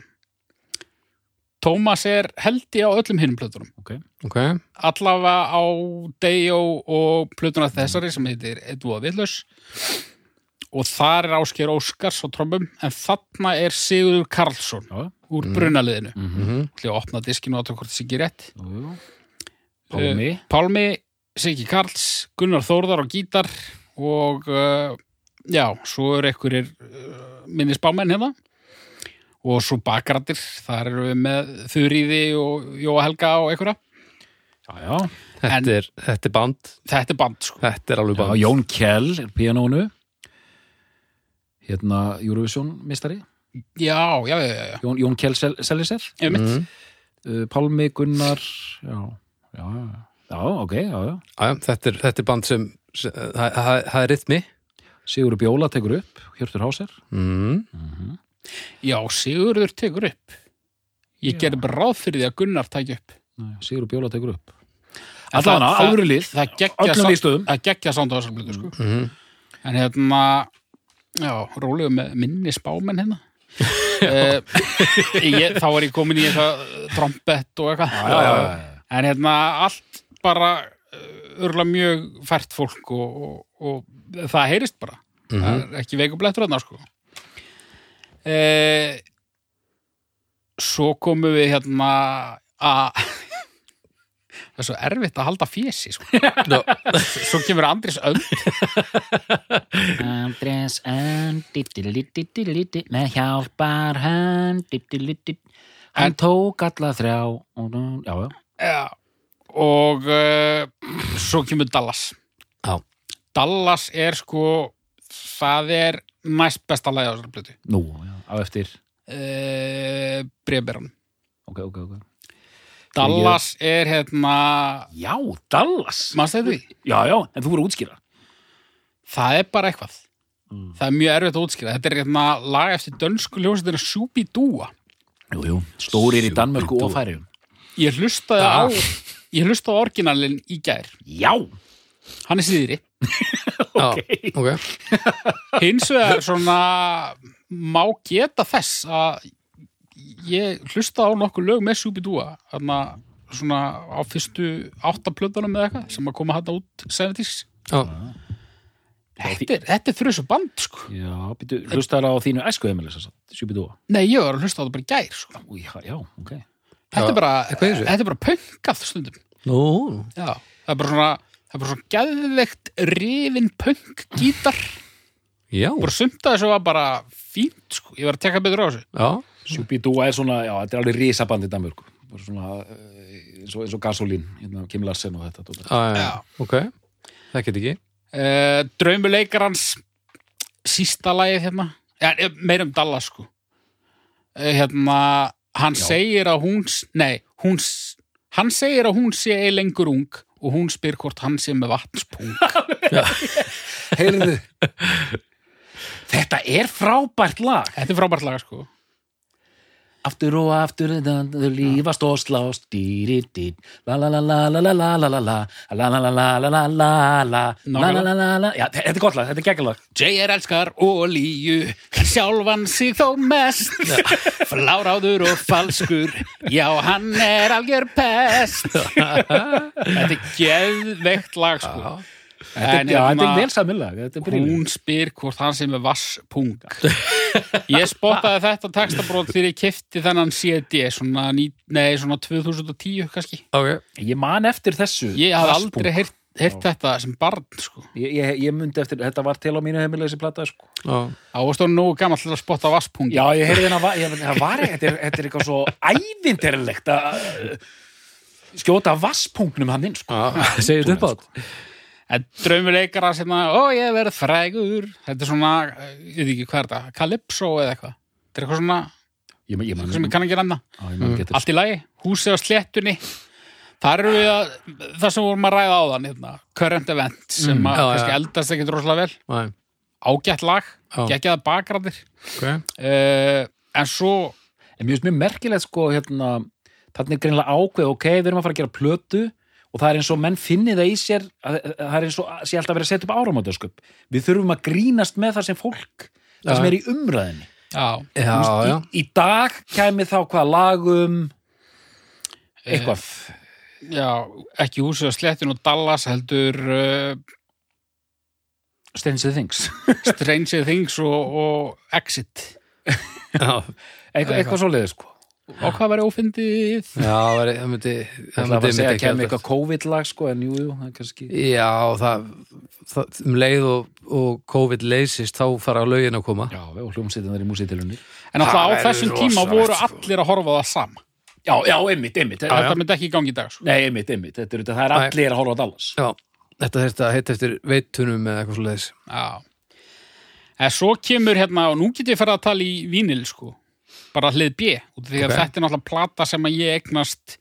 S2: Tómas er held ég á öllum hinnum plötunum
S3: ok.
S1: ok,
S2: allavega á Dejo og plötuna þessari sem heitir Edvóða Villus og þar er Ásker Óskars á trommum en þarna er Sigurður Karlsson
S3: Já,
S2: úr brunaliðinu
S3: mm
S1: mm -hmm.
S2: til að opna diskinu og aðtökkur þessi ekki rétt
S3: -hmm. Pálmi.
S2: Pálmi, Siggi Karls, Gunnar Þórðar á gítar og uh, já, svo eru einhverjir uh, minnisbámenn hérna og svo bakrættir, þar eru við með Þuríði og Jóa Helga og einhverja.
S3: Já, já.
S2: En-
S1: þetta, er, þetta er band
S2: Þetta er band, sko.
S1: þetta er alveg
S3: já,
S1: band
S3: Jón Kjell er píanónu. Hérna Eurovision-mistari.
S2: Já, já, já, já, já.
S3: Jón, Jón Kjell sel, Seliser.
S2: Ég mitt.
S1: Mhm.
S3: Uh, Pálmi Gunnar. Já, já, já. Já, ok, já, já.
S1: Já, já, þetta, er, þetta er band sem sem- það það- það er rytmi
S3: Sigur Bjóla tekur upp, Hjörtur Háser.
S1: mm.
S2: Já, Sigurður tekur upp. Ég
S3: Já.
S2: gerði bara ráð fyrir því að Gunnar tæki upp.
S3: Sigur Bjóla tekur upp.
S2: En
S3: Alla hana,
S2: það-
S3: alvöru lið.
S2: Það geggja
S3: Öllum lístöðum.
S2: það geggja sánd á þessar blötu, sko.
S1: Mhm.
S2: En hérna, já, rólegu með minni spámenn hérna. Eh, ég, þá var ég komin í eitthvað trompett og eitthvað.
S3: já.
S2: En hérna, allt bara eh, örla mjög fært fólk og, og, og það heyrist bara.
S3: Mhm.
S2: Það er ekki veikublettur þarna, sko. Eh, svo komum við hérna að... Það er svo erfitt að halda fési, sko.
S1: Nú,
S2: Svo kemur Andris Önd.
S4: Andrés Önn diddilididilidi, með hjálpar hann diddilidid.
S2: En-
S4: hann tók all
S3: Alla þrjá. Og, já, já.
S2: Já. Og uh, svo kemur Dallas.
S1: Já.
S2: Dallas er sko, það er næst besta lagið á þessari plötu.
S3: Nú, já. Á eftir.
S2: Uh, Breberan.
S3: Ok, ok, ok.
S2: Dallas er hérna,
S3: Já, Dallas.
S2: maður stæði því?
S3: Já, já, en þú voru að útskýra.
S2: Það er bara eitthvað.
S3: Mm.
S2: Það er mjög erfitt að útskýra. Þetta er hérna lag eftir dönsku ljósetina Sjúbi Dúa.
S3: Jú, jú. Stórir í Danmörku og
S1: Sjúkdóm.
S3: færiðum.
S2: Ég hlustaði
S1: Ah.
S2: á, ég hlustaði á orginalinn í gær.
S3: Já,
S2: Hann er síðri.
S1: já, ok
S2: Hins vegar svona má geta þess að ég hlustaði á nokkur lög með Sjúbi Dúa. Þannig að svona á fyrstu áttaplöðunum eða eitthvað sem að koma hætta út 70s.
S1: já.
S2: Þetta er, þetta er fyrir þessu band, sko.
S3: já, býtu, hlustar á þínu æsku, Emil, þess að sjúbidúa.
S2: Nei, ég var að hlusta á þetta bara í gær, sko.
S3: Já, já, ok.
S2: Þetta er bara,
S1: Hvað er þessu?
S2: þetta er bara pönkað stundum.
S1: Nú,
S2: Já, það er bara svona það er bara svona geðveikt rifin punk gítar,
S1: já,
S2: bara sumt að þessu var bara fínt sko, ég var að tekka betur á þessu
S1: já
S3: Sjúbidúa er svona, já, þetta er alveg risaband í Danmörku. Bara svona, eh, eins og, eins og gasolín, hérna, Kim Larsen og þetta. dótið.
S1: Já, já,
S2: Já.
S1: ok, það get ekki
S2: uh, Draumuleikar hans sísta lagið hérna ja, eh, meira um Dallas sko uh, hérna, hann
S3: Já.
S2: segir að hún s- nei, hún s- hann segir að hún sé ei lengur ung og hún spyr hvort hann sé með vatnspung
S3: Heyrðu, þetta er frábært lag.
S2: þetta er frábært laga sko
S4: aftur og aftur þau lífast og slást dýridid la la la la la la la la la la la la la la la la la la la la la la la
S3: Já, þe- þetta er gott lag, þetta er geggalag.
S2: J.R. elskar olíu, en sjálfan sig þó mest, fláráður og falskur, já hann er algjör pest. Þetta er geðveikt lag sko.
S3: Þetta er-
S2: En
S3: já, þetta
S2: hérna,
S3: er vel samið lag, þetta er brilljant.
S2: Hún spyr hvort hann sem er vasspung. Ég spottaði þetta textabrót þegar ég kefti þennan CD, svona, ní, nei, svona 2010 kannski.
S1: Ok,
S3: Ég man eftir þessu.
S2: Ég hafði
S3: Vatnspunk.
S2: aldrei heyrt, heyrt þetta sem barn sko.
S3: Ég, ég, ég myndi eftir, þetta var til á mínu heimilega þessi plata, sko.
S1: já,
S2: Á að stóra nógu gamall til að spotta vasspungi.
S3: Já, ég heyrði hérna, ég, það var, þetta er, þetta er eitthvað svo ævindirlegt að eh, skjóta vasspunknum hann inn, sko.
S1: já, segir þetta upp á þetta
S2: En draumuleikara sem að, ó ég verð frægur, þetta er svona, eh, ég veit ekki hvað er þetta, Calypso eða eitthvað. Þetta er eitthvað svona,
S3: Ég, man- ég man,
S2: eitthvað sem ég kann ekki nefna.
S3: á, ég man ekki eftir þessu.
S2: Allt í lagi, húsið á sléttunni. Þar eru við að, það sem vorum að ræða á þann, hérna, current event, sem
S1: Mm,
S2: að
S1: já,
S2: kannski
S1: já.
S2: eldast ekkit rosalega vel.
S1: Já,
S2: Ágætt lag,
S1: Já.
S2: geggjaða bakræðir.
S1: ok,
S2: Uh, en svo,
S3: En mér finnst mjög merkilegt sko hérna, þannig er greinlega ákveð, ok, við erum að fara að gera plötu og það er eins og menn finni það í sér að, að- það er eins og að- sé alltaf verið að setja upp áramótasköp við þurfum að grínast með það sem fólk það
S1: Já.
S3: sem er í umræðinni
S2: Já,
S1: já,
S3: Þú veist,
S1: já,
S3: Í, í dag kæmi þá hvað lagum
S1: Eh.
S3: eitthvað
S2: já, ekki húsið að slettin og Dallas heldur uh,
S3: Stranger Things
S2: Stranger Things og, og Exit.
S1: já,
S3: eitthvað, eitthvað svoleiðið sko
S2: Og hvað var ófindið?
S1: já það væri- það myndi
S3: Það var að
S1: myndi-
S3: segja
S1: myndi
S3: að kemur
S1: ekki
S3: eitthvað COVID-lag sko, en jú, jú, það er kannski...
S1: Já, það, það um leið og, og COVID leysist þá fara lögin að koma
S3: Já, og hljómsveitin þar í músitilunni.
S2: En
S1: Það
S2: alltaf á
S1: verður
S2: þessum tíma
S1: rosalegt,
S2: voru
S1: sko.
S2: allir að horfa á það sama.
S3: Já, já, einmitt, einmitt.
S1: já.
S2: Þetta myndi ekki í gangi í dag. Sko.
S3: Nei, einmitt, einmitt. Þetta er, það er
S1: Nei.
S3: allir að horfa á Dallas.
S1: Já, þetta þurfti að heita eftir veitunum eða eitthvað svo leiðis
S2: Já. En svo kemur hérna, og nú get ég ferð að tala í vínil, sko. Bara hlið B. Út af því að
S1: Ok.
S2: þetta er náttúrulega plata sem að ég eignast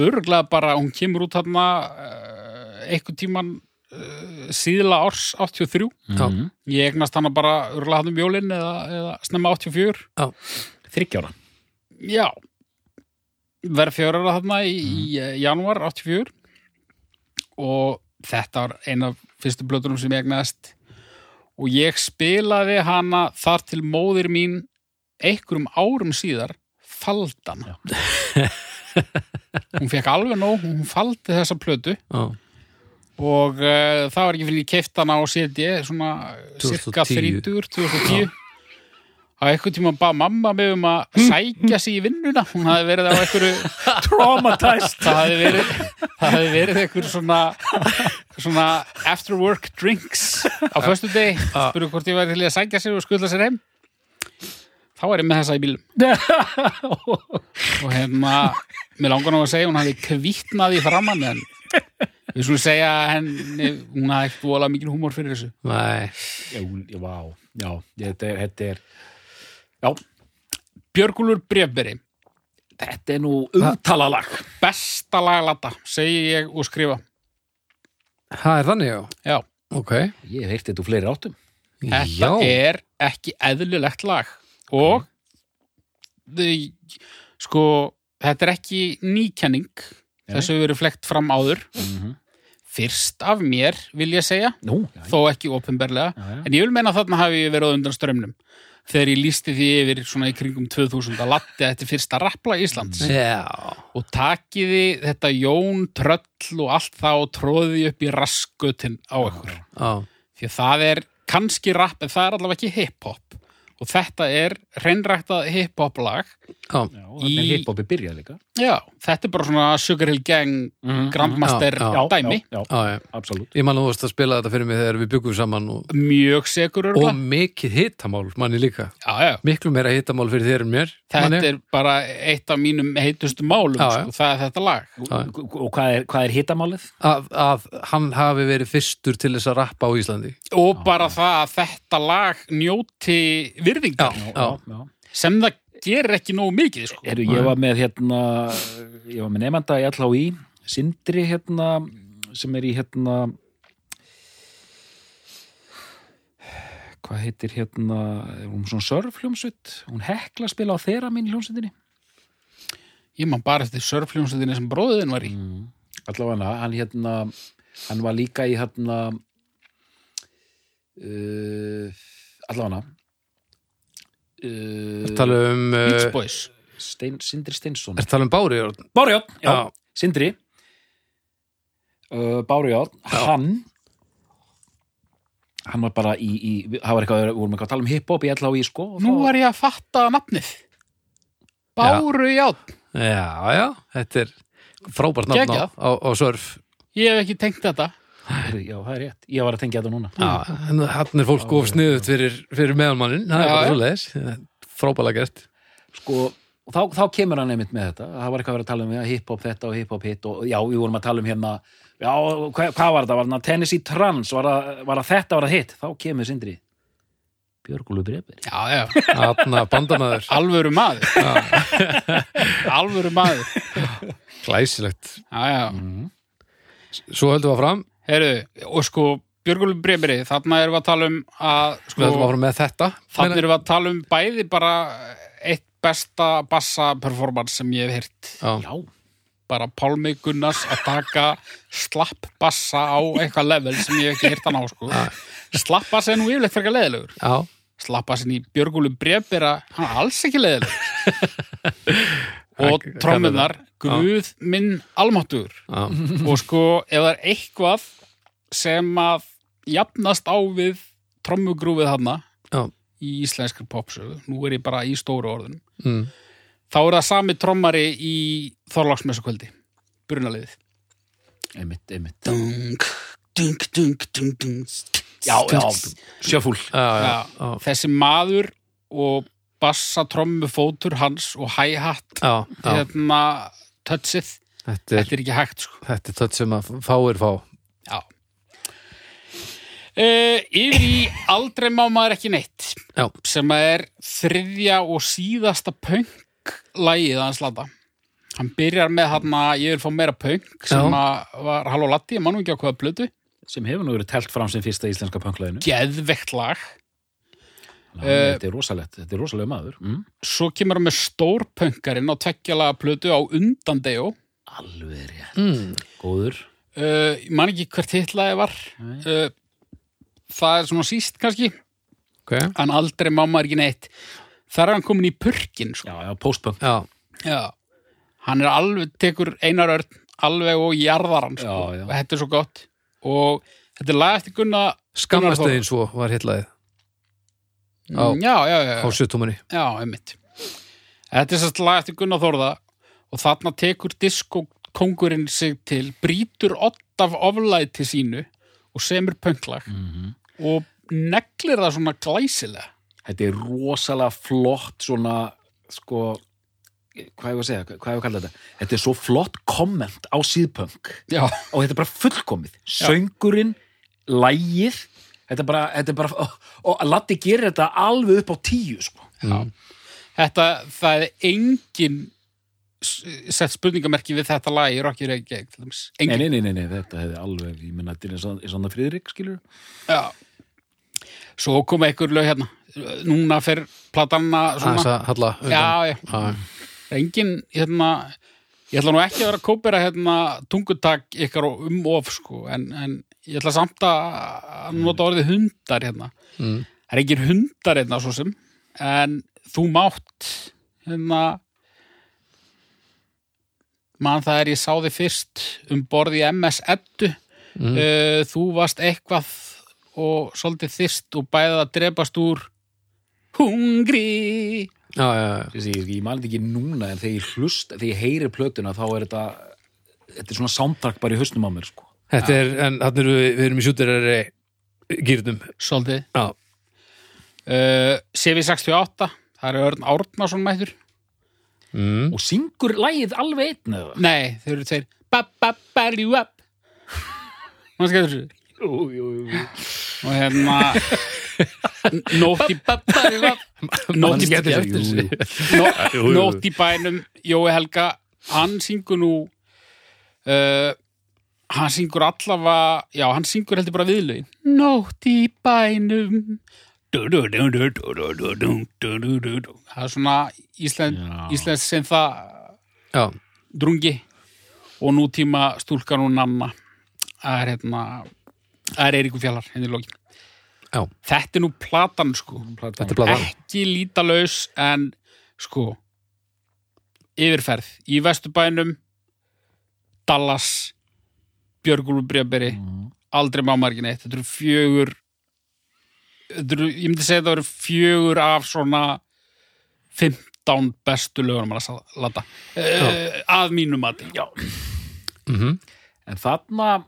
S2: örglega bara, hún kemur út hérna uh, einhvern tíman uh, síðla árs 83.
S3: Mhm.
S1: Já,
S2: Ég eignast hana bara örglega hann um jólinn eða, eða snemma 84.
S3: Þryggjára.
S2: Já. Verð fjörara þarna í, í eh, januar 84 og þetta var eina af fyrstu blötunum sem ég egnaðist og ég spilaði hana þar til móðir mín einhverjum árum síðar faldana. hún fekk alveg nóg, hún faldi þessa plötu
S1: já,
S2: og uh, það var ekki fyrir ég keift hana á CD svona cirka
S1: 2010.
S2: 30, 2010 á einhvern tíma bað mamma mig um að sækja sig í vinnuna hún hafði verið á einhverju
S3: Traumatized.
S2: það hafði verið, það hafði verið einhver svona, svona after work drinks á föstu deg spurði hvort ég væri til í að sækja sig og skulla sér heim þá var ég með þessa í bílum og hérna mér langar nú að segja hún hafði kvítnað í framann en við skulum segja að henni, hún hafði ekkert volað mikil húmór fyrir þessu
S1: nei
S3: Já, já, vá. Já, þetta er, þetta er... Já,
S2: Björgúlur Brefberi,
S3: þetta er nú umtalalag.
S2: besta laglata segi ég og skrifa
S1: Það er þannig, já,
S2: já,
S1: ok
S3: Ég hef heyrt þetta úr fleiri áttum.
S2: Þetta
S1: Já,
S2: er ekki eðlilegt lag og þau, sko, þetta er ekki nýkenning þessu hefur verið flekt fram áður fyrst af mér vil ég segja,
S3: Nú, Mhm. já,
S2: þó ekki ofinberlega,
S3: já, já.
S2: en ég vil meina að þarna hafi ég verið á undan strömmnum þegar ég lísti því yfir svona í kringum 2000 að latti þetta er fyrsta rappla Íslands
S1: Mm. já,
S2: og takiði þetta Jón Tröll og allt það og tróði upp í raskutin á ykkur
S1: já,
S2: því að það er kannski rap en það er allavega ekki hip-hop og þetta er hreinræktað hip-hop lag
S1: já,
S3: Já, þannig
S2: Í-
S3: er hiphopi byrjað líka.
S2: já, þetta er bara svona Sugar Hill Gang Grandmaster
S1: Já,
S3: Mhm. Já,
S2: dæmi
S3: Já, já,
S1: já, já.
S3: absolutt.
S1: Ég man að þú varst að spila þetta fyrir mig þegar við byggum saman og,
S2: mjög segur
S1: og
S2: örgulega
S1: mikið hitamál, manni líka
S2: já, já,
S1: Miklu meira hitamál fyrir þér en mér
S2: þetta
S1: manni.
S2: er bara eitt af mínum heitustu málum
S1: Já, já.
S2: sko, það er þetta lag
S1: Já.
S3: Og og hvað er, hvað er hitamálið?
S1: að, að hann hafi verið fyrstur til þess að rappa á Íslandi
S2: og bara það að þetta lag njóti virðingar
S1: Já.
S3: já.
S2: sem það gerir ekki nógu mikið sko.
S3: Heru, ég var með hérna, ég var með nefnda í allá í, Sindri hérna, sem er í hérna, hvað heitir hérna, er hún svona sörfljómsveit, hún hekla að spila á þeirra mín í hljómsveitinni.
S2: ég man bara eftir surfljónsveitinni sem bróðin var í
S3: Allá hana, hann hérna, hann var líka í hérna, uh, allá hana,
S1: Er
S3: uh,
S1: tala um, uh,
S2: Beach Boys
S3: Stein, Sindri Steinsson.
S1: er tala um Bári Jörn
S3: Bárujárn, já,
S1: Já.
S3: Sindri uh, Bárujárn, hann hann var bara í, í það var eitthvað, við vorum eitthvað að tala um hiphop í LHI sko, og
S2: nú
S3: þá-
S2: var ég að fatta nafnið Báru Játn
S1: Já, já, þetta er frábært nafn á,
S2: Geggjað.
S1: á, á surf
S2: Ég hef ekki tengt þetta.
S3: Heyrðu, já, það er rétt, ég var að tengja þetta núna
S2: Mm.
S1: Já, en hann er fólk of sniðut fyrir, fyrir meðalmannin, það er
S2: Já,
S1: bara
S2: já.
S1: svo leiðis frábæla gert
S3: sko, og þá, þá kemur hann einmitt með þetta það var eitthvað að vera að tala um ja, hiphop þetta og hiphop hitt og já, við vorum að tala um hérna já, hvað, hvað var þetta, var það Tennessee Trans var það, var það þetta, var það hitt þá kemur Sindri Björgúlu Brefir
S2: Já, já.
S1: Atna bandanaður,
S2: Alvöru maður. Alvöru maður.
S1: glæsilegt
S2: Já, já.
S3: Mhm.
S1: Svo höldum við áfram,
S2: Heyrðu, og sko, Björgulur Bremri, þarna erum við að tala um að,
S1: við
S2: sko,
S1: höldum áfram með þetta
S2: þarna erum við að tala um bæði bara eitt besta bassa performance sem ég hef heyrt.
S1: Já,
S3: já,
S2: bara Pálmi Gunnars að taka slappbassa á eitthvað level sem ég hef ekki hýrt hann á sko. Slappbassa er nú yfirleitt fyrir leðilegur.
S1: Já,
S2: Slappbassin í Björgúlu Brefbera, hann er alls ekki leðilegur. og
S1: Hann-
S2: trommunar, Guð minn almáttugur.
S1: já,
S2: og sko, ef það er eitthvað sem að jafnast á við trommugrúfið hana
S1: já.
S2: í íslenskri popsögu, nú er ég bara í stóru orðunum
S1: Mm.
S2: þá er það sami trommari í Þorláksmessukvöldi brunaliðið
S3: einmitt, einmitt
S2: dung, dung, dung, dung, dung.
S3: já, já, sjöfúl
S1: Já, já,
S2: Já,
S1: já.
S2: þessi maður og bassa trommu fótur hans og hi-hat
S1: Já, já,
S2: hérna touchið,
S1: þetta er,
S2: þetta er ekki hægt sko.
S1: þetta er tött sem að fáir fá.
S2: já Uh, yfir í aldrei má maður ekki neitt
S1: Já.
S2: sem að er þriðja og síðasta punk lagið að hans landa hann byrjar með hann að ég vil fá meira punk sem
S1: Já.
S2: að var Halló Latti, ég man nú ekki á hvaða blötu
S3: sem hefur nú verið telt fram sem fyrsta íslenska punklæðinu
S2: geðvegt lag Eh.
S3: þetta er rosalegt, þetta er rosalega maður mm.
S2: svo kemur hann með stórpunkarinn á tveggjalaga plötu á undan Dejo
S3: alveg rétt,
S1: Mm.
S3: góður
S2: uh, ég man ekki hvert hitlaði var uh, það er svona síst kannski
S1: Ok,
S2: hann aldrei mamma er ekki neitt þar er hann komin í purkin sko.
S3: já, já, postpunk
S1: já,
S2: já. hann er alveg, tekur einar örn alveg og jarðar hann sko.
S3: Já, já.
S2: þetta er svo gott og þetta er lag eftir Gunna
S1: skammast
S2: Gunnar Þór.
S1: einn svo var hitlaðið
S2: Mm, já, já, já,
S1: á
S2: já,
S1: sjötumunni.
S2: já, einmitt þetta er sérst lag eftir Gunnar Þórða og þarna tekur diskokongurinn sig til brýtur odd af oflæti sínu og semur pönglag
S3: Mhm.
S2: og neglir það svona glæsilega
S3: þetta er rosalega flott svona, sko hvað hefur að segja, hvað hefur að kalla þetta þetta er svo flott komment á síðpunk
S2: já,
S3: og þetta er bara fullkomið söngurinn, lægið þetta er bara, þetta er bara og, og Latti gerir þetta alveg upp á tíu sko.
S2: þetta, það er engin s- sett spurningamerki við þetta lag í Rocky Reykjavík til dæmis.
S3: nei,
S2: engin,
S3: nei, nei, nei, nei, þetta hefði alveg ég minna, þetta er eins og- eins og það Friðrik skilur
S2: já svo koma einhver lög hérna núna fer platanna
S1: Aðeins
S2: svona,
S1: að halla undan.
S2: já, já,
S1: Já,
S2: engin hérna, ég ætla nú ekki að vera að kópera hérna tungutak ykkar og um of sko, en, en ég ætla samt að nota orðið hundar hérna
S1: Mm.
S2: það er engin hundar hérna svo sem en þú mátt hérna mann það er ég sá þig fyrst um borð í MS Eddu
S1: Mm.
S2: Eh, þú varst eitthvað og svolítið þyrst og bæðið að drepast úr hungri
S1: já, já, já.
S3: Þessi, ég, ég mali þetta ekki núna en þegar ég hlust, þegar ég heyri plötuna þá er þetta þetta er svona soundtrack bara í hausnum á mér sko.
S1: Þetta er, en þarna eru við, við erum í sjúterari gýrnum.
S2: svolítið
S1: Já,
S2: Uh, CV68, það eru Örn Árnason mættur
S1: mm.
S3: og syngur lægið alveg einn eða?
S2: Nei, þau eru tveir Ba-ba-ba-li-wap Man skæður þessu
S3: Jú, jú, jú.
S2: Og hérna Nótt í Ba-ba-ba-li-wap
S1: Man
S2: Nótt í-
S1: skellur
S3: Jú,
S1: eftir
S3: jú.
S1: þessu.
S2: Nó-
S1: jú.
S2: Nótt í bænum Jói Helga, hann syngur nú uh, Hann syngur allavega Já, hann syngur heldur bara viðlaugin Nótt í bænum Du-du-du-du-du-du-du-du-du-du-du. Það er svona Ísland,
S3: Já.
S2: Íslands sem það
S1: Já,
S2: drungi og nútíma stúlkan og namma það er hérna það er Eiríku Fjallar hérna í lokin
S1: Já.
S2: þetta er nú platan sko
S1: þetta er blaðan.
S2: ekki lítalaus en sko yfirferð í Vesturbænum Dallas Björgúlu Brjöberi
S3: Mm.
S2: aldrei mámargin eitt þetta eru fjögur þetta eru, ég myndi segja þetta eru fjögur af svona 15 bestu lögunum að lata uh, að mínu mati já,
S1: Mhm.
S3: en þarna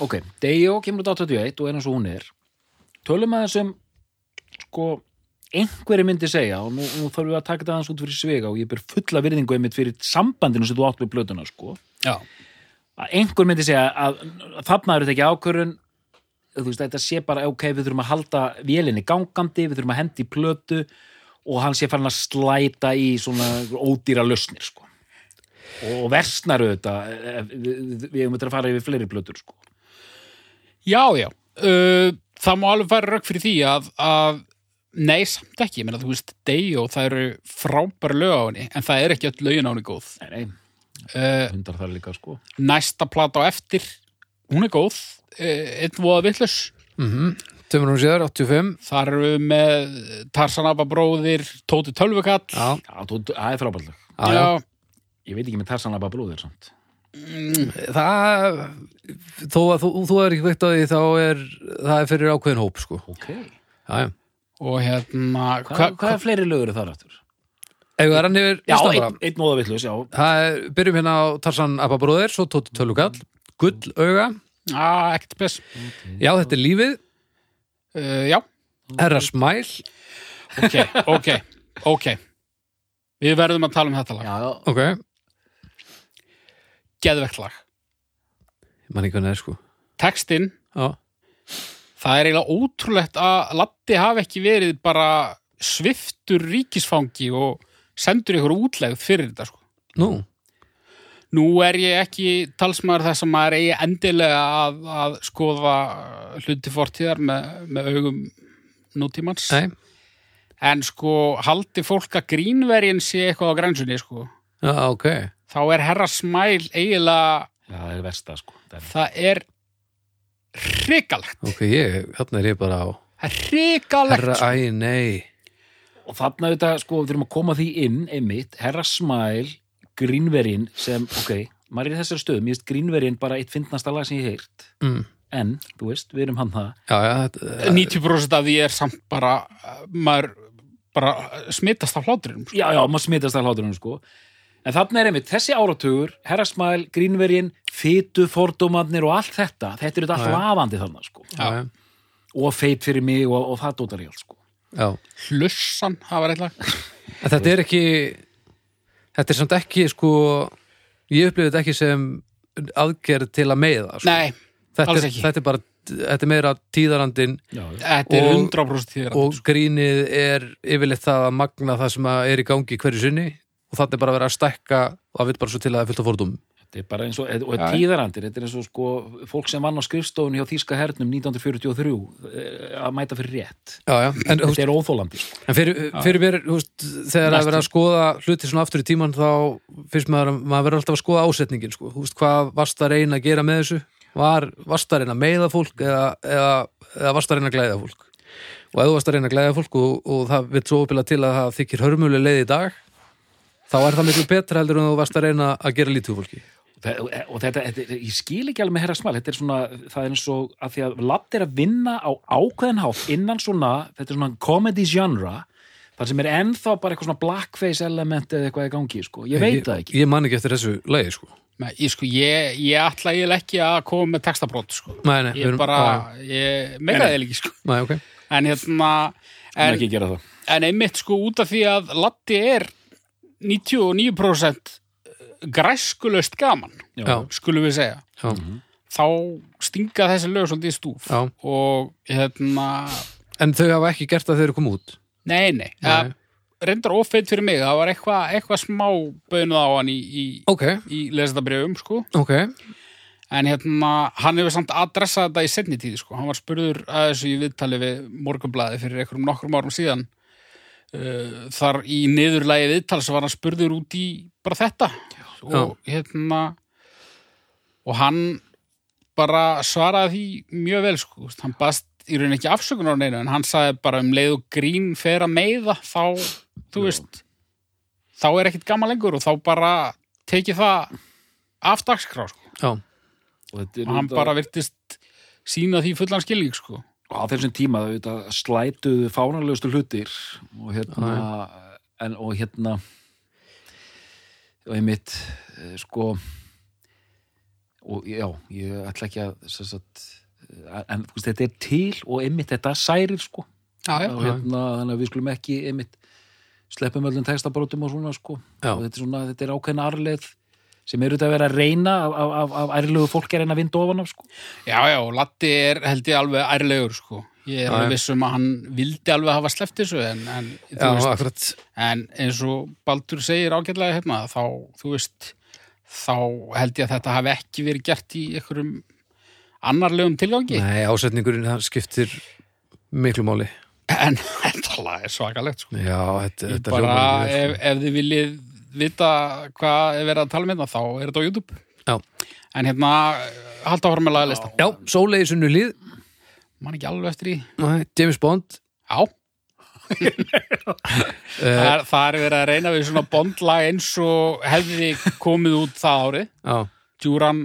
S3: ok, Dejo kemur út á 21 og er eins og hún er tölum aðeins um sko einhverju myndi segja og nú, nú þarfum við að taka þetta aðeins út fyrir svega og ég ber fulla virðingu einmitt fyrir sambandinu sem þú átt við plötuna sko
S2: já,
S3: að einhver myndi segja að þarna eru þetta ekki ákvörun þú veist, þetta sé bara, ok, við þurfum að halda vélinni gangandi, við þurfum að hendi í plötu og hann sé farin að slæta í svona ódýra lausnir sko. og versnar auðvitað, eh, við við- við höfum þetta að fara yfir fleiri plötur sko.
S2: já, já. Uh, það má alveg færa rögg fyrir því að, að nei, samt ekki, ég meina þú veist Dejo, það eru frábær lög á henni en það er ekki öll lögin á henni góð
S3: nei, nei,
S2: uh,
S3: hundar þar líka sko
S2: næsta plata á eftir hún er góð, uh, einn voða villus
S1: Tömur hún séðar, 85
S2: þar eru við með Tarsanaba bróðir Tóti Tölvukall
S1: Já,
S3: Já, þú- það er frábært lag.
S1: já, já.
S3: ég veit ekki með Tarsanaba bróðir samt
S1: Það þó að þú, þú er ekki veikt á því þá er það er fyrir ákveðin hóp sko
S3: ok,
S1: Já, já
S2: og hérna
S3: hvað
S2: hva,
S3: hvað er fleiri lögur þar aftur?
S1: Ef við erum yfir
S3: já,
S1: listann bara.
S3: einn, einn móða villus, já
S1: Það er, byrjum hérna á Tarsan Abba bróðir, svo Tóti Tölugall Gull auga,
S2: á, Ah, ekkert spes
S1: já þetta er lífið
S2: uh, já,
S1: Herra smæl,
S2: ok, ok, ok við verðum að tala um þetta lag
S3: já,
S1: ok Ég
S2: geðvegt lag,
S1: man ekki hvernig það er sko
S2: textinn
S1: Já,
S2: það er eiginlega ótrúlegt að Latti hafi ekki verið bara sviftur ríkisfangi og sendur ykkur útlegð fyrir þetta sko
S1: nú,
S2: Nú er ég ekki talsmaður þess að maður eigi endilega að, að skoða hluti fortíðar með, með augum nútímans.
S1: nei,
S2: En sko, haldi fólk að grínverjinn sé eitthvað á grænsunni, sko.
S1: já, ok
S2: Þá er herra smæl eiginlega,
S3: já, það er versta sko Það er-
S2: það er hrikalegt.
S1: Ok, ég, hérna er ég bara á
S2: Það er hrikalegt.
S1: Herra,
S2: sko.
S1: æ, nei
S3: og þarna auðvitað, sko, við þurfum að koma því inn einmitt, herra smæl grínverinn sem, ok, maður er í þessari stöðum ég veist grínverinn bara eitt fyndnasta lag sem ég heirt
S1: mm.
S3: en, þú veist, við erum hann það
S1: Já, já, þetta
S2: 90% af því er samt bara, maður bara smittast af hláturinum. Sko.
S3: já, já, maður smitast að hláturinn, sko en þarna er einmitt, þessi áratugur herra smæl, grínverinn, fytu fordómanir og allt þetta,
S1: Já,
S3: þetta er auðvitað
S1: já.
S3: allt lafandi þarna, sko
S1: Já, já,
S3: og feit fyrir mig og, og það dótar ég allt, sko
S1: já
S2: Hlussan, það var eitthvað.
S1: En þetta er ekki Þetta er samt ekki sko Ég upplifði þetta ekki sem aðgerð til að meiða sko.
S2: Nei,
S1: þetta,
S2: alls
S1: er,
S2: ekki.
S1: þetta er bara Þetta er meira tíðarandin
S3: já, já.
S2: þetta er
S1: Og-
S2: 100% tíðar.
S1: og grínið er yfirleitt það að magna það sem að er í gangi hverju sinni og þetta er bara að vera að stækka og það vil bara svo til að það er fullt af fordum
S3: þetta er bara eins og, og
S2: Já.
S3: tíðarandir þetta er eins og, sko, fólk sem vann á skrifstofun hjá Þíska hernum 1943 eh, að mæta fyrir rétt
S1: Já, já, en, þú veist,
S3: þetta er óþólandi, sko
S1: en fyrir, fyrir mér þú veist, þegar að vera að skoða hluti svona aftur í tíman þá finnst maður að maður verður alltaf að skoða ásetningin sko. Þú veist, hvað varst að reyna að gera með þessu var, varst að reyna að meiða fólk eða, eða, eða varst að reyna að glæða fólk og ef þú varst að reyna að glæða fólk og, og það vill svo opila til að það þykir hörmuleg leið í dag þá er það miklu betra heldur en þú varst að reyna að gera lítið úr fólki
S3: Þe- og þetta, þetta, ég skil ekki alveg með herra smal þetta er svona, það er eins og að því að Ladd er að vinna á ákveðin hátt innan svona, þetta er svona comedy genre þar sem er ennþá bara eitthvað svona blackface element eða eitthvað í gangi sko. ég veit það ekki
S1: Ég man ekki eftir þessu lagi sko
S2: Nei, ég, sko, ég, ég ætla ég ekki að koma með textabrót sko.
S1: Nei, nei,
S2: ég bara, ég meika það ekki sko.
S1: Nei, ok
S2: en hérna
S3: en,
S2: en,
S3: ekki gera það
S2: en einmitt sko út af því að Latti er 99% eh, græskulaust gaman
S1: Já,
S2: skulum við segja
S1: já,
S2: þá stinga þessi lög svolítið í stúf
S1: já
S2: og hérna
S1: En þau hafa ekki gert það þegar þau kom út
S2: nei, nei, nei.
S1: Nei.
S2: reyndar ofeitt fyrir mig það var eitthvað eitthva smá bönuð á hann í, í,
S1: Ok,
S2: í lesendabrjöfum sko
S1: ok
S2: En hérna, hann hefur samt adressað þetta í setni tíð, sko. Hann var spurður að þessu í viðtali við Morgunblæði fyrir einhverjum nokkrum árum síðan. Uh, Þar í niðurlægi viðtals var hann spurður út í bara þetta. Og hérna, og hann bara svaraði því mjög vel, sko. Hann baðst í raun ekki afsökunar á neinu, en hann sagði bara um leið og grín fer að meiða, þá, þú veist, þá er ekkit gaman lengur og þá bara tekið það af dagskrá, sko
S1: Já,
S3: og þetta er
S2: og hann
S3: auðvitað-
S2: bara virtist sína því fullan skilning sko.
S3: og á þessum tíma þau auðvitað slætuðu fánarlegustu hlutir og hérna en, og hérna og einmitt eh, sko og já, ég ætla ekki að sem sagt, eh, en þú veist, þetta er til og einmitt þetta særir sko
S2: já, já.
S3: og hérna, þannig að við skulum ekki einmitt sleppum öllum textabrótum og svona sko
S1: Já.
S3: og þetta er svona, þetta er ákveðin arleð sem eru þetta að vera að reyna af, af, af, af ærlugu fólk er reyna að vinda ofan af sko
S2: já, já, og Latti er held ég alveg ærlegur sko. ég
S1: Já,
S2: er
S1: já.
S2: alveg viss um að hann vildi alveg hafa sleppt þessu en, en, þú
S1: já,
S2: veist,
S1: akkurat
S2: en eins og Baldur segir ágætlega hérna þá, þú veist þá held ég að þetta hafi ekki verið gert í einhverjum annarlegum tilgangi
S1: Nei, ásetningurinn það skiptir miklu máli
S2: en þetta lag er svakalegt sko.
S1: Já, þetta,
S2: Ég
S1: þetta
S2: bara,
S1: hljómar mjög vel, sko.
S2: ef, ef þið viljið vita hvað er verið að tala með það, þá er þetta á YouTube.
S1: Já.
S2: En hérna, halda áfram með lagalista.
S1: Já, Sólei sunnu líð,
S2: Man ekki alveg eftir í.
S1: James Bond
S2: Já. það, er, það er verið að reyna við svona bondlag eins og hefði komið út það árið.
S1: Já,
S2: Djúran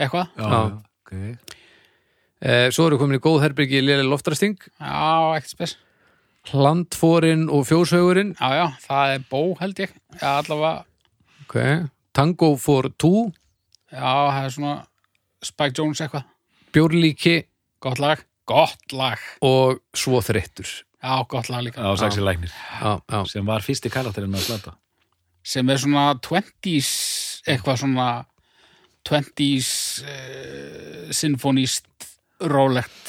S2: eitthvað.
S3: Já,
S1: Já.
S3: ok.
S1: eh, svo eru komin í góð herbyrgi Léle Loftrasting,
S2: Já, ekkert spes.
S1: Hlandfórin og Fjóshaugurinn
S2: Já, já, það er bó held ég. Já, allavega,
S1: okay. Tango for Two
S2: já, það er svona Spike Jones eitthvað.
S1: Bjórlíki
S2: Gott lag. Gott lag.
S1: og Svo þreyttur
S2: Já, gott lag líka.
S3: Já, Saxi Læknir,
S1: Já, já,
S3: sem var fyrsti karakterinn að slata.
S2: sem er svona 20s eitthvað svona 20s uh, sinfonist rólegt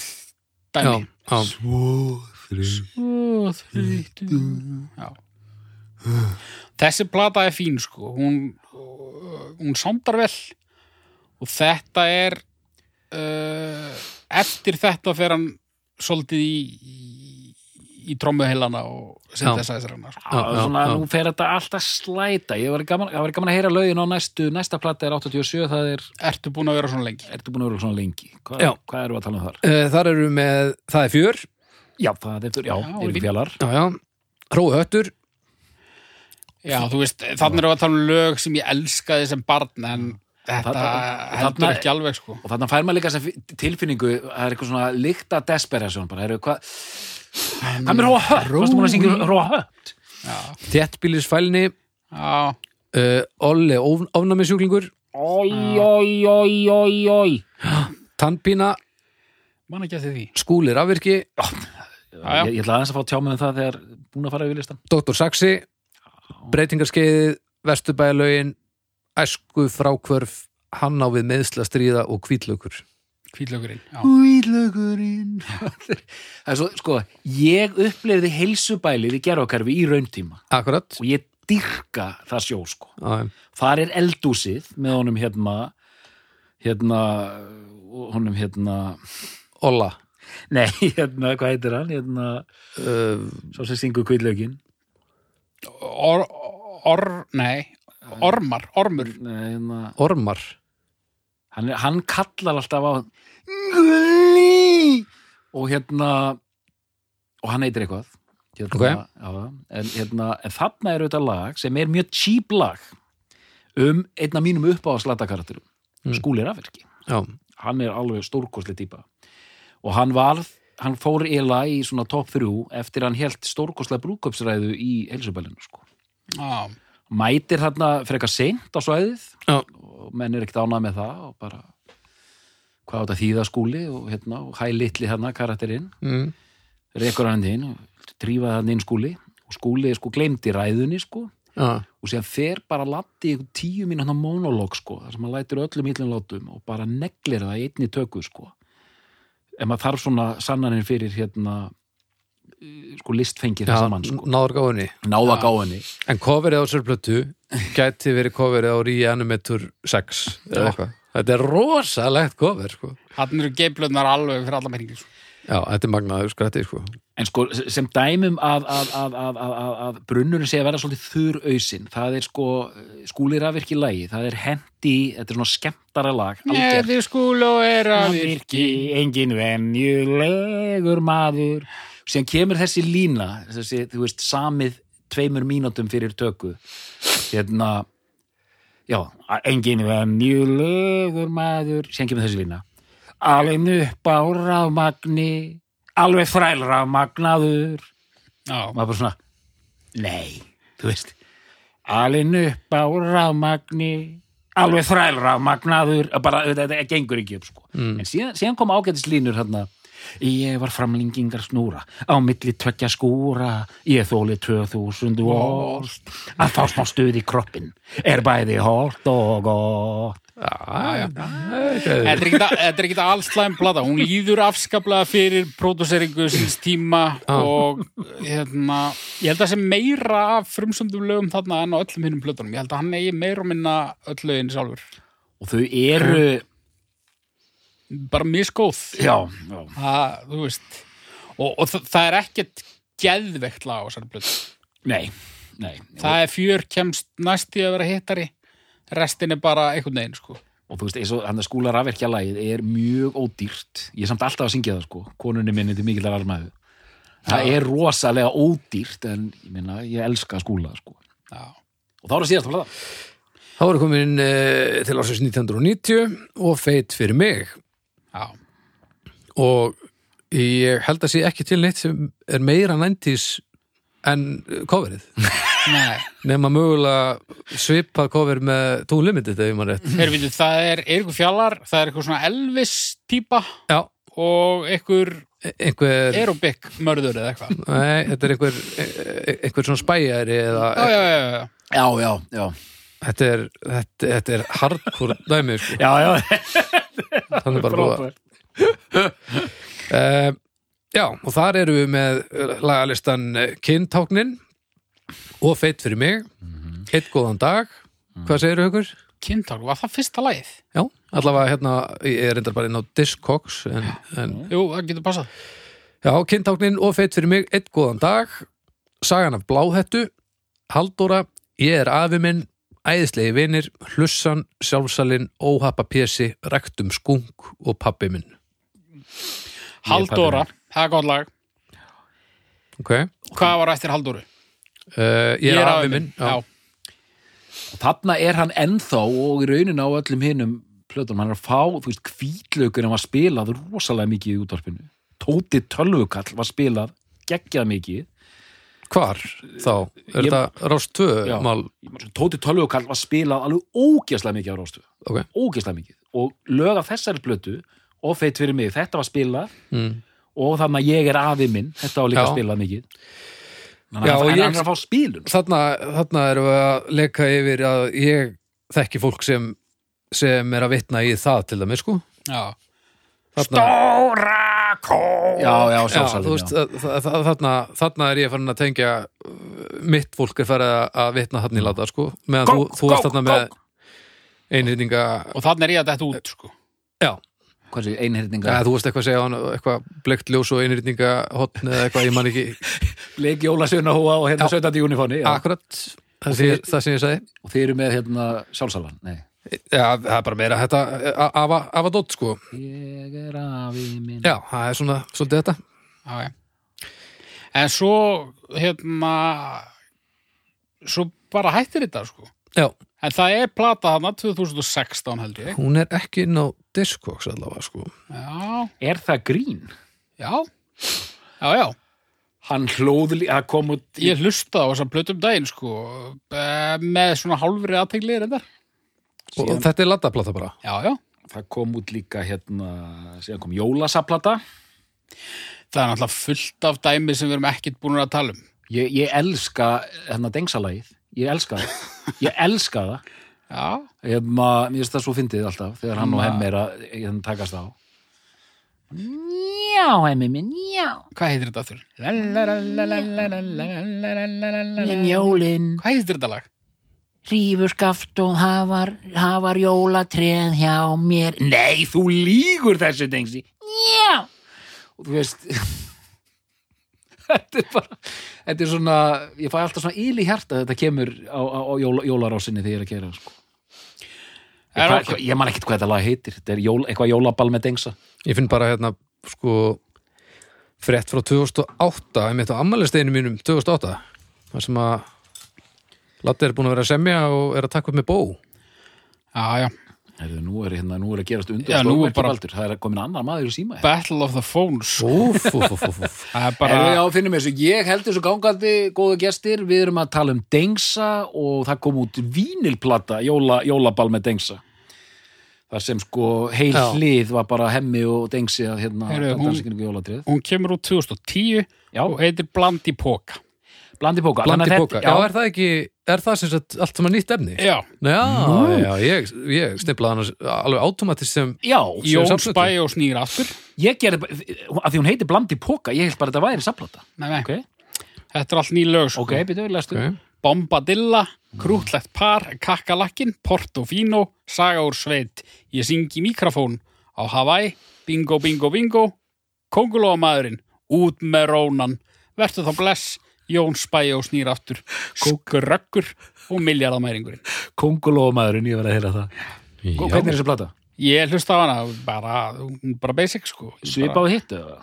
S1: já,
S2: dæmi
S1: já.
S3: Svo þrjú.
S2: Ó, þreytu. Já. þessi plata er fín sko hún, uh, hún sándar vel og þetta er uh, eftir þetta fer hann svolítið í, í, í trommuheilana og synthesizerana sko.
S3: Já,
S1: Já, já,
S3: svona,
S1: já.
S3: nú fer þetta alltaf slæta ég var gaman, það væri gaman að heyra lögin á næstu næsta platta er 87, það er
S2: ertu búin að vera svona lengi
S3: ertu búin að vera svona lengi, Hva,
S1: Já.
S3: hvað eru að tala um þar?
S1: Eh, Þar eru með, það er fjör
S3: Já, það er, já,
S2: Já,
S3: eru
S2: fínt.
S3: fjallar
S1: Já, já, Hrói Höttur
S2: Já, þú veist, þannig erum við að tala um lög sem ég elskaði sem barn en þetta
S3: Þarna-
S2: heldur
S3: þarna-
S2: ekki alveg sko.
S3: og þannig fær maður líka sem fi- tilfinningu það er eitthvað svona líkta desperation bara, eru hvað hann er róa hött, varstu búin að syngja róa hött
S1: Þjettbýlisfælni
S2: Já,
S1: uh, Olli of, ofnamisjúklingur
S3: oi, oi, oi, oi, oi
S1: Tannpína,
S2: man ekki eftir því.
S1: Skúli Rafvirki
S2: Já,
S3: ég,
S2: já,
S3: ég ætla aðeins að fá tjá með um það þegar búin að fara yfir listan
S1: Dr. Saxi Breytingarskeiðið, Vesturbælaugin Æsku frákvörf Hann á við meðsla stríða og kvítlaukur
S2: kvítlökurinn. Já,
S3: Hvítlögurinn Það er svo, sko, ég upplifði heilsubælið í gerðokarfi í rauntíma
S1: Akkurat
S3: og ég dyrka það sjó, sko
S1: Já,
S3: þar er eldúsið með honum hérna hérna honum hérna
S1: Olla
S3: nei, hérna, hvað heitir hann hérna,
S1: uh,
S3: svo sem syngur kvíðlaugin
S2: or, or, nei, ormar, ormur.
S3: hérna,
S1: Ormar
S3: hann, er- hann kallar alltaf á Gulli og hérna og hann heitir eitthvað hérna,
S1: Ok.
S3: já, en, hérna, en þarna er auðvitað lag sem er mjög cheap lag um einn af mínum uppáðaslatakarakterum
S1: Mm.
S3: mm. skúlir afverki
S1: Já,
S3: hann er alveg stórkostli típa og hann varð, hann fór eila í svona topp þrjú eftir hann helt stórkostlega brúköpsræðu í helsubælinu sko.
S2: Já,
S3: mætir þarna frekar seint á svæðið
S1: Já.
S3: og menn er ekkert ánað með það og bara hvað á þetta þýða skúli og hérna og hæ litli þarna karakterinn
S1: mm.
S3: rekur hann inn og drífaði hann inn skúli og skúli sko gleymdi ræðunni sko
S1: já,
S3: og síðan fer bara latti í einhvern tíu mínúna monolog sko, þar sem hann lætur öllum illinlátum og bara neglir það í einni töku sko. ef maður þarf svona sannanir fyrir hérna eh, sko listfengið
S1: já
S3: þessa mann sko,
S1: náður gáðunni
S3: náða gáðinni
S1: En coverið á sér plötu gæti verið coverið á Reanimator 6 eða eitthvað Þetta er rosalegt cover sko.
S2: hann eru geiflöðnar alveg fyrir alla meiringi. Sko.
S1: Já, þetta er magnaður skrætti sko.
S3: en sko sem dæmum að, að, að, að, að, að, að brunnurinn sé að vera svolítið þurr ausinn, það er sko skúlir að virki lægi, það er hendi þetta er svona skemmtara lag algjört.
S2: Neði skúl og er að virki.
S3: virki engin venjulegur maður síðan kemur þessi lína þessi, þú veist, samið tveimur mínútum fyrir töku hérna já, engin venjulegur maður síðan kemur þessi lína alveg upp á rafmagni alveg þræl rafmagnaður
S2: Já,
S3: og maður bara svona nei, þú veist alveg upp á rafmagni alveg þræl rafmagnaður bara, þetta, þetta gengur ekki upp sko. en síðan, síðan kom ágætis línur hérna ég var framlengingar snúra á milli tvekja skúra ég þóli 2000 volst að fá smá stuð í kroppin er bæði holt og gott
S1: Já, já,
S2: þetta
S1: já
S2: er ekkit að- þetta er ekki allslæm plata. Hún líður afskaplega fyrir pródúseringu síns tíma og hérna, ég held að það sé meira af frumsöndum lögum þarna en á öllum hinnum plötunum. Ég held að hann eigi meira og minna öll lögin sjálfur.
S3: og þau eru
S2: bara misgóð
S3: já, já,
S2: það, þú veist og, og það, það er ekkert geðveikt lag á þessari blöð
S3: nei Nei,
S2: Það er fjör kemst næst í að vera hittari restin er bara einhvern veginn sko.
S3: og þú veist, eins og hann að skúla rafverkjalagið er mjög ódýrt ég er samt alltaf að syngja það sko, konunni minni til mikillar almæðu það er rosalega ódýrt en ég minna, ég elska skúla sko.
S2: Já.
S3: og þá er það síðast að plata
S1: Það voru komin uh, til ásins 1990 og feit fyrir mig
S2: Já.
S1: og ég held að sé ekki til neitt sem er meira næntís en eh, coverið
S2: Nei,
S1: nema mögulega svipað cover með Too Limited ef ég maður rétt
S2: þeir veitum, það er er eitthvað fjallar, það er eitthvað svona Elvis típa
S1: Já,
S2: og einhver
S1: e- einhver
S2: aerobik mörður eða eitthvað.
S1: Nei, þetta er einhver, e- einhver svona spæjari eða
S2: Já, já, já, já.
S3: já, já, já,
S1: þetta er, þetta, þetta er hardcore dæmi sko.
S3: já, já.
S1: þannig bara búið
S3: frábært.
S1: uh, Já, og þar eru við með eh, lagalistan eh, Kyntáknin og Feit fyrir mig Heitt góðan dag Hvað segirðu ykkur?
S2: Kindtál, var það fyrsta lagið?
S1: Mm. Já, allavega hérna, ég er reyndar bara inn á Discogs en, en
S2: Jú, það getur passað.
S1: Já, kyntáknin og feitt fyrir mig, einn góðan dag, sagan af bláhettu, Halldóra, ég er afi minn, æðislegi vinir, hlussan, sjálfsalinn, óhappa pési, rektum skunk og pabbi minn.
S2: Haldóra, það er góð lag.
S1: Ok, uh,
S2: Hvað var eftir Haldóru?
S1: ég, er afi minn, já.
S3: og þarna er hann ennþá og í raunin á öllum hinum plötunum, hann er að fá, þú veist, kvítlaukurinn var spilað rosalega mikið í útvarpinu Tóti Tölvukall var spilað geggjað mikið
S1: Hvar þá? Er
S3: Ég-
S1: þetta rást tvö
S3: Já.
S1: mál?
S3: Tóti Tölvukall var spilað alveg ógeðslega mikið á Róstu
S1: Ok,
S3: ógeðslega mikið og lög af þessari plötu og feit fyrir mig, þetta var spilað
S1: mm.
S3: og þannig að ég er afi minn, þetta var líka
S1: Já.
S3: spilað mikið Þannig
S1: Já,
S3: að
S1: og ég-
S3: hann ég... er að fá spilun
S1: þarna, þarna erum við að leika yfir að ég þekki fólk sem, sem er að vitna í það til dæmis, sko.
S2: Já.
S1: Þarna,
S2: Stóra kó.
S3: Já, já,
S1: Já,
S3: sjálfsagt
S1: þú veist, að- að- að- þarna, þarna er ég farin að tengja uh, mitt fólk er farið að- að vitna hann í lata, sko, meðan þú,
S3: Kók,
S1: þú varst
S3: kók,
S1: þarna með einhyrninga,
S2: Og þannig er ég að þetta
S1: Eh.
S2: út, sko.
S1: já,
S3: Hvað sé, einhyrninga
S1: eða, þú varst eitthvað að segja á hann eitthvað blekt ljós og einhyrninga hotn eða eitthvað, ég man ekki
S3: Leik Jólasuna hóa og hérna 17. júnifóni og
S1: akkurat það sem, ég, það sem ég segi
S3: þeir eru með hérna sjálfsalan Nei.
S1: Já, það er bara meira þetta eh, a- afa, afa dótt, sko
S3: Ég er afi minn
S1: Já, það er svona, svolítið þetta
S2: Já, já. En svo, hérna, svo bara hættir þetta, sko.
S1: Já,
S2: En það er plata hana 2016 heldur ég.
S1: hún er ekki inn á Discogs allavega, sko
S2: Já,
S3: Er það grín?
S2: já, já, já.
S3: Hann hlóð, lí- það kom út í-
S2: Ég hlusta á þessa plötu um daginn, sko, eh, með svona hálfri aðtegli reyndar.
S1: og, og þetta er lataplata bara
S2: Já, já.
S3: það kom út líka hérna síðan kom Jólasaplata
S2: Það er náttúrulega fullt af dæmi sem við erum ekkert búin að tala um.
S3: Ég, ég elska hérna dengsalagið, ég elska það, ég elska það,
S2: Já,
S3: ég, ma, Hérna, mér finnst það svo fyndið alltaf þegar hann og
S2: Ma-
S3: hemmi er að hérna, takast á. Já, hemmi minn, já.
S2: hvað heitir þetta þurr?
S4: En jólin
S2: Hvað heitir þetta lag?
S4: rífur skaft og hafar, hafar jólatreð hjá mér.
S3: Nei, þú lígur þessu dengsi.
S4: Já!
S3: Og þú veist, þetta er bara, þetta er svona, ég fæ alltaf svona íl í hjarta að þetta kemur á, á, á jóla, jólarásinni þegar ég er að kera, sko. Ég,
S2: Er,
S3: hva, ég man ekkert hvað þetta lag heitir, þetta er jól, eitthvað jólaball með dengsa.
S1: Ég finn bara hérna, sko frétt frá 2008 einmitt á ammælisteinu mínum 2008 þar sem að Latti er búin að vera að semja og er að taka upp með bó
S2: já, já.
S3: Heyrðu, nú er hérna, nú er að gerast undur
S2: Já, nú er bara-
S3: Baldur, það er komin annar maður í síma hérna.
S2: Battle of the Phones.
S1: Úf, úf, úf, úf, úf
S2: Það er
S3: Bara...
S2: bara...
S3: já, finnum þessu, ég held þessu gangandi góða gestir, við erum að tala um Dengsa og það kom út vínilplata, jóla, jólaball með Dengsa þar sem sko heil
S1: Já.
S3: hlið var bara hemmi og Dengsi að hérna
S2: Heyrðu, hún-
S3: dansinginningu jólatrið
S2: Hún kemur út 2010
S3: Já.
S2: og heitir Blandi Póka.
S3: Blandi póka,
S1: Blandi
S3: þannig að
S1: bóka, já, er það ekki er það sem sagt allt sem að nýtt efni?
S2: Já,
S1: Já, já, ég, ég stiflaði hann alveg automatist sem
S3: já, já,
S1: Sér
S2: Jón
S1: safnplötu?
S2: Spæ og snýr aftur.
S3: ég gerði bara, að því hún heiti Blandi póka ég held bara að þetta væri samplata
S2: Nei, nei,
S3: ok,
S2: þetta er allt ný lög, sko.
S3: ok, byrjuðu, lestu
S1: Ok.
S2: Bombadilla, krútlegt par, kakkalakkin, portofino, saga úr sveit, ég syng í mikrofón, á Hawaii, bingo, bingo, bingo, kongulóa maðurinn, út með rónan, vertu þá bless, Jón Spæja og snýr aftur Kókurökkur og miljardamæringurinn
S4: Kongulómaðurinn, ég var að heyra það
S3: Og hvernig er þessi plata?
S2: Ég hlusta á hana bara, hún er bara basic sko Ég bara,
S3: Svipað og hittu eða?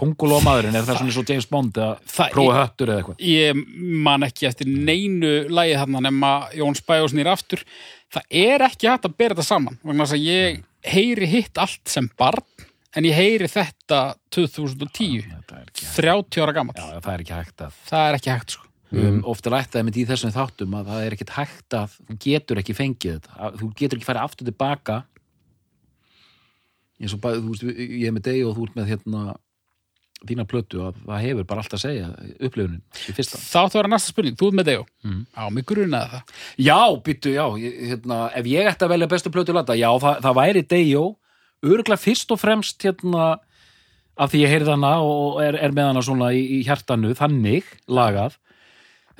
S3: Kongulómaðurinn, er það svona svo James Bond eða
S2: Það-
S3: prófa höttur eða eitthvað?
S2: Ég man ekki eftir neinu lægi þarna nema Jón Spæja og snýr aftur Það er ekki hægt að bera þetta saman vegna þess að ég heyri hitt allt sem barn en ég heyri þetta 2010
S3: Það er ekki,
S2: 30 ára gammal
S3: já, það er ekki hægt að
S2: Það er ekki hægt sko
S3: um, ofta rættaði með í þessum þáttum að það er ekkit hægt að þú getur ekki fengið þetta að, þú getur ekki farið aftur tilbaka eins og bara, þú veist, ég er með degi og þú ert með hérna þína plötu að það hefur bara allt að segja upplifunin í fyrsta
S2: Það átti að vera næsta spurning, þú ert með Dejo mm. Á mig grunaði það
S3: Já, býttu, já, ég, hérna, ef ég ætti að velja bestu plötu landa, já, það, það væri Dejo, örgulega fyrst og fremst hérna, af því ég heyrði hana og er, er með hana svona í, í hjartanu, þannig lagað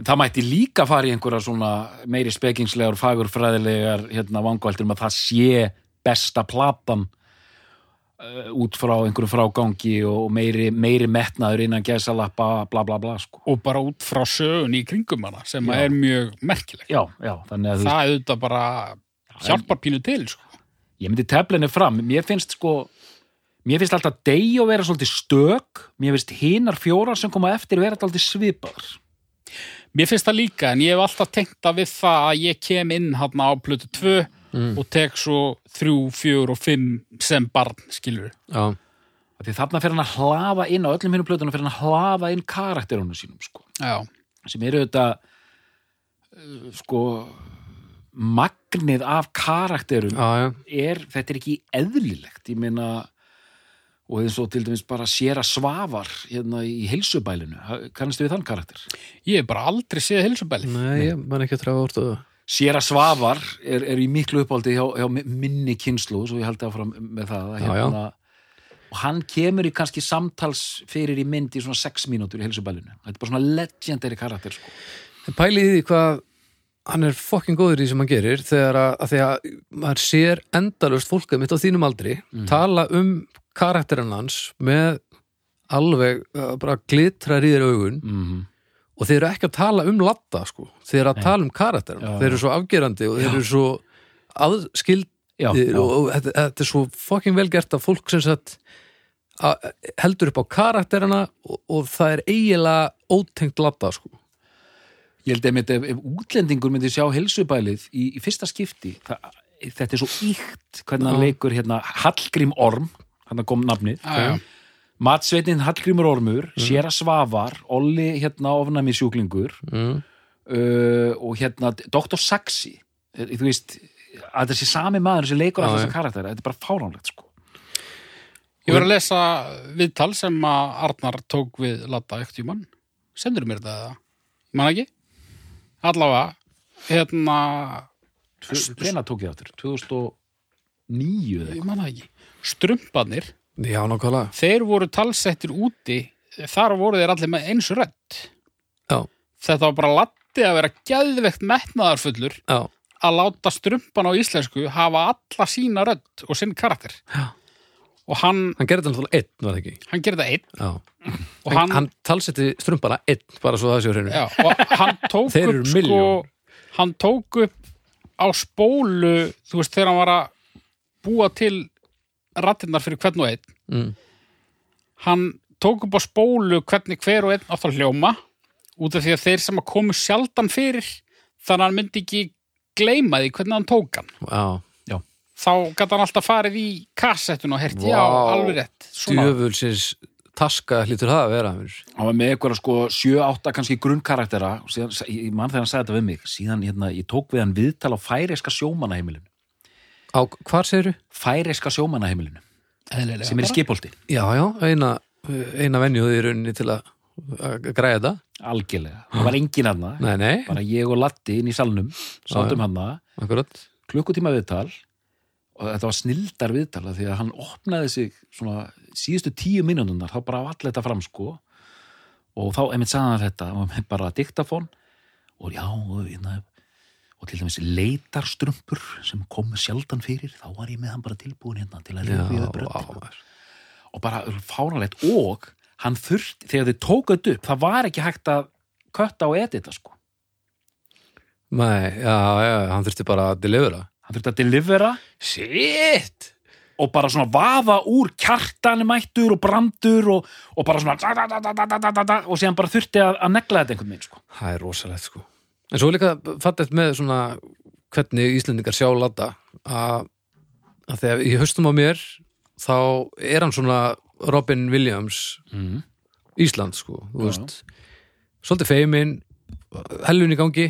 S3: En það mætti líka fara í einhverja svona meiri spekingslegar, fagurfræðilegar hérna vangvæltir um að það sé besta platan uh, út frá einhverjum frágangi og meiri, meiri metnaður innan gæsalappa, bla bla bla, sko.
S2: Og bara út frá sögun í kringum hana sem
S3: Já.
S2: er mjög merkileg
S3: Já, já, þannig að þú
S2: Það auðvitað bara hjálpar pínu til sko.
S3: ég myndi tefla henni fram mér finnst sko mér finnst alltaf Dejo vera svolítið stök mér finnst hinar fjórar sem koma eftir vera alltaf svipaðar
S2: Mér finnst það líka en ég hef alltaf tengt það við það að ég kem inn hann á plötu 2 og tek svo 3, 4 og 5 sem barn skilur
S1: já,
S3: Af því þarna fyrir hann að hlafa inn á öllum hinnum plötunum fyrir hann að hlafa inn karakterunum sínum sko.
S2: Já,
S3: sem eru þetta uh, sko magnið af karakterum
S1: já, já.
S3: er, þetta er ekki eðlilegt ég meina og eins og til dæmis bara séra svavar hérna í heilsubælinu kannastu við þann karakter?
S2: ég hef bara aldrei séð hilsubæli
S1: Nei, ég man ekki að trafa orðu
S3: Sera Svavar er, er í miklu uppáldi hjá, hjá minni kynslu svo ég held áfram með það að
S1: Já, já.
S3: og hann kemur í kannski samtals fyrir í mynd í svona 6 mínútur í helsubælinu þetta er bara svona legendary karakter sko.
S1: En pælið í því hvað hann er fokkin góður í því sem hann gerir þegar að, að því að maður sér endalust fólkið mitt á þínum aldri
S3: Mhm.
S1: tala um karakterinn hans með alveg uh, bara glitrar í þér augun
S3: mm -hmm.
S1: og þeir eru ekki að tala um latta sko. þeir eru að tala um karakterinn
S3: Já,
S1: þeir eru svo afgerandi og þeir eru svo aðskildir
S3: já,
S1: Eh, og, og þetta, þetta er svo fokkin vel gert að fólk sem sagt að- heldur upp á karakterina og, og það er eiginlega ótengt latta sko.
S3: ég held einmitt ef, ef útlendingur myndi sjá helsubælið í, í fyrsta skipti það, þetta er svo íkt hvernig hann leikur hérna Hallgrím Orm hann kom nafnið
S2: Já, já.
S3: Matsveitin Hallgrímur Ormur,
S1: Mhm.
S3: mm. Sera Svavar, Olli hérna ofnami sjúklingur
S1: Mm.
S3: uh, og hérna Dr. Saxi, eh, þú veist, að þessi sami maður sem leikur
S1: Já,
S3: að
S1: já.
S3: þessa karakteri, þetta er bara fáránlegt sko.
S2: Ég var að lesa viðtal sem að Arnar tók við Latta ekkert í mann. Sendur mér þetta eða? Ég Man ekki? Allavega, hérna,
S3: Hvena tók ég áttur? 2009 eða
S2: ég man það ekki. Strumpanir,
S1: Já, nákvæmlega
S2: þeir voru talsettir úti, þar voru þeir allir með eins rödd.
S1: Já,
S2: Þetta var bara Latti að vera geðveikt metnaðarfullur
S1: já,
S2: að láta strumpan á íslensku hafa alla sína rödd og sinn karakter.
S1: Já.
S2: Og hann,
S1: hann gerði þetta náttúrulega einn, var það ekki
S2: hann gerði það einn
S1: Já,
S2: og
S1: hann,
S2: hann,
S1: hann, talsetti strumpana einn, bara svo það séu hreinu
S2: Já, og hann tók
S1: Þeir eru
S2: upp sko,
S1: milljón.
S2: hann tók upp á spólu, þú veist, þegar hann var að búa til rattinnar fyrir hvern og einn
S1: mm.
S2: hann tók upp á spólu hvernig hver og einn átt að hljóma út af því að þeir sem að komu sjaldan fyrir þannig að hann myndi ekki gleyma því hvernig hann tók hann
S1: Já,
S2: þá gæti hann alltaf farið í kassettun og herti,
S1: Vá.
S2: já, alveg rétt svona,
S1: djöfulsins taska hlýtur það að vera mér.
S3: hann var með eitthvað sko 7-8 kannski grunnkaraktera og síðan, ég man þegar hann sagði þetta við mig síðan hérna, ég tók við hann viðtal á færeska sjómanaheimilinu
S1: Á, hvar segirðu?
S3: færeska sjómanaheimilinu
S2: eðlilega
S3: sem er í
S2: bara.
S3: skipolti
S1: Já, já, eina, eina venjuð í rauninni til að að græja þetta
S3: algjörlega, það var engin aðna
S1: Nei, nei,
S3: bara ég og Latti inn í salnum sátum hann
S1: akkurat
S3: klukkutíma viðtal og þetta var snildar viðtal af því að hann opnaði sig svona síðustu tíu mínúndunar þá bara var allir þetta fram sko og þá einmitt sagði hann þetta og með bara diktafón og já og, hérna, og til dæmis leitarstrumpur sem komu sjaldan fyrir þá var ég með hann bara tilbúin hérna til að
S1: Já,
S3: rifja upp
S1: á,
S3: röddina og bara fáralegt og hann þurft, þegar þið tók þetta upp það var ekki hægt að kötta og edita sko.
S1: Nei, já, já, hann þurfti bara að delivera
S3: hann þurfti að delivera
S1: Shit!
S3: og bara svona vaða úr kjartan mættur og brandur og, og bara svona da, da, da, da, da, da, da, da, da, og síðan bara þurfti að, að negla þetta einhvern veginn sko.
S1: Það er rosalegt sko En svo er líka fattið með svona hvernig Íslendingar sjá ladda að, að þegar í haustum á mér þá er hann svona Robin Williams
S3: mm.
S1: Ísland sko, þú
S3: Já,
S1: veist svolítið feimin, hellun í gangi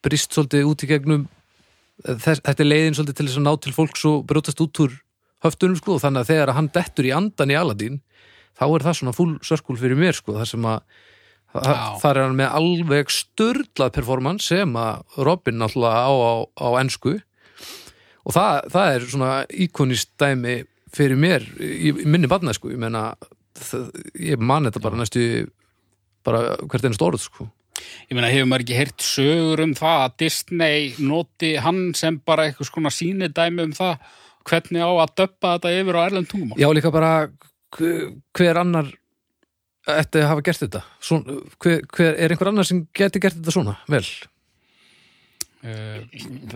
S1: brist svolítið út í gegnum eh, þess, þetta er leiðin svolítið til þess að ná til fólks og brjótast út úr höftunum sko, og þannig að þegar hann dettur í andan í Aladín þá er það svona full circle fyrir mér sko, þar sem að
S2: Já.
S1: þar er hann með alveg störlað performance sem að Robin náttúrulega á, á, á ensku og það, það er svona íkonist dæmi fyrir mér í í minni barna sko, ég meina það, ég man þetta bara næstu bara hvert einn stórð sko
S2: Ég meina, hefur maður ekki heyrt sögur um það að Disney noti hann sem bara eitthvað skona sýnidæmi um það hvernig á að döppa þetta yfir á erlend tungumál?
S1: Já, líka bara hver, hver annar ætti að hafa gert þetta svona, hver, hver, er einhver annar sem geti gert þetta svona vel,
S2: Uh,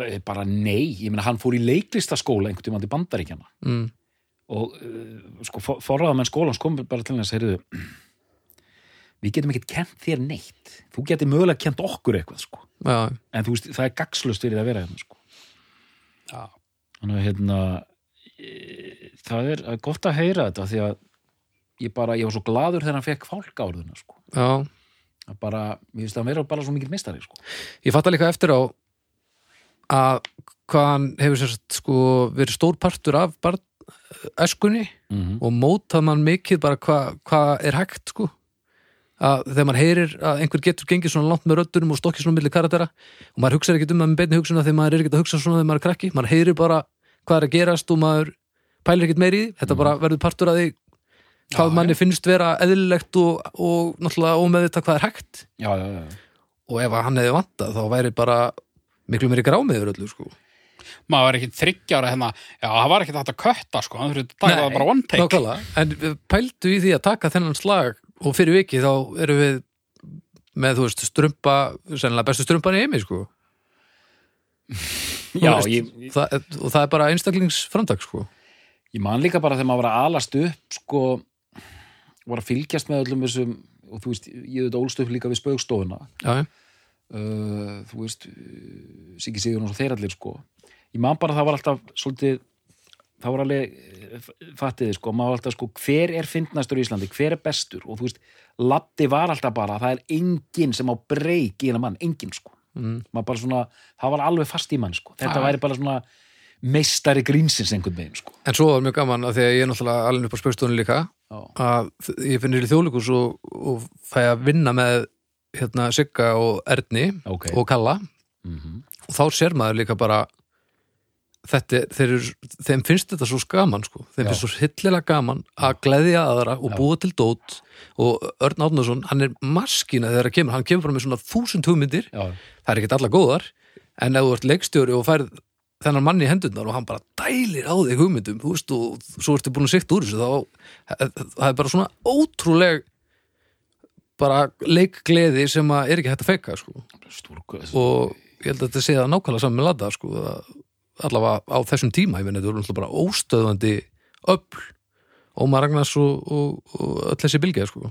S1: Eh,
S3: bara nei, ég meina hann fór í leiklistaskóla einhvern tímann til bandaríkjana
S1: mm,
S3: og uh, sko, for, forraðamenn skólans kom bara til þess, heyrðu við getum ekkert kent þér neitt þú getur mögulega kent okkur eitthvað sko.
S1: já,
S3: en þú veist, það er gagslust fyrir það að vera hérna sko.
S2: já.
S3: þannig að hérna e, það er það er gott að heyra þetta því að ég bara, ég var svo gladur þegar hann fekk fálkaorðuna sko.
S1: já
S3: að bara, ég veist að hann vera bara svo mikil mistari sko.
S1: ég fatta líka eftir á að hvað hann hefur sérst sko verið stór partur af barn, eskunni
S3: mm -hmm.
S1: og mótað mann mikið bara hvað hva er hægt sko að þegar maður heyrir að einhver getur gengið svona langt með röddunum og stokkið svona milli karatera og maður hugsar ekkert um það með beinni hugsun þegar maður er ekkert að hugsa svona þegar maður er krakki maður heyrir bara hvað er að gerast og maður pælir ekkert meiri í því þetta bara verður partur að því hvað
S2: Mm. Já,
S1: manni finnst vera eðlilegt og, og náttúrulega ómeð þetta hvað er hægt
S3: já, já, já,
S1: og ef að hann hefði vantað þá væri bara miklu meiri grámiður öllu sko
S2: Eh, Maður var ekki þryggja ára hérna, já, það var ekki þetta að kötta, sko, hann þurfti að taka
S1: Nei,
S2: það bara one take.
S1: Nákvæmlega, en við pældu í því að taka þennan slag og fyrir vikið þá erum við með, þú veist, strumpa sennilega bestu strumpan í heimi, sko Þú
S3: já
S1: veist,
S3: ég, ég,
S1: það, og það er bara einstaklingsframtak, sko
S3: ég man líka bara þegar maður var að alast upp sko, var að fylgjast með öllum þessum og þú veist, ég auðvitað ólst upp líka við spaugstofuna
S1: Já, já.
S3: uh, þú veist uh, Siggi Sigurinn og þeir allir sko ég man bara að það var alltaf svolítið það var alveg eh, f- fattið þið, sko, maður var alltaf sko hver er fyndnastur í Íslandi, hver er bestur og þú veist, Latti var alltaf bara það er enginn sem á breyk í hennar mann enginn sko,
S1: Mm.
S3: maður bara svona það var alveg fast í mann sko, þetta
S2: Já.
S3: væri bara svona meistari grínsins einhvern veginn sko
S1: En svo var mjög gaman að því að ég er náttúrulega alveg upp á spaustofunni líka
S3: Já.
S1: að ég finnir í þjóðleikus og, og fæ að vinna með hérna Sigga og Erni
S3: ok,
S1: og Kalla
S3: mm
S1: og þá sér maður líka bara þetta, þeir, eru- þeim finnst þetta svo gaman sko, þeim
S3: Já.
S1: finnst svo hillilega gaman að gleðja aðra og
S3: Já.
S1: búa til dót og Örn Átnason, hann er maskina þegar hann kemur, hann kemur bara með svona þúsund hugmyndir,
S3: já,
S1: það er ekkert alla góðar en ef þú ert leikstjóri og færð þennan mann í hendurnar og hann bara dælir á þig hugmyndum, þú veist, og svo ertu búin að sikta úr þessu, þá eh, það er bara svona ótrúleg bara leikgleði sem að er ekki hægt að feika sko
S3: stúrku
S1: og ég held að þetta sé það nákvæmlega saman með Lada sko, að allavega á þessum tíma ég menn þetta voru náttúrulega bara óstöðandi öll Ómar Ragnars og, og, og öll þessi bylgja sko.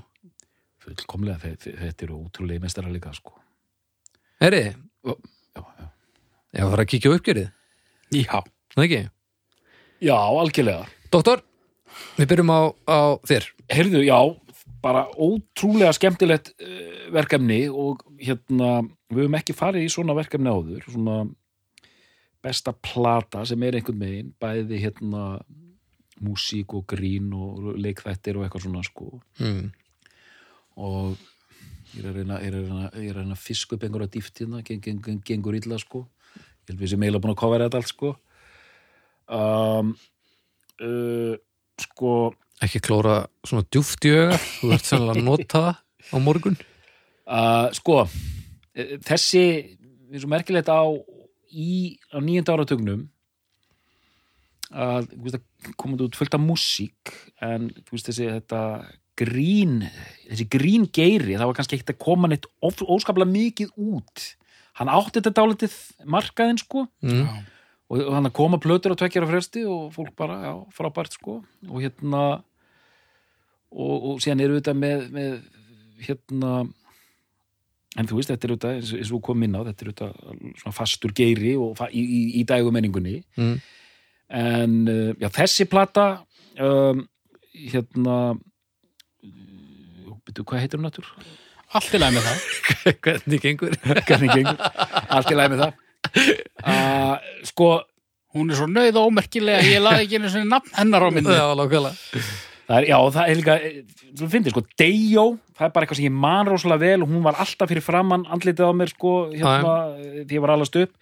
S3: fullkomlega, þe- þe- þetta eru ótrúlega meistara líka sko
S1: Heri,
S3: já, já.
S1: ég var að kíkja á uppgerið
S2: Já.
S1: Nei ekki,
S3: já, algjörlega
S1: doktor við byrjum á, á þér
S3: Heyrðu, já, bara ótrúlega skemmtilegt uh, verkefni og hérna, við höfum ekki farið í svona verkefni áður, svona besta plata sem er einhvern veginn, bæði hérna músík og grín og leikþættir og eitthvað svona sko
S1: mm.
S3: og ég er að reyna, ég er að reyna, ég er að reyna að fiska upp einhverja dýft hérna, geng, geng, geng, gengur illa sko ég held við sem eiginlega búin að kofara þetta allt sko um, uh, sko
S1: ekki klóra svona djúft í auga þú ert sannlega að nota það á morgun
S3: Uh, sko, eh, þessi er svo merkilegt á í, á nýjönda áratugnum að þú veist, það komandi út fullt af músík en þú veist, þessi þetta grín þessi grín geiri, það var kannski ekkert að koma neitt of- óskaplega mikið út hann átti þetta dálítið markaðin sko
S1: mm.
S2: Já.
S3: og, og hann að koma plötur á tveggjara fresti og fólk bara, já, frábært sko og hérna og, og síðan eru þetta með, með hérna en þú veist, þetta er auðvitað, eins, eins og kom inn á þetta er auðvitað svona fastur geiri og fa í, í, í dægumenningunni
S1: Mm.
S3: en uh, já, þessi plata um, hérna Býtu, hvað heitir hún náttúr?
S2: Allt í lagi með það.
S1: hvernig gengur
S3: Hvernig gengur? Allt í lagi með það. Uh, sko,
S2: Hún er svo nöð og ómerkilega, ég laði ekki einu svona nafn hennar á myndi.
S1: já, lókala
S3: Það er, já, það er líka, þú finnir sko, Dejo, það er bara eitthvað sem ég man rosalega vel og hún var alltaf fyrir framann andlitið á mér sko, hérna, því ég var allast upp.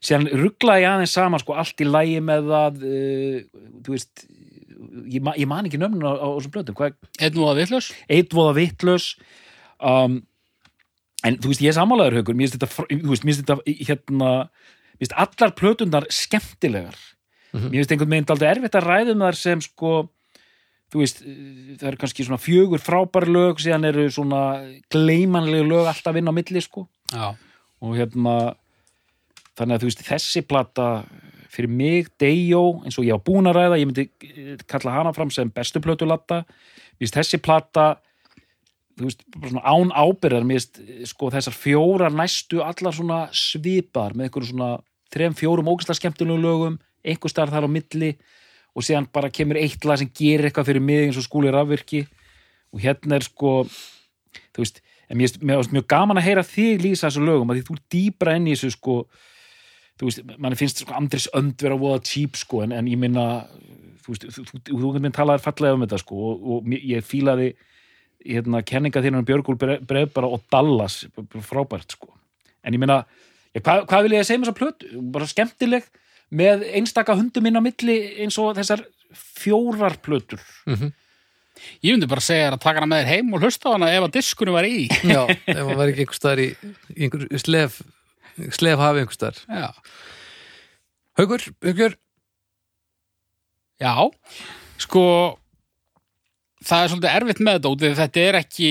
S3: Síðan rugglaði ég aðeins saman sko, allt í lægi með það, uh, þú veist, ég, ma ég man ekki nöfnum á, á þessum blöndum, hvað er
S2: Einn og að vitlaus.
S3: eitvoða vittlaus, um, en þú veist, ég er sammálaður haukur, mér finnst þetta, fr- þú veist, mér finnst þetta, hérna, mér finnst allar plötundar skemmtilegar mér finnst einhvern veginn aldrei erfitt að ræða um þar sem sko þú veist, eh, það eru kannski svona fjögur frábær lög, síðan eru svona gleimanlegu lög alltaf inn á milli sko
S2: Já.
S3: og hérna þannig að þú veist, þessi plata fyrir mig, Dejo, eins og ég á búin að ræða ég myndi eh, kalla hana fram sem bestu plötu latta, mér finnst þessi plata þú veist, bara svona án ábyrðar, mér finnst eh, sko þessar fjórar næstu allar svona svipar með einhverjum svona þrem, fjórum ógæsla skemmtilegum lögum, einhver starf þar á milli og síðan bara kemur eitt lag sem gerir eitthvað fyrir mig eins og skúli rafvirki og hérna er sko þú veist, en mér finnst- mér finnst mjög gaman að heyra þig lýsa þessu lögum, að því þú er dýbra inn í þessu sko þú veist, mann finnst sko Andris önd vera voða típ sko, en, en ég minna þú veist, þú, þú, þú, þú minn talaðir fallega um þetta sko, og, og mér- ég fílaði hérna, kenninga þínu um Björgúl breið bara og Dallas, b- b- frábært sko. en ég meina, ég, hvað, hvað vil ég að segja með þessa plötu? Bara skemmtileg með einstaka hundum inn á milli eins og þessar fjórar plötur
S2: Ég myndi bara segja þér að taka hana með þér heim og hlusta á hana ef að diskunum var í.
S1: já, ef maður var ekki einhver staðar í, í einhver slef slef hafi einhver staðar
S2: Já.
S1: Haukur, Haukur,
S2: Já. Sko, það er svolítið erfitt með þetta út því að þetta er ekki,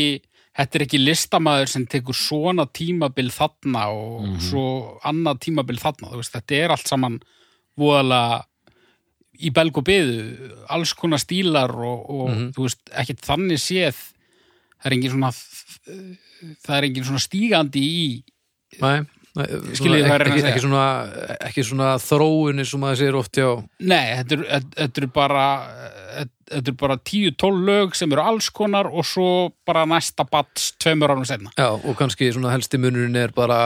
S2: þetta er ekki listamaður sem tekur svona tímabil þarna og svo annað tímabil þarna. Þú veist, þetta er allt saman voðalega í belg og byðu, alls konar stílar og, og þú veist, ekkert þannig séð það er engin svona það er engin svona stígandi í
S1: Nei, nei,
S2: Skiljið
S1: svona,
S2: hvað er að
S1: ekki,
S2: segja.
S1: ekki, svona, ekki svona þróun eins og maður segir oft já,
S2: Nei, þetta eru- þetta- þetta eru bara þetta eru bara 10-12 lög sem eru alls konar og svo bara næsta bats tveimur árum senna.
S1: já og kannski svona helsti munurinn er bara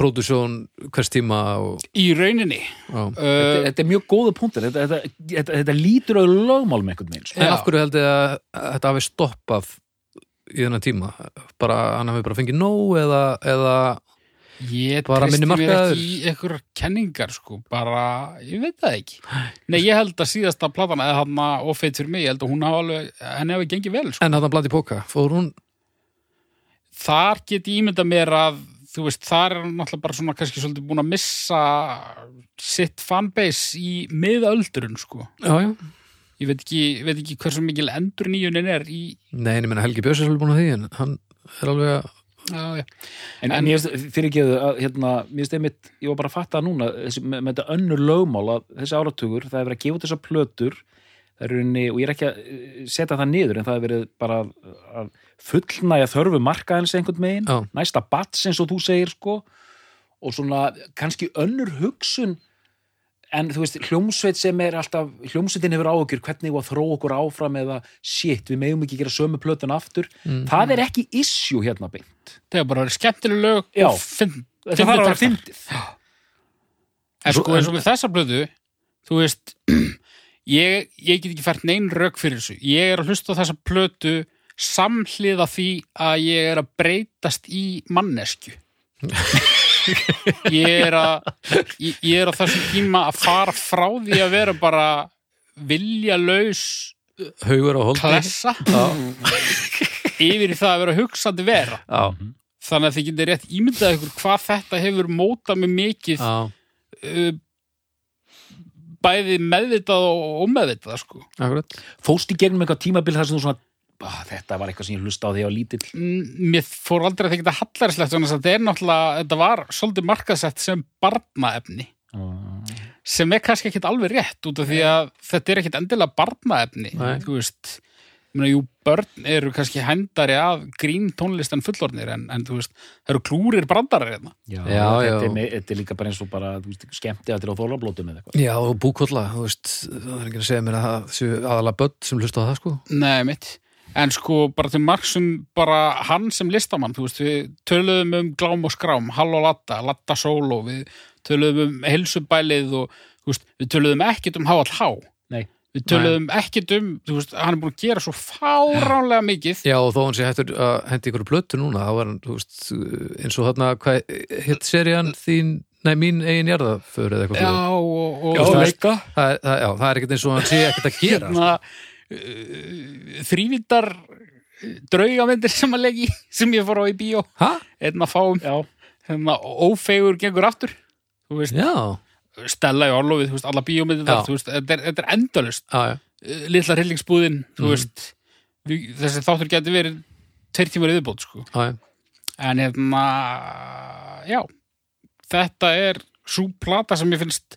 S1: pródusjón hvers tíma og,
S2: Í rauninni.
S1: já.
S3: þetta,
S2: Uh,
S3: þetta er mjög góða punktur þetta, þetta, þetta, þetta lítur á lögmálum einhvern veginn sko.
S1: En
S2: Já.
S1: af hverju heldur þið að að þetta hafi stoppað í þennan tíma bara, hann hafi bara fengið nóg eða, eða
S2: ég
S1: bara
S2: treysti
S1: minni
S2: mér
S1: markaður.
S2: ekki í einhverjar kenningar sko, bara, ég veit það ekki. Nei, ég held að síðasta platana eða hann að ofeit fyrir mig, ég held að hún hafa alveg, henni hafi gengið vel sko.
S1: en hann blandi póka, fór hún
S2: Þar get ég ímynda mér að þú veist, þar er hann náttúrulega bara svona kannski svolítið búin að missa sitt fanbase í miðöldurinn sko.
S1: já, já.
S2: ég veit ekki, ég veit ekki hversu mikil endur nýjunin er í
S1: Nei, en ég meina Helgi Björs er svolítið búin að því en hann er alveg að
S2: já, já.
S3: en, en mér finnst- fyrirgeðu að hérna, mér finnst einmitt, ég var bara að fatta það núna þessi, með, með þetta önnur lögmál að þessi áratugur, það er verið að gefa út þessar plötur það er runni, og ég er ekki að eh, setja það niður, en það er verið bara að, að fullnæja þörfu markaðins einhvern megin,
S1: Já.
S3: næsta bats eins og þú segir sko, og svona kannski önnur hugsun en þú veist, hljómsveit sem er alltaf hljómsveitin hefur áhugjur, hvernig var að þróa okkur áfram eða shit, við megum ekki gera sömu plötun aftur, það er ekki issue hérna beint
S2: það er bara verið skemmtileg lög
S3: Já.
S2: og finn,
S3: Þetta þarf að vera
S2: finn
S3: fyndið.
S2: en sko eins og með þessa blöðu þú veist ég, ég get ekki fært neinn rauk fyrir þessu ég er að hlusta á þessa blöðu samhliða því að ég er að breytast í mannesku ég er að ég, ég er á þessum tíma að fara frá því að vera bara viljalaus
S1: haugur á holdi
S2: klessa yfir í það að vera hugsandi vera
S1: já,
S2: þannig að þið getið rétt ímyndað ykkur hvað þetta hefur mótað mig mikið
S1: já,
S2: uh, bæði meðvitað og sko. ómeðvitað sko.
S1: akkurat
S3: fóst í gegnum eitthvað tímabil þar sem þú svona
S4: ah, þetta var eitthvað sem ég hlusta á því á lítill
S2: Mm, Mér fór aldrei að þykja hallarslegt þannig að þetta er náttúrulega, þetta var svolítið markaðsett sem barnaefni
S4: Ah.
S2: sem er kannski ekkit alveg rétt út af því að þetta er ekkit endilega barnaefni
S1: Nei.
S2: þú veist ég meina, jú, börn eru kannski hændari af grín tónlist en fullornir en, en þú veist, það eru klúrir brandarar hérna.
S4: Já,
S1: Já, já.
S4: Þetta, er, me- þetta er líka bara eins og bara þú veist, skemmti að til á þólablótum eða eitthvað
S1: Já, og búkolla, þú veist, það er ekki að segja mér að það séu aðalega börn sem hlusta á það, sko.
S2: Nei, mitt. En sko, bara til marksum, bara hann sem listamann, þú veist, við töluðum um glám og skrám, hall og latta, latta solo, við töluðum um heilsubælið og, þú veist, við töluðum ekkit um háall há.
S4: Nei.
S2: Við töluðum ekkit um, þú veist, hann er búin að gera svo fáránlega mikið.
S1: Já, og þó hann sé hættur að hendi ykkur plötu núna, þá var hann, þú veist, eins og þarna, hvað, hitt serían þín, nei, mín eigin jarðaför eða eitthvað.
S2: Já,
S1: svoleiðis.
S2: og, og
S1: Já,
S2: þú veist,
S4: leika
S1: Það, er- það, já, það er ekkert eins og hann sé ekkert að gera. sko.
S2: hérna, uh, þrývindar draugavendir sem að leggi, sem ég fór á í bíó,
S1: Hæ?
S2: einn að fáum,
S4: Já,
S2: hérna, ófegur gengur aftur, þú veist,
S1: Já,
S2: Stella í orlofið, þú veist, alla bíómyndir þar,
S1: Já.
S2: þú veist, þetta er, þetta er endalust
S1: já, já.
S2: litla hryllingsbúðin,
S1: Mm.
S2: þú veist við, þessi þáttur getur verið tveir tímar yfirbót, sko
S1: já, já.
S2: en hérna, já þetta er svo plata sem ég finnst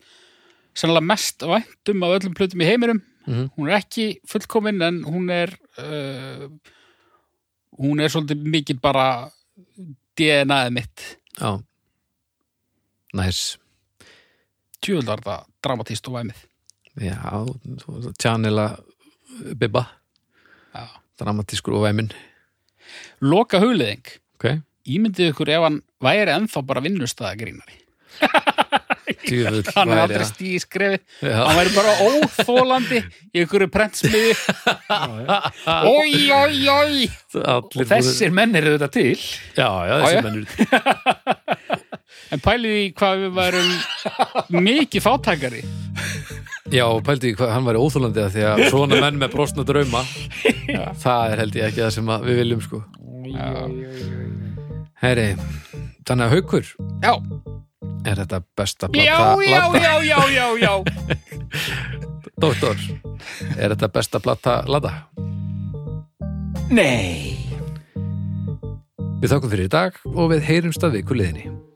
S2: sannlega mest væntum af öllum plötum í heiminum
S1: Mhm.
S2: hún er ekki fullkomin en hún er uh, hún er svolítið mikið bara DNA-ið mitt
S1: Já Næs
S2: tjöldar það dramatíst og væmið
S1: Já, tjánila Bibba
S2: Já.
S1: Dramatískur og væminn
S2: loka hugleðing
S1: okay.
S2: ímyndið ykkur ef hann væri ennþá bara vinnustæðagrínari
S1: Djöfull
S2: hann er
S1: væri
S2: aldrei
S1: það.
S2: stíð í skrefið
S1: Já,
S2: hann væri bara óþólandi í ykkur prentsmiði oi, oi, oi
S1: allir
S4: Þessir menn eru þetta til
S1: Já, já,
S2: Já, já.
S1: þessir mennur
S2: en pælið í hvað við værum mikið fátækari
S1: Já, og pældi ég hvað hann væri óþólandið því að svona menn með brosna drauma það er held ég ekki það sem að við viljum sko Herri, þannig að haukur
S2: já,
S1: er þetta besta
S2: já,
S1: blata
S2: já, já, já, já, já
S1: Dóttor, er þetta besta blata lata?
S4: Nei
S1: Við þakkum fyrir í dag og við heyrumst að viku liðinni